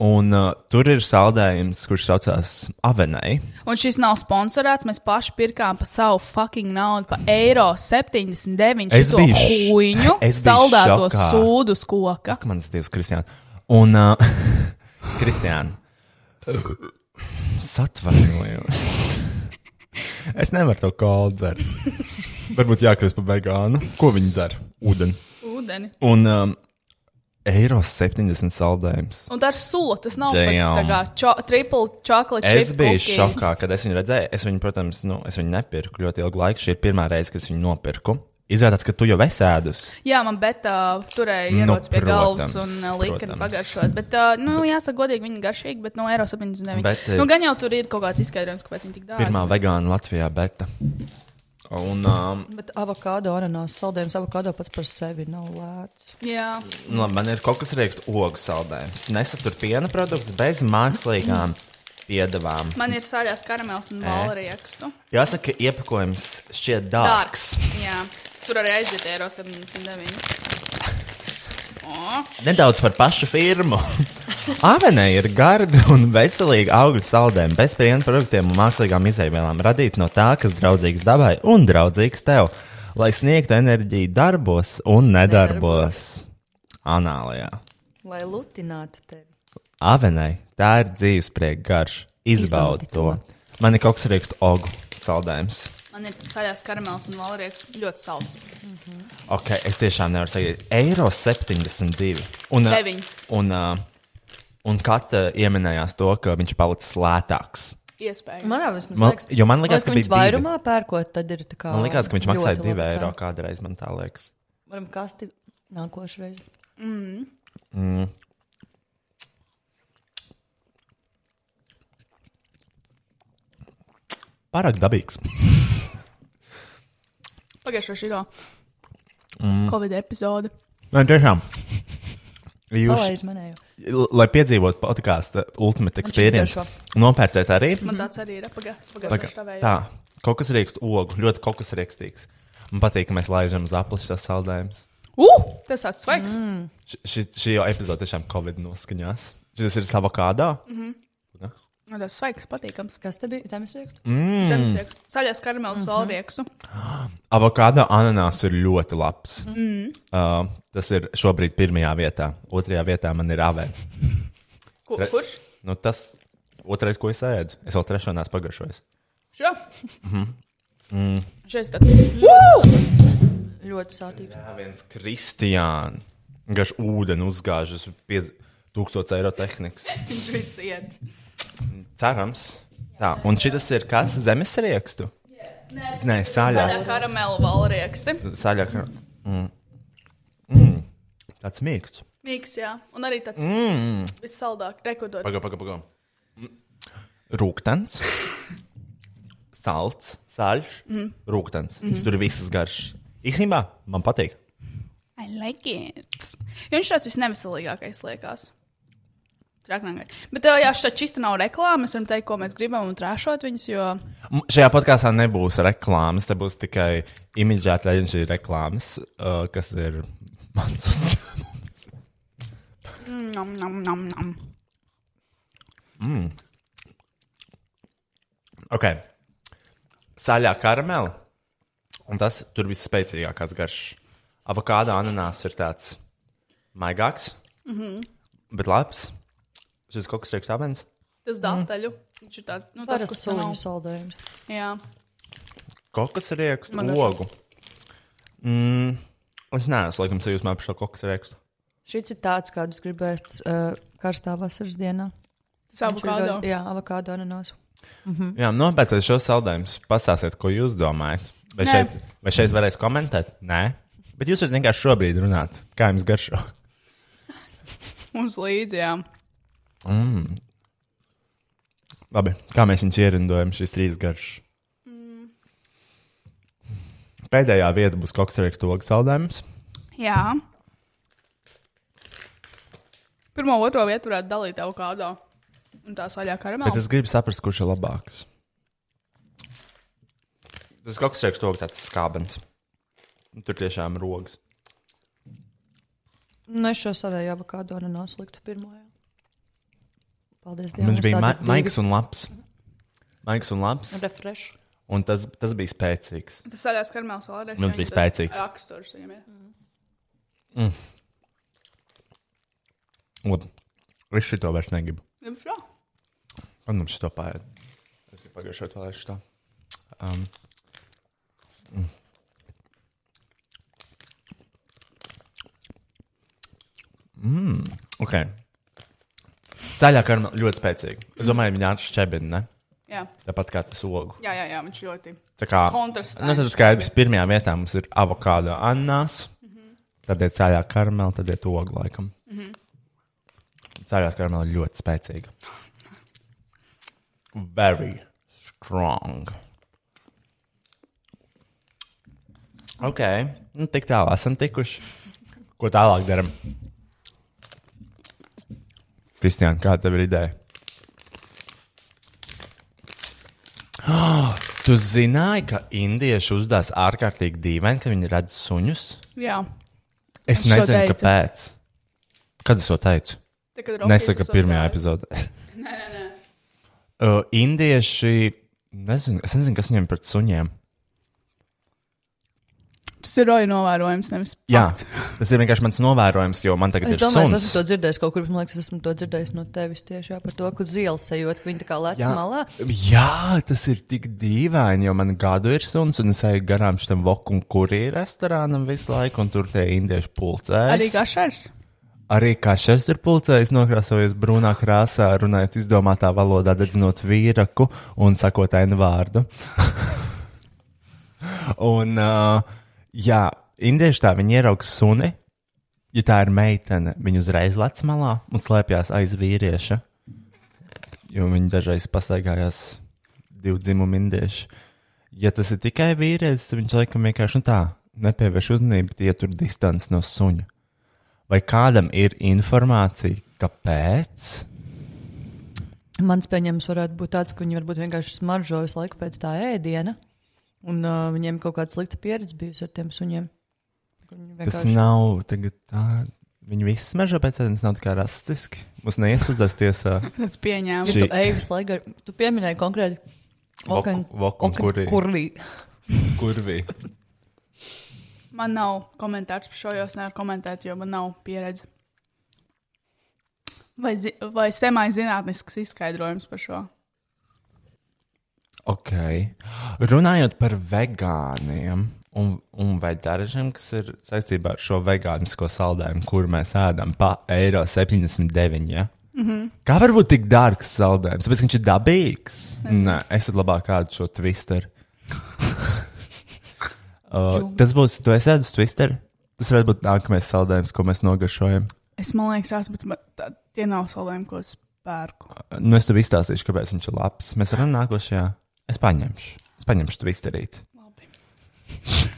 Un uh, tur ir saldējums, kurš saucās Avenai. Un šis nav sponsorēts. Mēs paši pirkām par savu fucking naudu, par eiro 79 Es šo biju š- huīņu, es biju saldēto šokā. sūdu uz koka. Ak, mans dievs, Kristiāna. Un, uh, Kristiāna, atvainojos. Es nevaru to kolu dzert. Varbūt jākļūst par vegānu. Nu, Ko viņi dzer? Ūdeni. Ūdeni. Un um, eiro 70 saldējums. Un tā ir sula. Tas nav pat Damn. tā kā čo, triple chocolate Es chip biju cookie. šokā, kad es viņu redzēju. Es viņu, protams, nu, es viņu nepirku ļoti ilgu laiku. Šī ir pirmā reize, kad es viņu nopirku. Izrādās, ka tu jau esi ēdus. Jā, man betā turēja Nu, ierodas pie galvas protams, un uh, lika protams. pagaršot. Bet, uh, nu, jāsaka, godīgi, viņi garšīgi, bet no eiro 79. Bet, eh, nu, gan jau tur ir kaut kāds izskaidrojums, kāpēc viņi tik dārgi. Pirmā vegāna Latvijā, bet. Un, um, Bet avokado, ananās, saldējums avokado pats par sevi nav lēts. Jā, Nu, labi, man ir kaut kas rīksts, ogu saldējums. Nesatur piena produkts bez mākslīgām piedāvām. man ir sāļās karamels un valriekstu. Jāsaka, iepakojums šķiet dārgs. Dārgs. Jā, tur arī aiziet eiro 79. O, Nedaudz par pašu firmu. Avenē ir garda un veselīga augļu saldējuma, bez piena produktiem un mākslīgām izaivielām radīta no tā, kas draudzīgs dabai un draudzīgs tev, lai sniegtu enerģiju darbos un nedarbos. Anālijā. Lai lutinātu tevi. Avenē tā ir dzīves prieka garš. Izbaudi Izbaudi to. Man ir kaut kas raksts ogu saldējums. Man ir tas saļās karamels un valērijas ļoti salds. Ok, es tiešām nevaru sagaidīt. Eiro 72. Un, uh, Deviņi. un, uh, un katra ieminējās to, ka viņš palicis lētāks. Iespējams. Man jau vismaz Man- liekas, jo man likās, ka viņš bija divi. vairumā pērkot, tad ir tā kā. Man liekas, ka viņš maksāja ļoti 2 laba eiro cena. kādreiz, man tā liekas. Varam kasti nākošais. Pārāk dabīgs. Pagājušā šī Covid epizode. Man tiešām. Ko Jūs, aizmanēju? l- lai piedzīvotu podkāstu Ultimate Viņš izdara Experience, nopērciet arī. Man tāds arī ir pagājušā Paga- štāvējā. Tā, kaut kas riekst ogu, ļoti kaut kas riekstīgs. Man patīk, ka mēs laižam uz aplišu tas saldējums. Uh, tas tāds svaigs. Š- Šī, šī jau epizode tiešām Covid noskaņās. Šis ir savā kādā. Nu, Tas svaigs, patīkams. Kas te bija? Zemes rieksts? Mm. Zemesrieks. Saļās karamels, Nu, valērijas. Avokado ananās ir ļoti labs. Mm. Uh, tas ir šobrīd pirmajā vietā. Otrajā vietā man ir avē. Tre- Kurš? Nu, tas otrais, ko es ēdu. Es vēl trešo nesu pagaršojis. Šo? Šis tāds. Woo! Mm. Ļoti sātīgi. Jā, viens Kristiāns. Garš ūdeni uzgāžas 1000 eiro tehnikas. Viņš viss iet. Cerams. Tā, un šis ir kas? Zemes riekstu? Nē, Saļā sāļā. karamela, valērijas. Sāļā. Mm. Mm. Tāds mīksts. Mīks, jā. Un arī tāds mm. vissaldāk, rekordot. Pagaidām, pagaidām. Paga. Mm. Rūkstošs, salds, sāļš, mm. rūkstošs. Mm. Tur viss garš. Īsnībā man patīk. I like it. Jo viņš tāds visneveselīgākais liekas. Traknākais. Bet tev jāšķiet, ka šis nav reklāmas. Mēs varam teikt, ko mēs gribam un trāšot viņus, jo M- Mm, Šajā podkāstā nebūs reklāmas, te būs tikai imidžēta leģendāra reklāmas, uh, kas ir mans uzņēmums. nam, nam, nam, nam. Ok. Sāļā karamela. Un tas tur viss spēcīgākais garš. Avokāda ananās ir tāds maigāks, mm -hmm. bet labs. Šis kaut kas tāds - abens. tas dārtaļu. Mm. Viņš ir tāds nu, - tas, Parasti kas sūņu sūņus. saldējums. Jā, Kokas riekstu, Man garšo. logu. Mm, es neesmu laikam sajūsmā par šo kokas riekstu. Šis ir tāds, kādus gribēs uh, karstā vasaras dienā. tas abu Viņš ir kādā. ļoti- Jā, avokādo ananās. Mm. Jā, nopērciet šo saldējumu, pastāstiet, ko jūs domājat. Vai Nē. šeit, vai šeit varēs komentēt? Nē. Bet jūs varat vienkārši šobrīd runāt, kā jums garšo. Mums līdzi, jā. Labi, kā mēs viņus ierindojam, šis trīs garš. Pēdējā vieta būs koksrēks togs saldējums. jā. Pirmā, otro vietu varētu dalīt tev kādā. Un tā saļā karamela. Bet es gribu saprast, kurš ir labāks. Tas koksrēks togs tāds skābens. Nu, Tur tiešām ir rogs. Nu, es šo savēju avokādo ananās liktu pirmo. jā. Paldies Dievam. Viņš bija ma maigs un labs. Maigs un labs. Refresh. Un tas, tas bija spēcīgs. Tas saļās karamels valērijas. Mums bija spēcīgs. Raksturs viņam ir. Labi. Es šito vairs negribu. Jums šo? Man mums šito pāri. Es gribu pagaršot vēl šito. Um. Mm. Mm. Ok. Zaļā karma ļoti spēcīga. Es domāju, viņa atšķebina, ne? Jā. Tāpat kā tas ogu. jā, jā, jā, viņš ļoti. Tā kā. Kontrastains. Nu, tad skaidrs, pirmajā vietā mums ir avokādo ananās, tad ir zaļā karmela, tad ir ogu laikam. Zaļā karmela ļoti spēcīga. Very strong. Ok, nu tik tālu esam tikuši. Ko tālāk darām? Kristiāna, kāda tev ir ideja? Tu zināji, ka indieši uzdās ārkārtīgi dīvaini, ka viņi redz suņus? Jā. Es Es to nezinu, teicu. kāpēc. Kad es to teicu? Tā Tā, kad Rokijs Nesaka esot pirmajā kā- epizodē. Nē, nē, nē. Uh, indieši, nezinu, es nezinu, kas viņiem pret suņiem. Tas ir roja novērojums, nevis Jā, tas ir vienkārši mans novērojums, jo man tagad Es ir domāju, es suns. esmu to dzirdējis kaut kur. Man liekas, esmu to dzirdējis no tevis tieši jā, par to, kur zils ejot, ka viņi tā kā lec malā. Jā, tas ir tik dīvaini, jo man gadu ir suns, un es eju garām šim vokum, kur ir restorānam visu laiku, un tur tie indieši pulcējas. arī gašais. Arī kā šis ir pulcējis, nokrāsojies brūnā krāsā, runājot izdomātā valodā, dedzinot vīraku un sakot ainu vārdu. un, uh, jā, indieši tā, viņi ierauga suni. Ja tā ir meitene, viņa uzreiz lec malā un slēpjas aiz vīrieša. Jo viņi dažreiz pastaigājās divu dzimumu indieši. Ja tas ir tikai vīrietis, tad viņš laikam vienkārši nu tā nepievērš uzmanību, tie tur distance no suņa. Vai kādam ir informācija, kāpēc? Mans pieņēmums varētu būt tāds, ka viņi varbūt vienkārši smaržo visu laiku pēc tā ēdiena. Un uh, viņiem kaut kāda slikta pieredze bijusi ar tiem suņiem. Viņi Tas vienkārši- nav tagad tā. Viņi visi smaržo pēc ēdienas, nav tā kā rasistiski. Mums neiesūdzēs tiesā. Tas pieņēma. Šī- Ja tu ej visu laiku, ar- tu pieminēji konkrēti okan- Voku- voku kurī. okan- kurī. Kurvī? Man nav komentārs par šo, jo es nevaru komentēt, jo man nav pieredze. Vai, zi- vai semai zinātnisks izskaidrojums par šo? Ok. Runājot par vegāniem un, un veģetāriem, kas ir saistībā ar šo vegānisko saldējumu, kur mēs ēdam pa eiro 79. Ja? Mm -hmm. Kā var būt tik dārgs saldējums? Tāpēc, ka viņš ir dabīgs. Nē, es tad labāk kādu šo twisteru. uh, tas būs, tu esi ēdis twisteru? Tas varētu būt nākamais saldējums, ko mēs nogaršojam. Es man liekas, tas ir. Tie nav salējumi, ko es pērku. Nu, es tev izstāstīšu, kāpēc viņš ir labs. Mēs varam nākošajā. Es paņemšu. Es paņemšu twisterīt. Labi.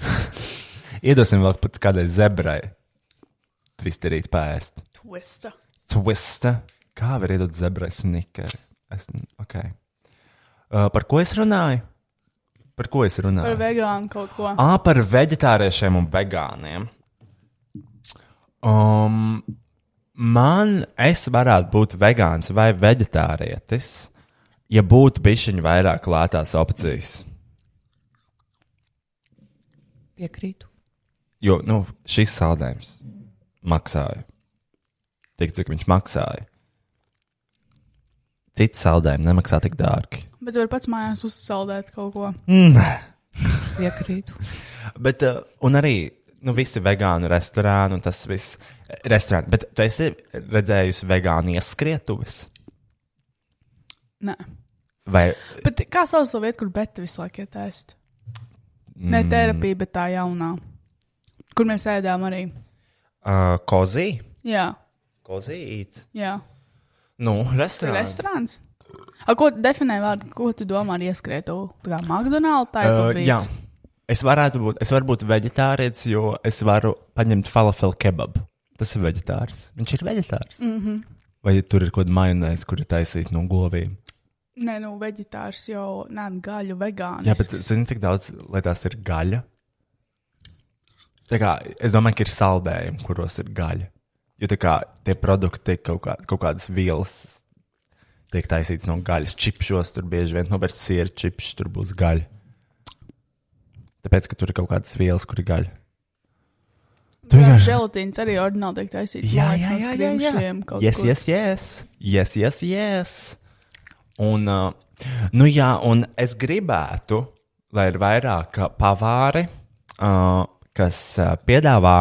Iedosim vēl pat kādai zebrai. Twisterīt pēst. Twista. Twista. Kā var iedot zebrai snikeri? Es, ok. Uh, par ko es runāju? Par ko es Par runāju? vegānu kaut ko. Ā, par vegetāriešiem un vegāniem. Um, man, es varētu būt vegāns vai vegetārietis, ja būtu bišķiņu vairāk lētās opcijas. Piekrītu. Jo nu, šis saldējums maksāja. Tik cik viņš maksāja. Cits saldējums nemaksā tik dārgi. Bet var pats mājās uzsaldēt kaut ko. Piekrītu. Bet, uh, un arī nu, visi vegānu restorāni, un tas viss - restorāni. Bet tu esi redzējusi vegānu ieskrietuves? Nē. Vai Bet kā sauc to vietu, kur beta visu laiku ietaist? Mm. Ne terapija, bet tā jaunā. Kur mēs ēdām arī. uh, kozī? Jā, Kozīts. jā. Nu, Tur restorāns. restorāns. A, ko definē vārdu? Ko tu domā ar ieskrietu? Tā kā McDonald's tā ir. Uh, burgerīts. jā. Es varētu būt, es varu būt vegetārietis, jo es varu paņemt falafelu kebabu. Tas ir vegetārs. Viņš ir vegetārs. Mm -hmm. Vai tur ir kaut kāda majonēze, kur ir taisīta no govīm? Nē, nu, vegetārs jau nav gaļu vegāns. Jā, bet zini, cik daudz lietās ir gaļa? Tā kā, es domāju, ka ir saldējumi, kuros ir gaļa. Jo tā kā tie produkti tiek kaut, kā, kaut kādas vielas. Tiek taisīts no gaļas, čipšos, tur bieži vien nobērts sieru čips, tur būs gaļa. Tāpēc, ka tur ir kaut kādas vielas, kur ir gaļa. Tu vienkārši- želatīns arī ordināli tiek taisīts. Jā, man liekas, jā, no jā, jā, jā. skrimšļiem kaut Yes, kur. yes, yes. yes, yes, yes. Un, uh, nu jā, un es gribētu, lai ir vairāk uh, pavāri, uh, kas uh, piedāvā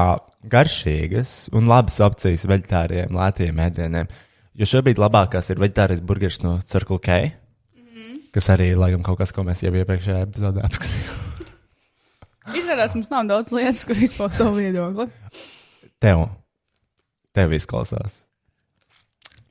garšīgas un labas opcijas vegetāriem, lētiem ēdieniem. Jo šobrīd labākās ir vegetārais burgeris no Circle K, Mhm. kas arī ir laikam kaut kas, ko mēs jau iepriekšējā epizodē apskatījām. Izrādās, mums nav daudz lietas, kur izpaust savu viedokli. Tev, tev izklausās.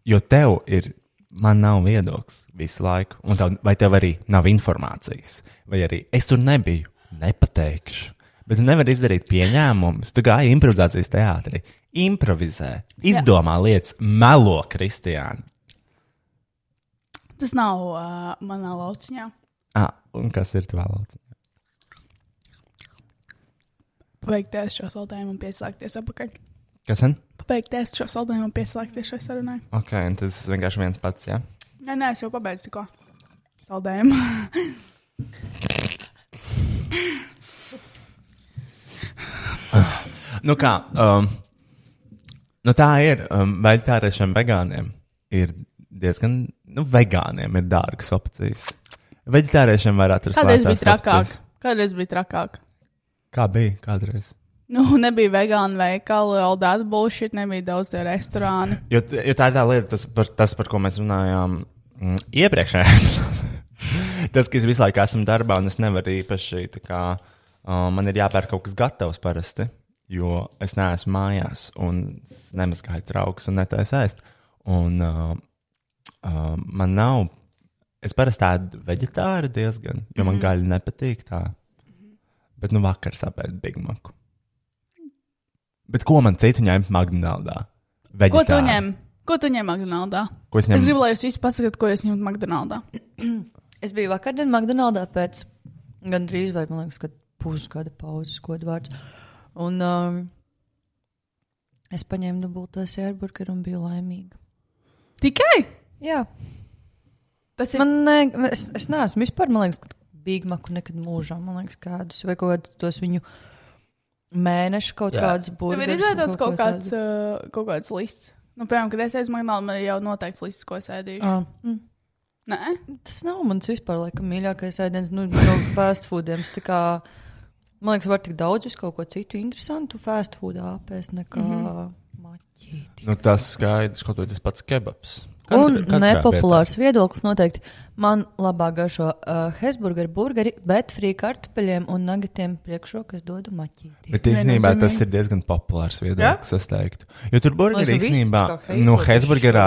Jo tev ir, man nav viedoklis visu laiku, un tev, vai tev arī nav informācijas, vai arī es tur nebiju, nepateikšu. Bet tu nevari izdarīt pieņēmumus. Tu gāji improvizācijas teātrī, improvizē, izdomā Jā. lietas, melo kristiāni. Tas nav uh, manā lauciņā. Ah, un kas ir tavā laucā? Beigties šo saldējumu un pieslēgties apakaļ. Kas tad? Pabeigt ēst šo saldējumu un pieslēgties šai sarunai. Ok, un tas vienkārši viens pats, jā. Nē, nē, es jau pabeidzu tikko. Saldējumu. Nu kā, um, nu tā ir, um, veģetārešiem vegāniem ir diezgan, nu, vegāniem ir dārgas opcijas. Veģetāriešiem var atrast Kādreiz bija lētās trakāk. opcijas. Kādreiz bija trakāk. Kā bija kādreiz? Nu, nebija vegānu veikali, all that bullshit, nebija daudz tie restorāni. Jo, t- jo tā ir tā lieta, tas par, tas, par ko mēs runājām mm, iepriekšējā epizodē. tas, ka es visu laiku esmu darbā, un es nevaru īpaši, tā kā, uh, man ir jāpērk kaut kas gatavs parasti, jo es neesmu mājās, un es nemazgāju trauks un netaisu ēst. Un uh, uh, man nav, es parasti tādu vegetāru diezgan, jo Mhm. man mm. gaļa nepatīk tā. Bet nu vakar sapēdu Big Macu. Bet ko man citu ņemt McDonald's? Ko tu ņem? Ko tu ņem McDonald's? Ko es Es ņemu? gribu, lai jūs visi pasakāt, ko jūs ņemat McDonald's. Es biju vakardienā McDonald's pēc gandrīz vai man liekas, ka pusgada pauzes, ko vārds. Un um, es paņēmu dubulto sērburgeru un biju laimīga. Tikai? Jā, Tas ir. Man... man ne, es, es neesmu vispār, man liekas, bīgmaku nekad mūžā. Man liekas, kādus vai kaut kādus tos viņu mēnešu kaut Jā. yeah. kādus Tev burgerus. ir un izveidots kaut, ko kāds, uh, kaut kāds lists. Nu, piemēram, kad es aizēju McDonald's, man ir jau noteikts lists, ko es ēdīšu. tādu. Ā, mm. Nē, Tas nav mans vispār laikam, mīļākais ēdiens, nu, no fast foodiem. Es tā kā- Man liekas, var tik daudz uz kaut ko citu interesantu fast food apēst nekā mm -hmm. maķīti. Nu, tas skaidrs, kaut vai tas pats kebabs. Un nepopulārs viedoklis noteikti. Man labāk garšo uh, Hesburgeri, burgeri, bet frī kartupeļiem un nagatiem priekšroku es dodu maķīti. Bet īstenībā tas ir diezgan populārs viedoklis, es teiktu. Jo tur burgeri Lai tu visu īstenībā, tā kā nu, heitot Hesburgerā,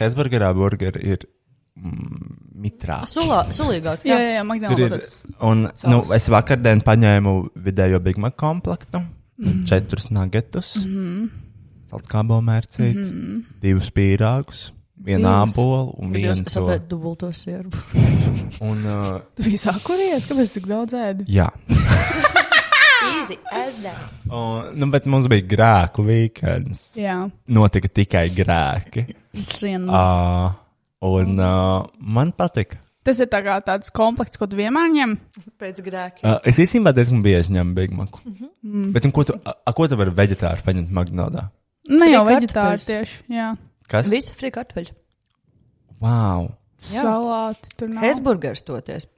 Hesburgerā burgeri ir mm, mitrā. Sulā, sulīgāk. jā, Jā. jā, jā Tur ir, McDonald's. un nu, savs. es vakardien paņēmu vidējo Big Mac komplektu, Mhm. mm. četrus nagetus, mm. saltkābo mērcīti, mm. divus pīrāgus, vienu Divus? ābolu un Mhm. Kad vienu jūs to. sapēt dubultos sierbu. Un, uh, Tu biji sākuries, kāpēc tik daudz ēdi? jā. Easy as that. Un, nu, bet mums bija grēku vikends. Jā, notika tikai grēki. sienas. Uh, un uh, man patika. Tas ir tā kā tāds komplekss, ko tu vienmēr ņem. Pēc grēkiem. Uh, es īstenībā diezgan bieži ņemu Big Mac. Mm. Bet un, ko tu, a, a, ko tu vari vegetāri paņemt McDonald's? Nu, Ne jau Tikai vegetāri kartupeļus. tieši. Jā, Kas? Vi... Visi frī kartupeļi. Wow! Jā. salāti tur Nu. nav. Hesburgers toties.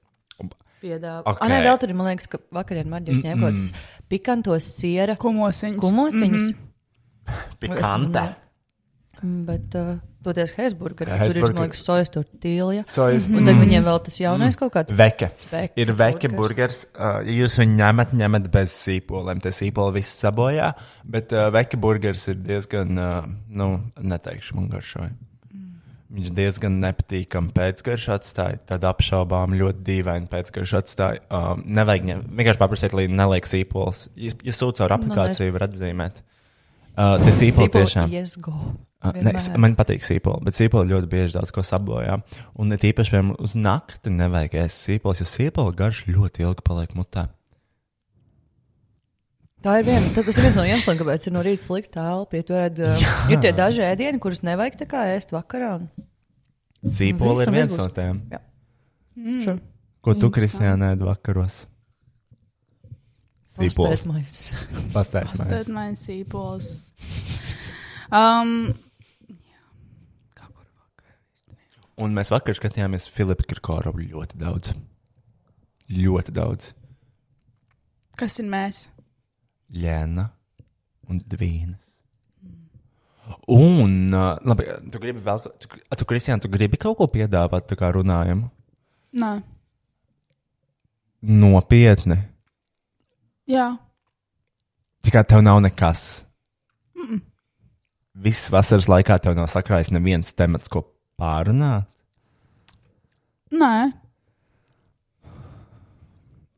Piedāvā. Ok. Okay. Nē, vēl tur ir, man liekas, ka vakarā Marģis ņēma kaut kādus pikantos siera Kumosiņš. kumosiņus. Pikanta! Mm, Bet uh, toties Hesburgerā. Tur ir, Hesburger. Mm. man liekas, sojas tortīlija. Sojas- Un tad viņiem vēl tas jaunais kaut kāds. Veke. Veke Ir veke burgers. Uh, ja jūs viņu ņemat, ņemat bez sīpoliem. Tie sīpoli viss sabojā. Bet uh, veke burgers ir diezgan, uh, nu, neteikšu, man garšoja. Viņš diezgan nepatīkami pēcgaršu atstāja. Tad apšaubām ļoti dīvaini pēcgaršu atstāja. Um, nevajag ņemt. Vienkārši paprasiet, lai neliek sīpols. Ja, ja sūta ar aplikāciju, var atzīmēt. Uh, tie sīpoli tiešām. Yes, go. Ah, Ne, es, Vienmēr. man patīk sīpoli, bet sīpoli ļoti bieži daudz ko sabojā. Un ne tīpaši, piemēram, uz nakti nevajag ēst sīpolus, jo sīpoli garš ļoti ilgi paliek mutē. Tā ir viena. tad Tas ir viens no iemesliem, kāpēc ir no rīta slikta telpa. Ja tu ēd, uh, ir tie daži ēdieni, kurus nevajag tā kā ēst vakarā. Un... Sīpoli Visam ir viens izbūs. no tiem, Mm. ko tu, Kristija, nēdi vakaros. Sīpoli. Tad Pastāstiet. man sīpols. Um, jā, kaut kur vakar. Un mēs vakar skatījāmies Filipa Kirkoru ļoti daudz. Ļoti daudz. Kas ir mēs? Lēna un Dvīnas. Un, uh, labi, tu gribi vēl, ko- tu, tu Kristija, tu gribi kaut ko piedāvāt, tā kā runājam? Nē, Nopietni. jā. Tikai tev nav nekas. Mm. Viss vasaras laikā tev nav sakrājis neviens temats, ko pārunāt. Nē.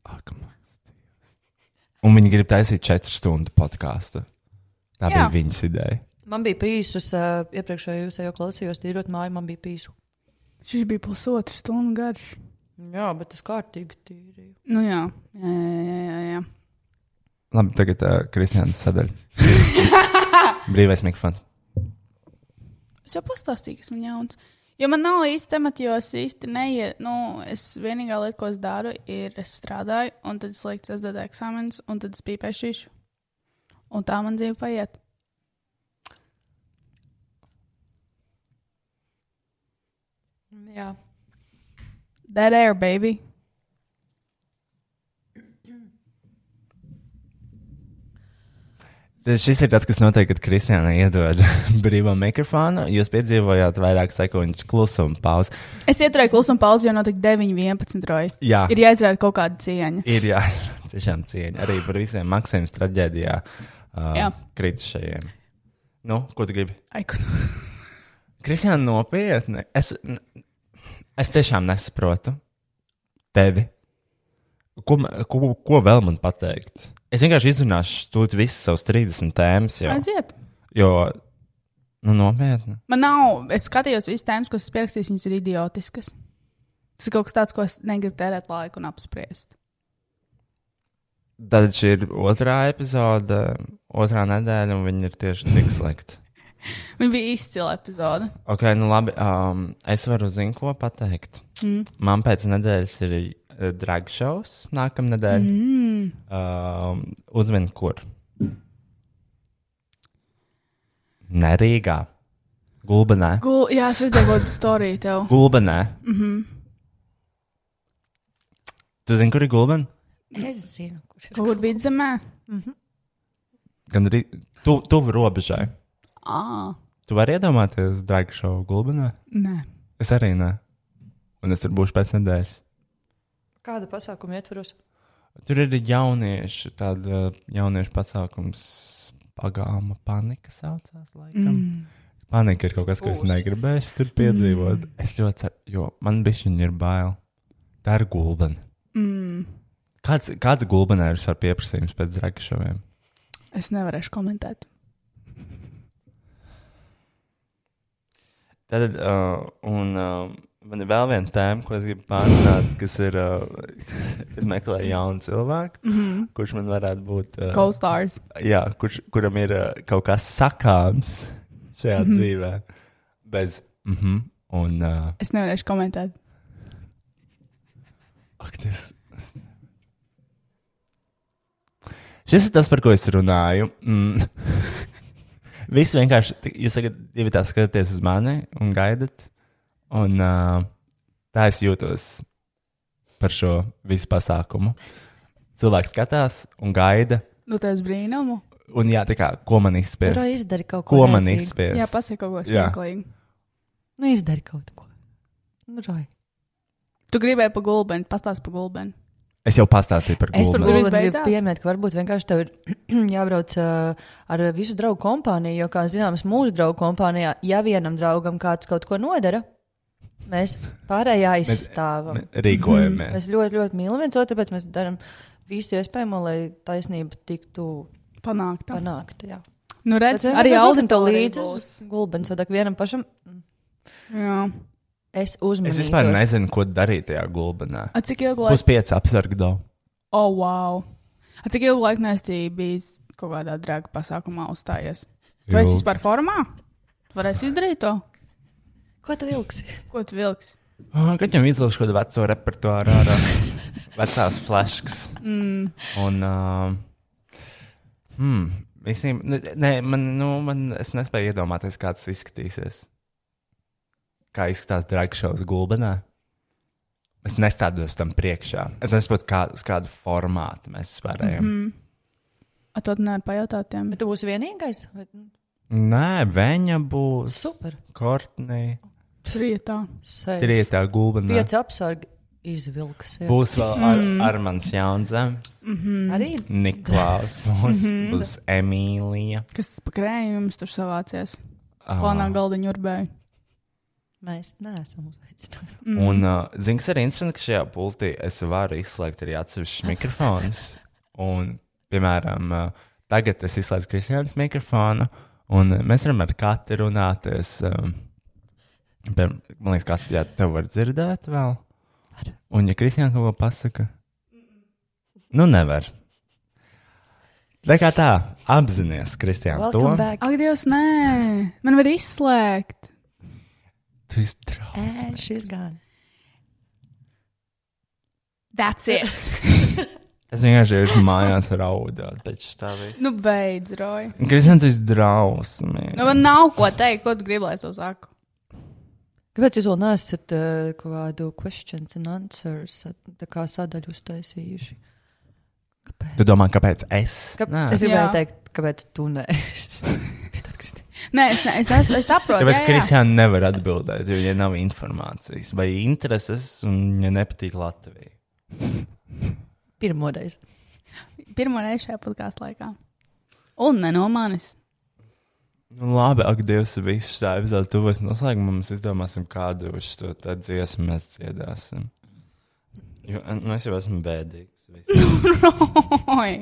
Ak, mans Dievs. Un viņi grib taisīt četru stundu podkāstu. Jā. Tā Jā. bija viņas ideja. Man bija pīsus, uh, iepriekšējā jūs jau klausījos, tīrot māju, man bija pīsu. Šis bija pusotru stundu garš. Jā, bet tas kārtīgi tīrīja. Nu jā, jā, jā, jā. jā, jā. Labi, tagad uh, Kristians sadaļa. Brīvais mikrofons. Es jau pastāstīju, kas man jauns. Jo man nav īsti temati, jo es īsti neiet. Nu, es vienīgā lieta, ko es daru, ir es strādāju, un tad es lieku SDD eksāmenus, un tad es pīpēšīšu. Un tā man dzīve paiet. Jā. Dead air, baby. Tas šis ir tas, kas notiek, kad Kristiāna iedod brīvā mikrofonu. Jūs piedzīvojāt vairāk sekundžu klusumu pauzi. Es ieturēju klusumu pauzi, jo notika 9, 11. Roji. Jā. Ir jāizrāda kaut kāda cieņa. Ir jā, tiešām cieņa arī par visiem Maksimas traģēdijā uh, Jā. kritušajiem. Nu, ko tu gribi? Ai, kas? Kristiāna, nopietni. Es, n- es tiešām nesaprotu tevi. Ko, ma- ko, ko vēl man pateikt? Es vienkārši izrunāšu tūlīt visas savas 30 tēmas, jo, Aiziet. jo nu, nopietni. Man nav, es skatījos visas tēmas, kas pierakstīts, viņas ir idiotiskas. Tas ir kaut kas tāds, ko es negribu tērēt laiku un apspriest. Tad šī ir otrā epizode, otrā nedēļa, un viņi ir tieši tik slikti. Viņa bija izcila epizode. Ok, nu labi. Um, es varu zināt, ko pateikt. Mm. Man pēc nedēļas ir eh, drag shows, nākamā nedēļa. Mm. Um, Uzmini, kur? Nerīgā. Gulbenē. Gul, jā, es redzēju, kāda storija tev. Gulbenē. Mm -hmm. Tu zini, kur ir gulbena? Es zinu, kurš ir. Kur bija zemē? Gan arī tu, tuvu robežai. Ah, Tu vari iedomāties drag show gulbenē? nē. Es arī nē. Un es tur būšu pēc nedēļas. Kāda pasākuma ietvaros? Tur ir jauniešu, tāda eh, jauniešu pasākums, pagāma panika saucās. Laikam. Mm. Panika ir kaut kas, ko es negribēju tur piedzīvot. Mm. Es ļoti ceru, jo man bija šī ir bail. Tā ir gulbena. Mm. Kāds, kāds gulbenērs var pieprasījums pēc dragšoviem? Es nevarēšu komentēt. Tad, uh, un uh, man ir vēl viena tēma, ko es gribu pārunāt, kas ir, uh, es meklēju jaunu cilvēku, mm -hmm. kurš man varētu būt. Uh, Co-stars. jā, kurš, kuram ir ā, kaut kas sakāms šajā mm -hmm. dzīvē. Bez, mm -hmm, un, uh, Es nevarēšu komentēt. ak, Dievs. Šis ir tas, par ko es runāju. Mm. Viss vienkārši, tik- jūs tagad divi tā skatāties uz mani un gaidat. Un uh, tā es jūtos par šo visu pasākumu. Cilvēks skatās un gaida. Nu, tas brīnumu. Un jā, tā kā, ko man Tur izspiest? izdari kaut ko. Ko man niecīgu. izspiest? Jā, pasakiet kaut ko Jā. smieklīgu. Nu, izdari kaut ko. Nu, Roy. Tu gribēji pa gulbeni, pastāst par gulbeni. Es jau pastāstīju par Es par Tur gulbeni. gulbeni gribu izbeidzās? pieminēt, ka varbūt vienkārši tev ir jābrauc uh, ar visu draugu kompāniju, jo, kā zināms, mūsu draugu kompānijā, ja vienam draugam kāds kaut ko nodara, mēs pārējā aizstāvam. Mēs Mhm. Rīkojamies. Mēs ļoti, ļoti mīlam viens otru, tāpēc mēs darām visu iespējamo, lai taisnība tiktu Panākt. Pan... panākta. Jā. Nu, redz, Tāpēc arī mēs nosim to auditorija līdzi uz būs. gulbens, tad vienam pašam Jā. es uzmanīju. Es vispār nezinu, ko darīt tajā gulbenā. A, cik ilgu Būs laiku? pieci apsargdo. O, oh, wow. A, cik ilgu laiku nestīji bijis kaut kādā draga pasākumā uzstājies? Tu esi Ilgi. vispār formā? Tu varēsi izdarīt to? Ko tu vilksi? Ko tu vilksi? Ah, Kad jau izlaužu kādu veco repertuāru, ārā, vecās flashkas. Mm. Un, uh, hmm, visiem, nu, nē, man, nu, man, es nespēju iedomāties, kā tas izskatīsies. Kā izskatās dragšovs gulbenā. Es nestādos tam priekšā. Es nesaprotu, kā, uz kādu formātu mēs spērējam. Mhm. Mm -hmm. A, to nevar pajautāt tiem. Bet tu būsi vienīgais? Vai- nu? Nē, viņa būs. Super. Kortnī. Prietā. Sēž. Trietā gulbenā. Pieci apsargi izvilks. jā. Būs vēl ar, mm. Armāns Jaunzēns, Mhm. Arī Niklaus, būs, būs Emīlija. Ah. Kas tas pa krējums tur savācies? Plānā galdiņu urbēju. mēs neesam uzaicināti. Mm. Mhm. Un, uh, zini, kas ir interesanti, ka šajā pultī es varu izslēgt arī atsevišķus mikrofonus. Un, piemēram, uh, tagad es izslēdzu Kristiānas mikrofonu, un uh, mēs varam ar katru runāties. Um, piem- man liekas, ka ja tev var dzirdēt vēl. Un, ja Kristiāna kaut ko pasaka, nu nevar. Re, kā tā, apzināties, Kristija, to Welcome back. Ak, Dievs, nē, man var izslēgt. tu esi drausmīgs. And she's gone. That's it. Es vienkārši esmu mājās raudāt pēc tā visa. nu, beidz, Roja. Kristija, tu esi drausmīgs. Nu, man nav ko teikt, ko tu gribi, lai es to saku. Kāpēc jūs vēl neesat uh, kaut kādu questions and answers uh, tā kā sadaļu uztaisījuši? Tu domā, kāpēc es? Kāp... Nē. Es gribēju Jā. teikt, kāpēc tu nē. Piedod, Kristi. Nē, es, ne, es, es, es saprotu. Tāpēc jā, jā. Kristija nevar atbildēt, jo viņai nav informācijas vai intereses, un viņai nepatīk Latvija. Pirmoreiz. Pirmo reizi šajā podkāstu laikā. Un ne no manis. Nu, labi, ak, Dievs, viss tā ir vēl tuvojas noslēgumam. Mēs izdomāsim, kādu uz to tā dziesmu mēs dziedāsim. Jo nu, es jau esmu bēdīgs. viss. Oi.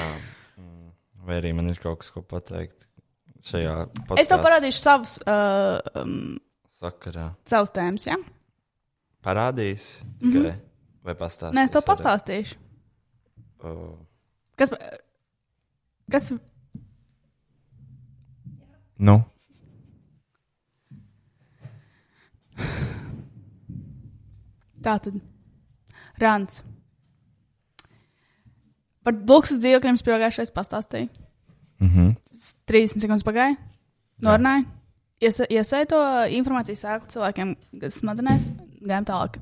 mm, Vai arī man ir kaut kas, ko pateikt šajā Es tev podcastu parādīšu savus, uh, um, sakarā. savus tēmas, jā? Ja? Parādīs tikai mm -hmm. vai pastāstīs. Mhm. Nē, es to arī? Oh. pastāstīšu. O, Kas, kas Nu, tā tad? Rants. Par luksus dzīvokļiem es pagājušajā pastāstīju. mm -hmm. 30 sekundes pagāja. Norunāju. Iesa- Iesēju to informāciju sēklu cilvēkiem, kas smadzenēs, gājām tālāk.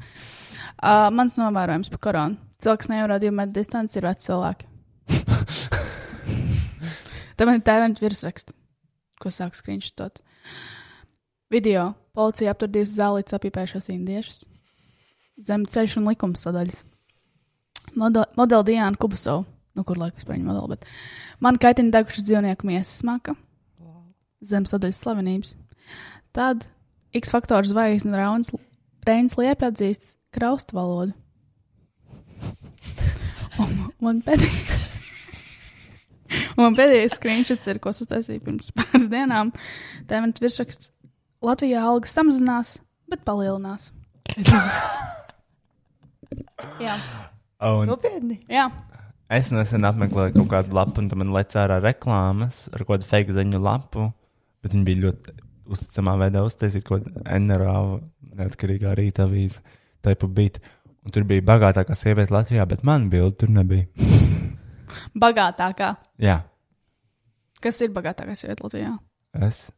Uh, mans novērojums par koronu. Cilvēks nevar divu metru distanci, ir veci cilvēki. Tā man ir tēvens virsraksts, ko sāk skriņšot. Video. Policija aptur divus zālītus apīpējušos indiešus. Zem ceļš un likums sadaļas. Model, modeli Diana Kubusov, nu kur laikam vispār viņa modeli, bet Man kaitina degušas dzīvnieku miesas smaka, zemes sadaļas slavenības. Tad X faktors zvaigznes rauns Reins Liepa atzīst kraustu valodu. Un man pēdējais. Un man pēdējais skriņšots ir, ko es uztaisīju pirms pāris dienām. Tā man virsraksts Latvijā algas samazinās, bet palielinās. jā, Nu, un Nopietni. jā. es nesen apmeklēju kaut kādu lapu, un tam man leca ārā reklāmas ar kādu fake ziņu lapu, bet viņi bija ļoti uzticamā veidā uztaisīti kaut kādu NRA neatkarīgā rīta avīzi. Taipu bija. Un tur bija bagātākā sieviete Latvijā, bet man bildi tur nebija. bagātākā. Jā, Kas ir bagātākā sieviete Latvijā? es.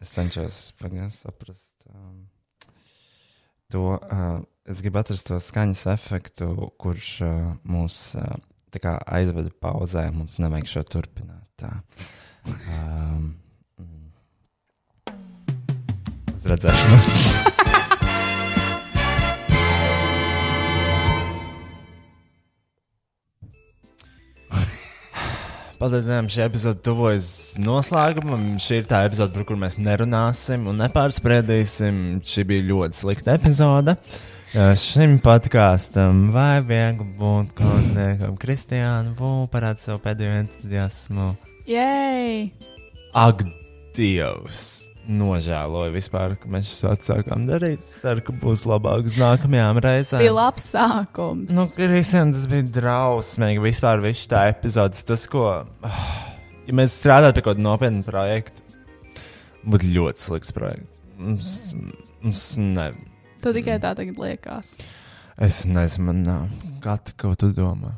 es cenšos paņemt, saprast. Um, to, uh, es gribu atrast to skaņas efektu, kurš uh, mūs uh, tā kā aizveda pauzē. Mums nevajag šo turpināt. Tā. Um, mm. Uz redzēšanos. Paldies, šī epizode tuvojas noslēgumam. Šī ir tā epizode, par kuru mēs nerunāsim un nepārspriedīsim. Šī bija ļoti slikta epizode. Uh, Šim podkāstam vai viegli būt kontekam. Kristiāna, būvē parāda savu pēdējo entuziasmu. Jēj! Ak, Dievs! Nožēloju vispār, ka mēs šo atsākām darīt. Es ceru, ka būs labāk uz nākamajām reizēm. Bija labs sākums. Nu, Kristian, tas bija drausmīgi. Vispār viss tā epizode, tas, ko. Ja mēs strādātu pie kaut kāda nopietna projekta, būtu ļoti slikts projekts. Mums, mums ne. Tu tikai tā tagad liekas. Es nezinu, man nav. Kāda, ko tu domā?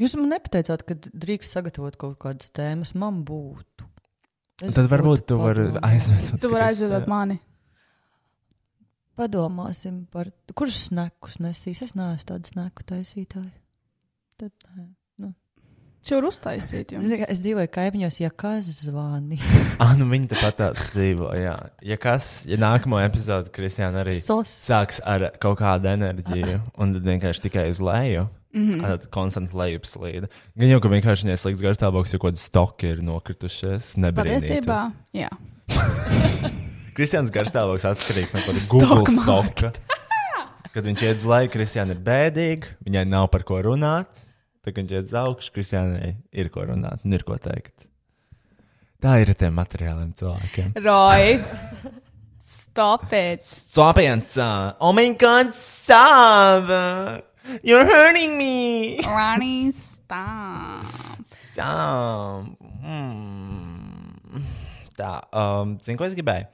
Jūs man nepateicāt, ka drīkst sagatavot kaut kādas tēmas. Man būtu. Es Tad varbūt būtu tu vari padomā- aizvietot. Tu vari aizvedot mani. Padomāsim par to, kurš snekus nesīs. Es neesmu tāds sneku taisītājs. Tad nē. Čau, uztaisīt. Es, jums. tikai- es dzīvoju kaimiņos, ja kas zvani. Ah, nu viņi tepat tās dzīvo. Jā. Ja kas, ja nākamo epizodu Kristiāna arī Sos. sāks ar kaut kādu enerģiju, un tad vienkārši tikai uz leju. Mhm. Mm -hmm. Tāda konstanta lejupslīde. Gan jau, ka vienkārši viņai slikts garš tālāks, jo kaut kāda stoka ir nokritušies. Patiesībā, jā. Kristians garš tālāks atkarīgs no kaut kāda Google stoka. Kad viņš iet uz leju, Kristiāna ir bēdīga, viņai nav par ko runāt. Tad, kad viņš iet uz augšu, Kristiānai ir ko runāt un ir ko teikt. Tā ir ar tiem materiāliem cilvēkiem. Roy, stop it. Swampants, uh, oh my god, stop! You're hurting me! Ronnie, stop. Dām. Mm. Tā, um, zinu, ko es gribēju.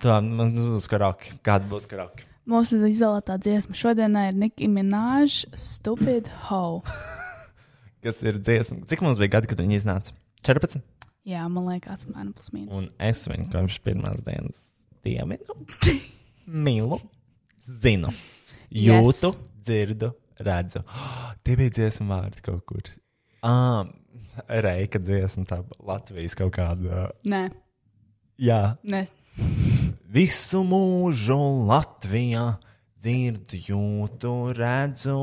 Tā, man būs karaoke. Kāda būs karaoke? Mūsu izvēlētā dziesma šodienai ir Nicki Minaj, Stupid Ho. Kas ir dziesma? Cik mums bija gadi, kad viņi iznāca? 14. Jā, man liekas, man plus mīnus. Un es viņu kopš pirmās dienas dieminu, mīlu, zinu, jūtu, yes. dzirdu, redzu. Tie bija dziesmu vārdi kaut kur. Ah, Reika dziesma, tā Latvijas kaut kāda. Nē, Jā, nē. visu mūžu Latvijā dzirdu, jūtu, redzu.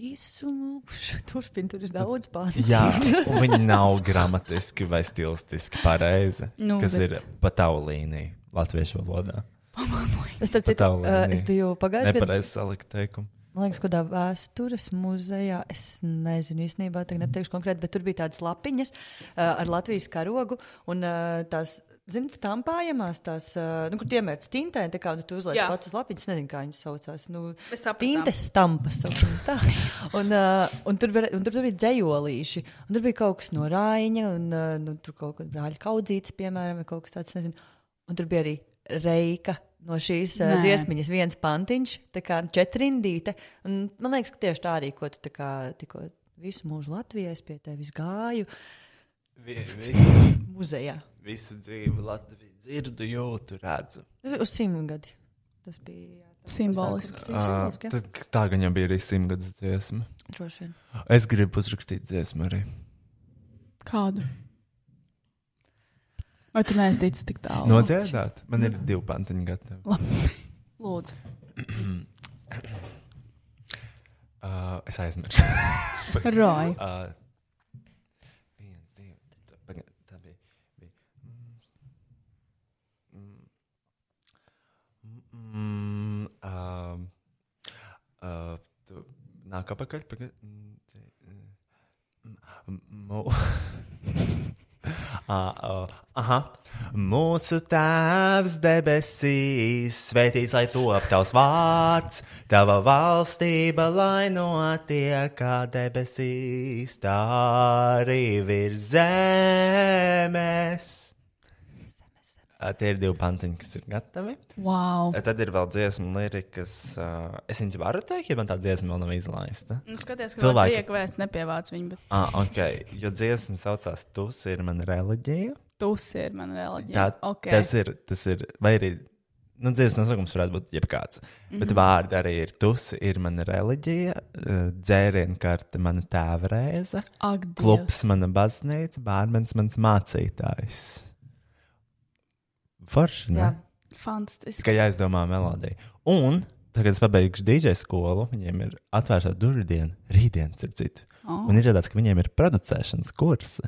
Visu mūžu turpina, tur ir daudz pāri. Jā, un viņi nav gramatiski vai stilistiski pareizi. Nu, kas bet- bet... ir pa tavu līniju latviešu valodā? Es, starp citu, Tālu eh, es līniju. biju pagājušajā gadā. Nepareizi salikt teikumu. Man liekas, kādā vēstures muzejā, es nezinu īstenībā, tagad nepateikšu konkrēti, bet tur bija tādas lapiņas uh, ar Latvijas karogu un uh, tās, zinot, stampājamās, tās, uh, nu, kur tiemērts tintē, tā kā nu, tu uzliec Jā. pats uz lapiņas, nezinu, kā viņas saucās. Nu, Mēs sapratām. tintes stampas saucās tā. Un, uh, un, tur, bija- un tur bija dzējolīši, un tur bija kaut kas no rāņa, un uh, nu, tur kaut kāda brāļa kaudzītes, piemēram, vai kaut kas tāds, nezinu. Un tur bija arī reika no šīs uh, Nē. dziesmas viņas viens pantiņš, tā kā četrindīte. Un, man liekas, ka tieši tā arī, ko tu tā kā, tikko visu mūžu Latvijā es pie tevis gāju Visu, muzejā. visu dzīvi Latviju dzirdu, jūtu, redzu. Tas bija uz simt gadi. Tas bija jā, tas Simbolisks. pasākums. Simboliski, jā. Tad, tā gan jau bija arī simtgadus dziesma. Droši vien. Es gribu uzrakstīt dziesmu arī. Kādu? Vai tu neesi ticis tik tālu? Nodziedāt, man ir divi pantiņi gatavi. Labi. Lūdzu. Uh, es aizmirsu. Roj. Uh, viens, divi, tā, paga- tā bija. bija. Mm. Mm, mm, um, uh, tu Nāk apakaļ. paga- mm, te- mm, mm, mu- Ah, ah, Aha. Mūsu tēvs debesīs, svētīts lai top tavs vārds, tava valstība lai notiek kā debesīs, tā arī virs zemes. Ah, Tie ir divi pantiņi, kas ir gatavi. Wow. Tad ir vēl dziesmu lirikas. Uh, es viņas varu teikt, ja man tā dziesma vēl nav izlaista. Nu, skaties, ka Cilvēki. cilvēki tiek vēsts nepievāc viņu, bet Ah, ok, jo dziesma saucās Tus ir mana reliģija. tus ir man reliģija. Tā, okay. okay. Tas ir, tas ir, vai arī, nu, dziesmas nosaukums varētu būt jebkāds. Mm -hmm. Mhm. Bet vārdi arī ir Tus ir mana reliģija, eh, dzērienu karte mana tēva reize, Ak, Dievs. klubs mana baznīca, bārmens mans mācītājs. Forši, ne? Jā. Fantastiski. Tikai jāizdomā melodija. Un tagad es pabeigšu DJ skolu. Viņiem ir atvērta durvju diena, rītdiena, starp citu. Oh. Un izrādās, ka viņiem ir producēšanas kursi.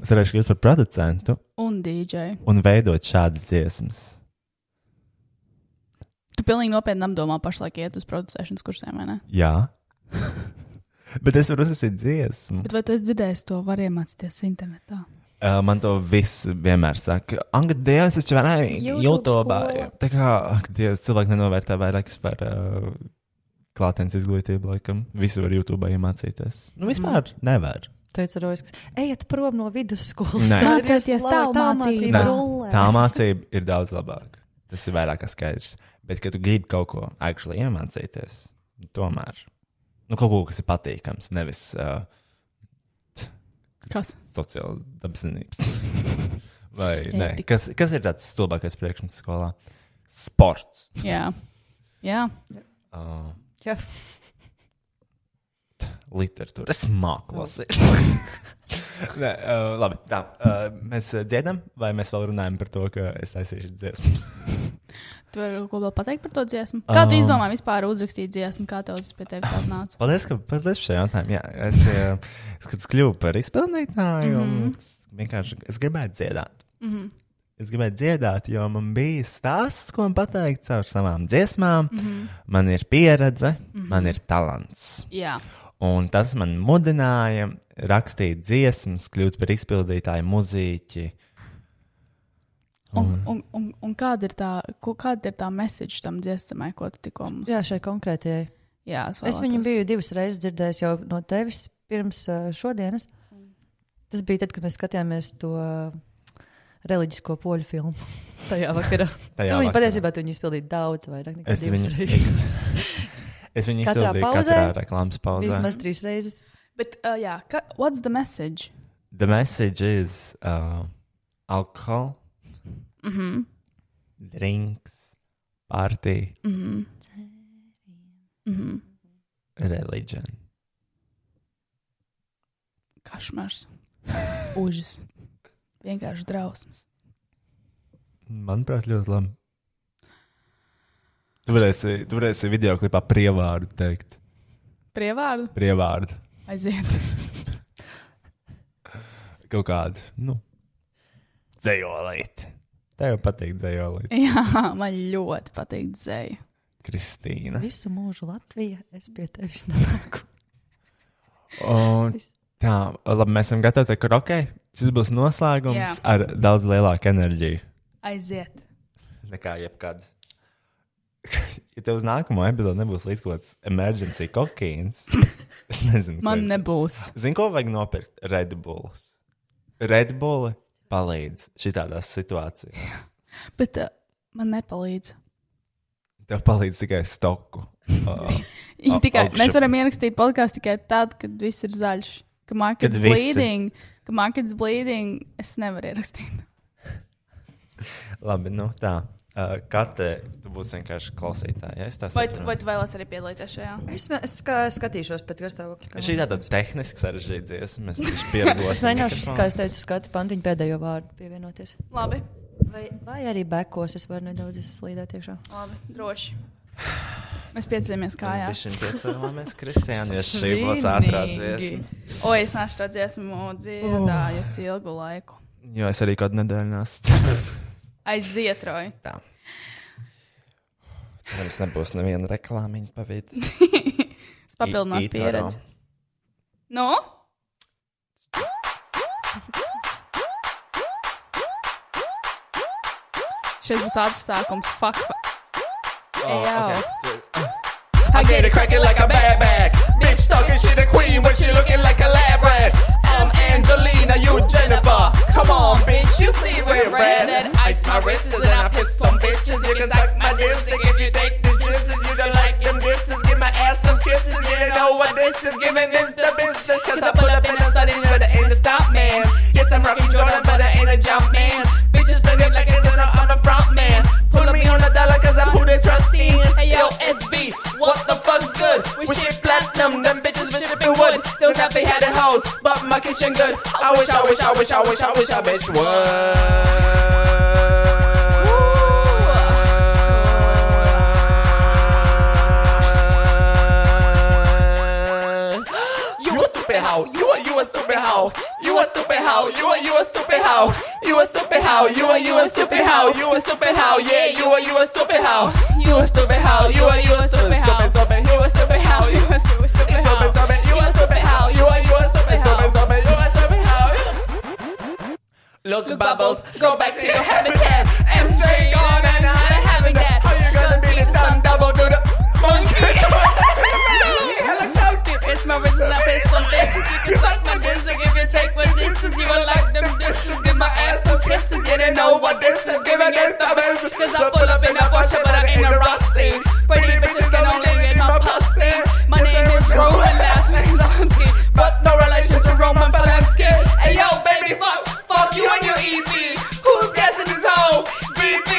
Es varēšu kļūt par producentu Un DJ. un veidot šādas dziesmas. Tu pilnīgi nopietni apdomā pašlaik iet uz producēšanas kursiem, vai ne? Jā, bet es varu uzsākt dziesmu. Bet vai tu esi dzirdējis to, var iemācīties internetā? Uh, man to viss vienmēr saka, Angļu dievs, taču vairāk YouTube YouTube. skola. Tā kā ak, dievs, cilvēki nenovērtē vairākas par uh, klātienes izglītību, laikam. Visu var YouTube iemācīties. Nu, vispār mm. nevar. Teica Roiskas, ejiet prom no vidusskolas. Nē. Tā ir Mācieties vislabāk, tā tālmācību. mācība Nē. rullē. Tā mācība ir daudz labāka. Tas ir vairāk kā skaidrs. Bet, kad tu gribi kaut ko actually iemācīties, tomēr nu, kaut ko, kas ir patīkams, nevis uh, Kas? sociāls dabasnības. Vai nē, Ētika. kas, kas ir tāds stulbākais priekšmets skolā? Sports. Jā. Jā. Uh, Jā. Literatūra. Es māklos. ir. Nē, uh, labi. Tā, uh, mēs uh, dziedam, vai mēs vēl runājam par to, ka es taisīšu dziesmu? Tu vari ko vēl pateikt par to dziesmu? Kā tu Um. izdomā vispār uzrakstīt dziesmu, kā tev tas pie tevis atnāca? Paldies, ka paldies par šo jautājumu. Jā, es, eh, es kad es kļuvu par izpildītāju, mm -hmm. es vienkārši es gribēju dziedāt. Mm Mhm. -hmm. Es gribēju dziedāt, jo man bija stāsts, ko man pateikt caur savām dziesmām. Mm Mhm. -hmm. Man ir pieredze, mm -hmm. man ir talants. Jā. Un tas man mudināja rakstīt dziesmas, kļūt par izpildītāju, mūziķi. Um. Un, un, un, un kāda ir tā, ko, kāda ir tā message tam dziesmai, ko tu tikko mums Jā, šai konkrētajai. Jā, es, Es viņu biju divas reizes dzirdējis jau no tevis pirms ā, šodienas. Tas bija tad, kad mēs skatījāmies to eh, reliģisko poļu filmu. Tajā vakarā. Tajā Tur viņi vakarā. patiesībā tu viņu izpildīja daudz vairāk nekā Es divas viņu- reizes. Es viņu Katrā izpildīju pauzē? katrā reklāmas pauzē. Vismaz trīs reizes. Bet, uh, jā, ka, what's the message? The message is uh, alcohol, drinks, party, religion. Kašmars, užas, vienkārši drausmas. Manuprāt, ļoti labi. Tu varēsi, tu varēsi video klipā prievārdu teikt. Prievārdu Prievārdu aiziet. kaut kādu, nu, dzējolīti. Tev patīk dzējolīti. jā, man ļoti patīk dzēja. Kristīna. Visu mūžu Latvijā es pie tevis nāku. Un, tā, labi, mēs esam gatavi teikt, ka ok, šis būs noslēgums Jā. ar daudz lielāku enerģiju Aiziet. nekā jebkad. Ja tev uz nākamo epizodu nebūs līdz kaut kāds emergency kokaīns, es nezinu, ko Man es- nebūs. Zini, ko vajag nopirkt? Redbulls. Redbulli palīdz šitādās situācijās. Bet uh, man nepalīdz. Tev palīdz tikai stoku. Uh, Ja Au- Tikai, augšup. mēs varam ierakstīt podkāstu tikai tad, kad viss ir zaļš. Ka markets Kad visi. bleeding, ka markets bleeding, es nevaru ierakstīt. labi, nu tā. Uh, Kate, tu būsi vienkārši klausītāja. ja Es tā Vai tu, saprotu. vai tu vēlaties arī piedalīties šajā? Es, es kā, skatīšos pēc gastāvokļa. Šī tāda tehniski sarežģīta dziesma. Mēs taču pieredzējām. Es mēģināšu, kā es teicu, skatu pantiņu pēdējo vārdu pievienoties. Labi, Vai, vai arī bekos es varu nedaudz slīdēt iekšā. labi, droši. Mēs piedzīvamies kājās. Mēs piecēlāmies Kristijānā, ja šī būs ātrā dziesma. O, es nesu to dziesmu Oh. dziedājusi ilgu laiku. Jo es arī kādu nedēļu nāstu. Aizietroju. tā. Mums nebūs neviena reklāmiņa pavisam. Es papildināšu pieredzi. Nu? Šis būs ātrs sākums. Fuck. Oh, Jā. I get it cracking like a bad bag. Bitch talking shit a queen, but she looking like a lab rat. I'm Angelina, you Jennifer. Come on, bitch, you see we're red. And ice my wrists and I piss on bitches. You can suck my dick if you take the jizz. You don't like them disses. Give my ass some kisses. You don't know what this is. Giving this the business. Cause I pull up and I started, but I ain't a stop man. Yes, I'm rocking Jordan, but I ain't a jump man. Bitches play me like it's an I'm a front man. Pulling me on a dollar cause I'm who they trust in. Hey yo, SB, what the fuck's good? We shit platinum, them bitches for shipping wood. Those happy headed hoes, but my kitchen good. I wish, I wish, I wish, I wish, I wish I bitch would. You a stupid hoe. You a you a stupid hoe. You a stupid hoe. You a you a stupid hoe. You a stupid hoe. You a you a stupid hoe. You a stupid hoe. Yeah, you a you a stupid hoe. You a stupid hoe. You a you a stupid hoe. Stupid, stupid. You a stupid hoe. You a stupid stupid hoe. Stupid, stupid. You a stupid hoe. You a you a stupid stupid stupid. You a stupid hoe. Look, bubbles, go back to your habitat. MJ gone and I haven't that. How you gonna be the sun double do the monkey? Helicopter. It's my reason I pay some bitches. You can suck my business if you take what this is. You will like them Distance, give my ass some kisses. You didn't know what this is. Give it this the best. Cause I pull up in a Porsche, but I ain't a Rossi. Pretty bitches can only get my pussy. My name is Roman, last name's Auntie. But no relation to Roman Polanski. Hey yo, baby, fuck, fuck you and your EV. Who's guessing this hoe? VP.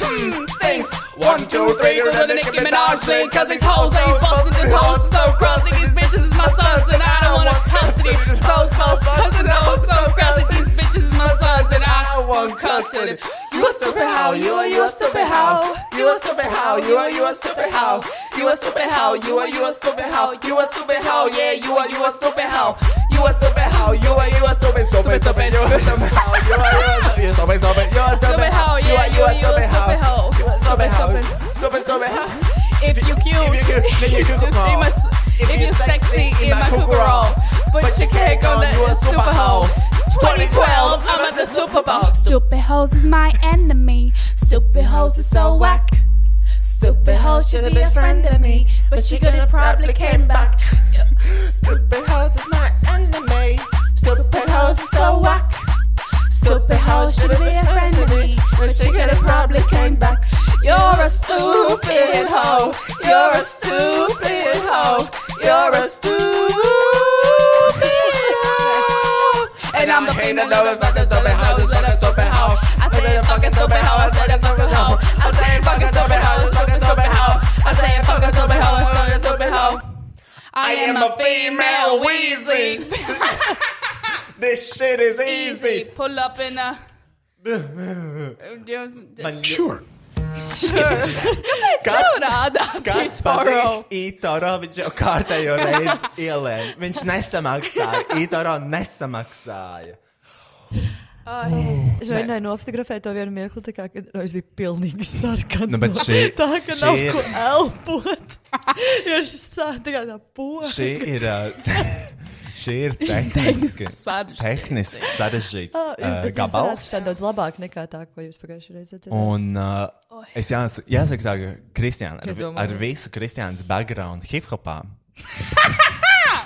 Hmm, thanks. One, two, three, to the Nicki Minaj thing. Cause these hoes ain't busting, this hoes so crossing. These bitches is my sons, and I don't want custody. Those hoes cussing, those so crossing. These bitches is my sons, and I don't want custody. You a stupid how, you are, you a stupid how. You a stupid how, you are, you a stupid how. You a stupid how, you are, you a stupid how. You a stupid how, yeah, you are, you a stupid how. You a stupid how, you are, you a stupid, stupid, stupid. You a stupid how, you are, you a stupid, stupid, stupid. You a stupid Stupid how, hoe, you yeah, are, you a you are, you a stupid how. stupid hoe. You a stupid Stupid, how. stupid. Stupid, stupid how. If you cute, If you cute, then you could just roll. in my, s- if, you sexy, in my cougar roll. But, you can't go that you a super super hoe. hoe. 2012, I'm at the Super Bowl. Stupid hoes is my enemy. Stupid hoes is so whack. Stupid hoe should've been a friend of me, but she gonna probably came back. Stupid hoes is my enemy. Stupid hoes is so whack. Stupid hoes should've been a friend of me, but she could've probably came back. You're a stupid hoe. You're a stupid hoe. You're a stupid hoe. And I'm a pain to love if I can stop it, how just let it stop it, how. I say it fucking stupid, how I say it stupid, how. I say it fucking stupid, how just fucking stupid, how. I say it fucking stupid, how I say it stupid, how. I am a female Wheezy. This shit is Easy. Pull up in a. Just, just, Sure. kāds rādās? Kāds pazīst Itoro, viņš jau kārtējo reizi ielēma. Viņš nesamaksāja. Itoro nesamaksāja. Es mēģināju nofotografēt to vienu mirkli, tā kā, kad Rojas bija pilnīgi sarkans. Nu, bet no- šī- tā kā nav šī ir- ko elpot. Jo šis tā tā kā tā poga. Šī ir. ā, Šī ir tehniski, sarežģīta. tehniski sarežģīts Ah, uh, bet jums gabals. sanāca tā daudz labāk nekā tā, ko jūs pagājušajā reizē dzirdējāt. Un Oh. uh, es jāsaka, jāsaka tā, ka Kristiāna ar, Es domāju. ar visu Kristiānas background hip hopā.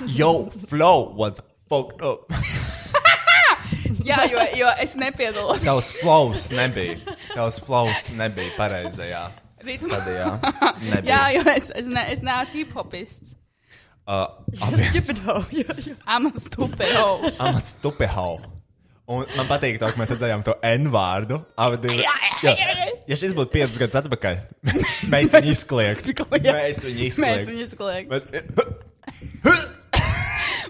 Yo, flow was fucked up. Jā, jo, jo es nepiedalos. Tavs flows nebija. Tavs flows nebija pareizajā Rīts- stadijā. Jā, Nebija. jo es, es, ne, es neesmu hip hopists. Uh, Jūs ķipit hau, jo, jo. I'm a stupid hoe. I'm a stupid hoe. Un e man patīk, to, ka mēs redzējām to N vārdu. Abi divi- Jā, jā, jā, jā. Ja šis būtu 5 gadus atpakaļ, mēs viņu izkliegtu. Mēs viņu Mēs viņu izkliegtu. izkliegam. Bet-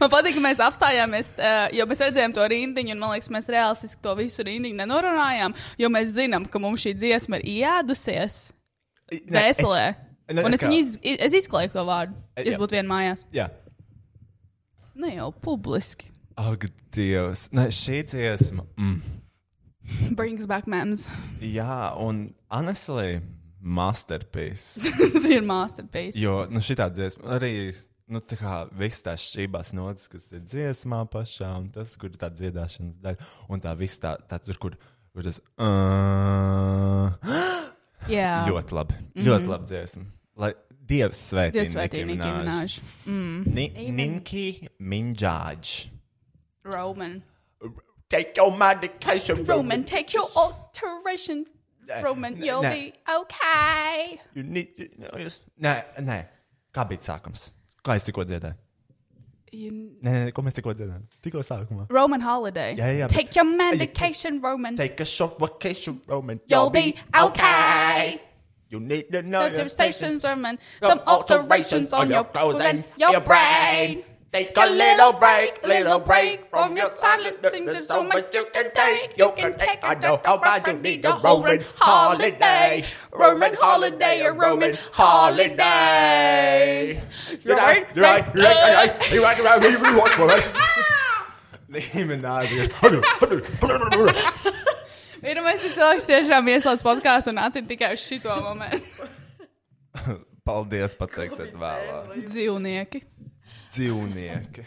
Man patīk, ka mēs apstājāmies, eh, jo mēs redzējām to rindiņu, un man liekas, mēs realistiski to visu rindiņu nenorunājām, jo mēs zinām, ka mums šī dziesma ir ieēdusies Nē, es- veselē. ne, Un es, kā- viņu iz, i- es izklāju to vārdu. Eh, Es jā. būtu vien mājās. Jā. Ne jau publiski. Ak, Dievs. Nē, šī dziesma. Mm. Brings back memes. Jā, un honestly, masterpiece. Tas ir masterpiece. Jo nu, šī dziesma arī nu, tā kā visas tās šķībās notis, kas ir dziesmā pašā, un tas, kur ir tā dziedāšanas daļa, un tā viss tā, tā tur, kur, kur tas uh, Jā. ļoti labi. Mm -hmm. Ļoti labi dziesma. Lai Dievs Mm-hmm. svētī. Dievs svētī, Nicki Minaj. Ni- Ninki Minjāģi. Roman. Take your medication, Roman, take your alteration. Roman, nē, you'll nē. be okay. You need, you know, yes. Nē, nē. Kā bija sākums? Kā es tikko dziedāju? You... Nē, nē, ko mēs tikko dziedājām? Tikko sākumā. Roman Holiday. Jā, jā, Take bet- your medication, Roman. Take a short vacation, Roman. You'll be okay. You need to Go know to your the station, Roman. Some Some alterations on your clothes and your brain. Take a little break, little break from your silencing. There's so much you can take. You can take a know how bad you need a Roman holiday. Roman holiday, a Roman holiday. You're right, you're right, you're right, you're right, you're right, you're right, you're right, you're right. Nicki Minaj ir- Pirmais ir cilvēks tiešām ieslēdz podkāstu un attiec tikai uz šito momentu. Paldies, pateiksiet vēlāk. Dzīvnieki. dzīvnieki.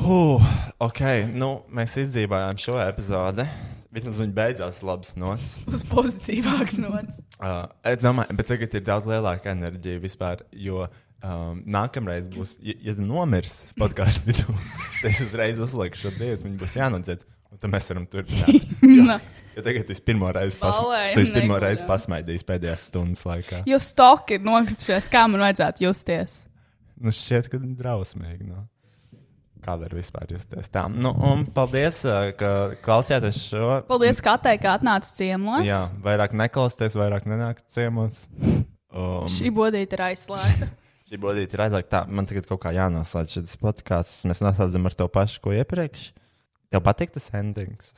Huh, ok, nu, mēs izdzīvojām šo epizodi. Vismaz viņa beidzās labs nots. Uz pozitīvāks nots. Uh, es domāju, bet tagad ir daudz lielāka enerģija vispār, jo um, nākamreiz būs, ja, ja tu nomirs podkāstu vidū, tad es uzreiz uzlieku šo dziesmu, viņa būs jānodzird. Un tad mēs varam turpināt. Jo, jo tagad es pirmo reizi Balējam pasmaidīju. Es pirmo neguļam. reizi pasmaidīju pēdējās stundas laikā. Jo stoki ir nokritušies, kā man vajadzētu justies. Nu, šķiet, ka drausmīgi. No. Kā var vispār justies tā? Nu, un paldies, ā, ka klausījāties šo. Paldies, Katē, ka atnāca ciemos. Jā, vairāk neklausties, vairāk nenākt ciemos. Um, Šī bodīte ir aizslēgta. šī bodīte ir aizliegta. Tā, Man tagad kaut kā jānoslēdz šis podkāsts. Mēs noslēdzam ar to pašu, ko iepriekš. Tev patīk tas endings?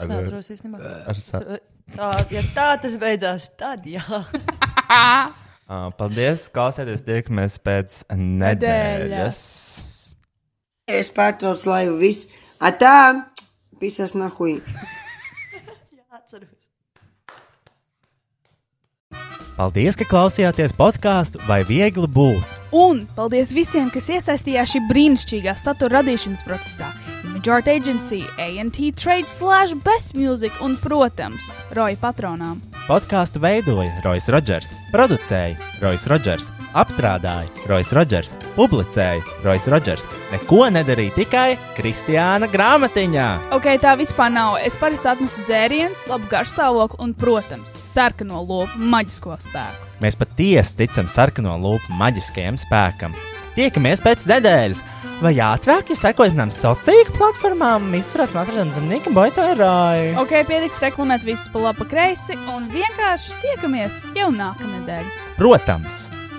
Es neatceros īstenībā. ar sa- Tā, ja tā tas beidzās, tad jā. Uh, paldies, klausieties, tiekamies pēc nedēļas. Es pārtraucu, viss atā, pisas nahui. Atceros. Paldies, ka klausījāties podkāstu vai viegli būt. Un paldies visiem, kas iesaistījās šī brīnišķīgā satura radīšanas procesā. Image Art Agency, ANT Trade, Slash Best Music un, protams, Roja patronām. Podkāstu veidoja Rois Rodžers, producēja Rois Rodžers, apstrādāja Rois Rodžers, publicēja Rois Rodžers. Neko nedarīja tikai Kristiāna grāmatiņā. Ok, tā vispār nav. Es parasti atnesu dzērienus, labu garšstāvokli un, protams, sarkano lopu maģisko spēku. Mēs patiesi ticam sarkano lupu maģiskajam spēkam. Tiekamies pēc nedēļas, vai ātrāk, ja sekojat mums sociālajām tīkla platformām, visurās matradienas zemnieka boitārāji. Ok, pietiks reklamēt visus pa labi, pa kreisi un vienkārši tiekamies jau nākamnedēļ. Protams!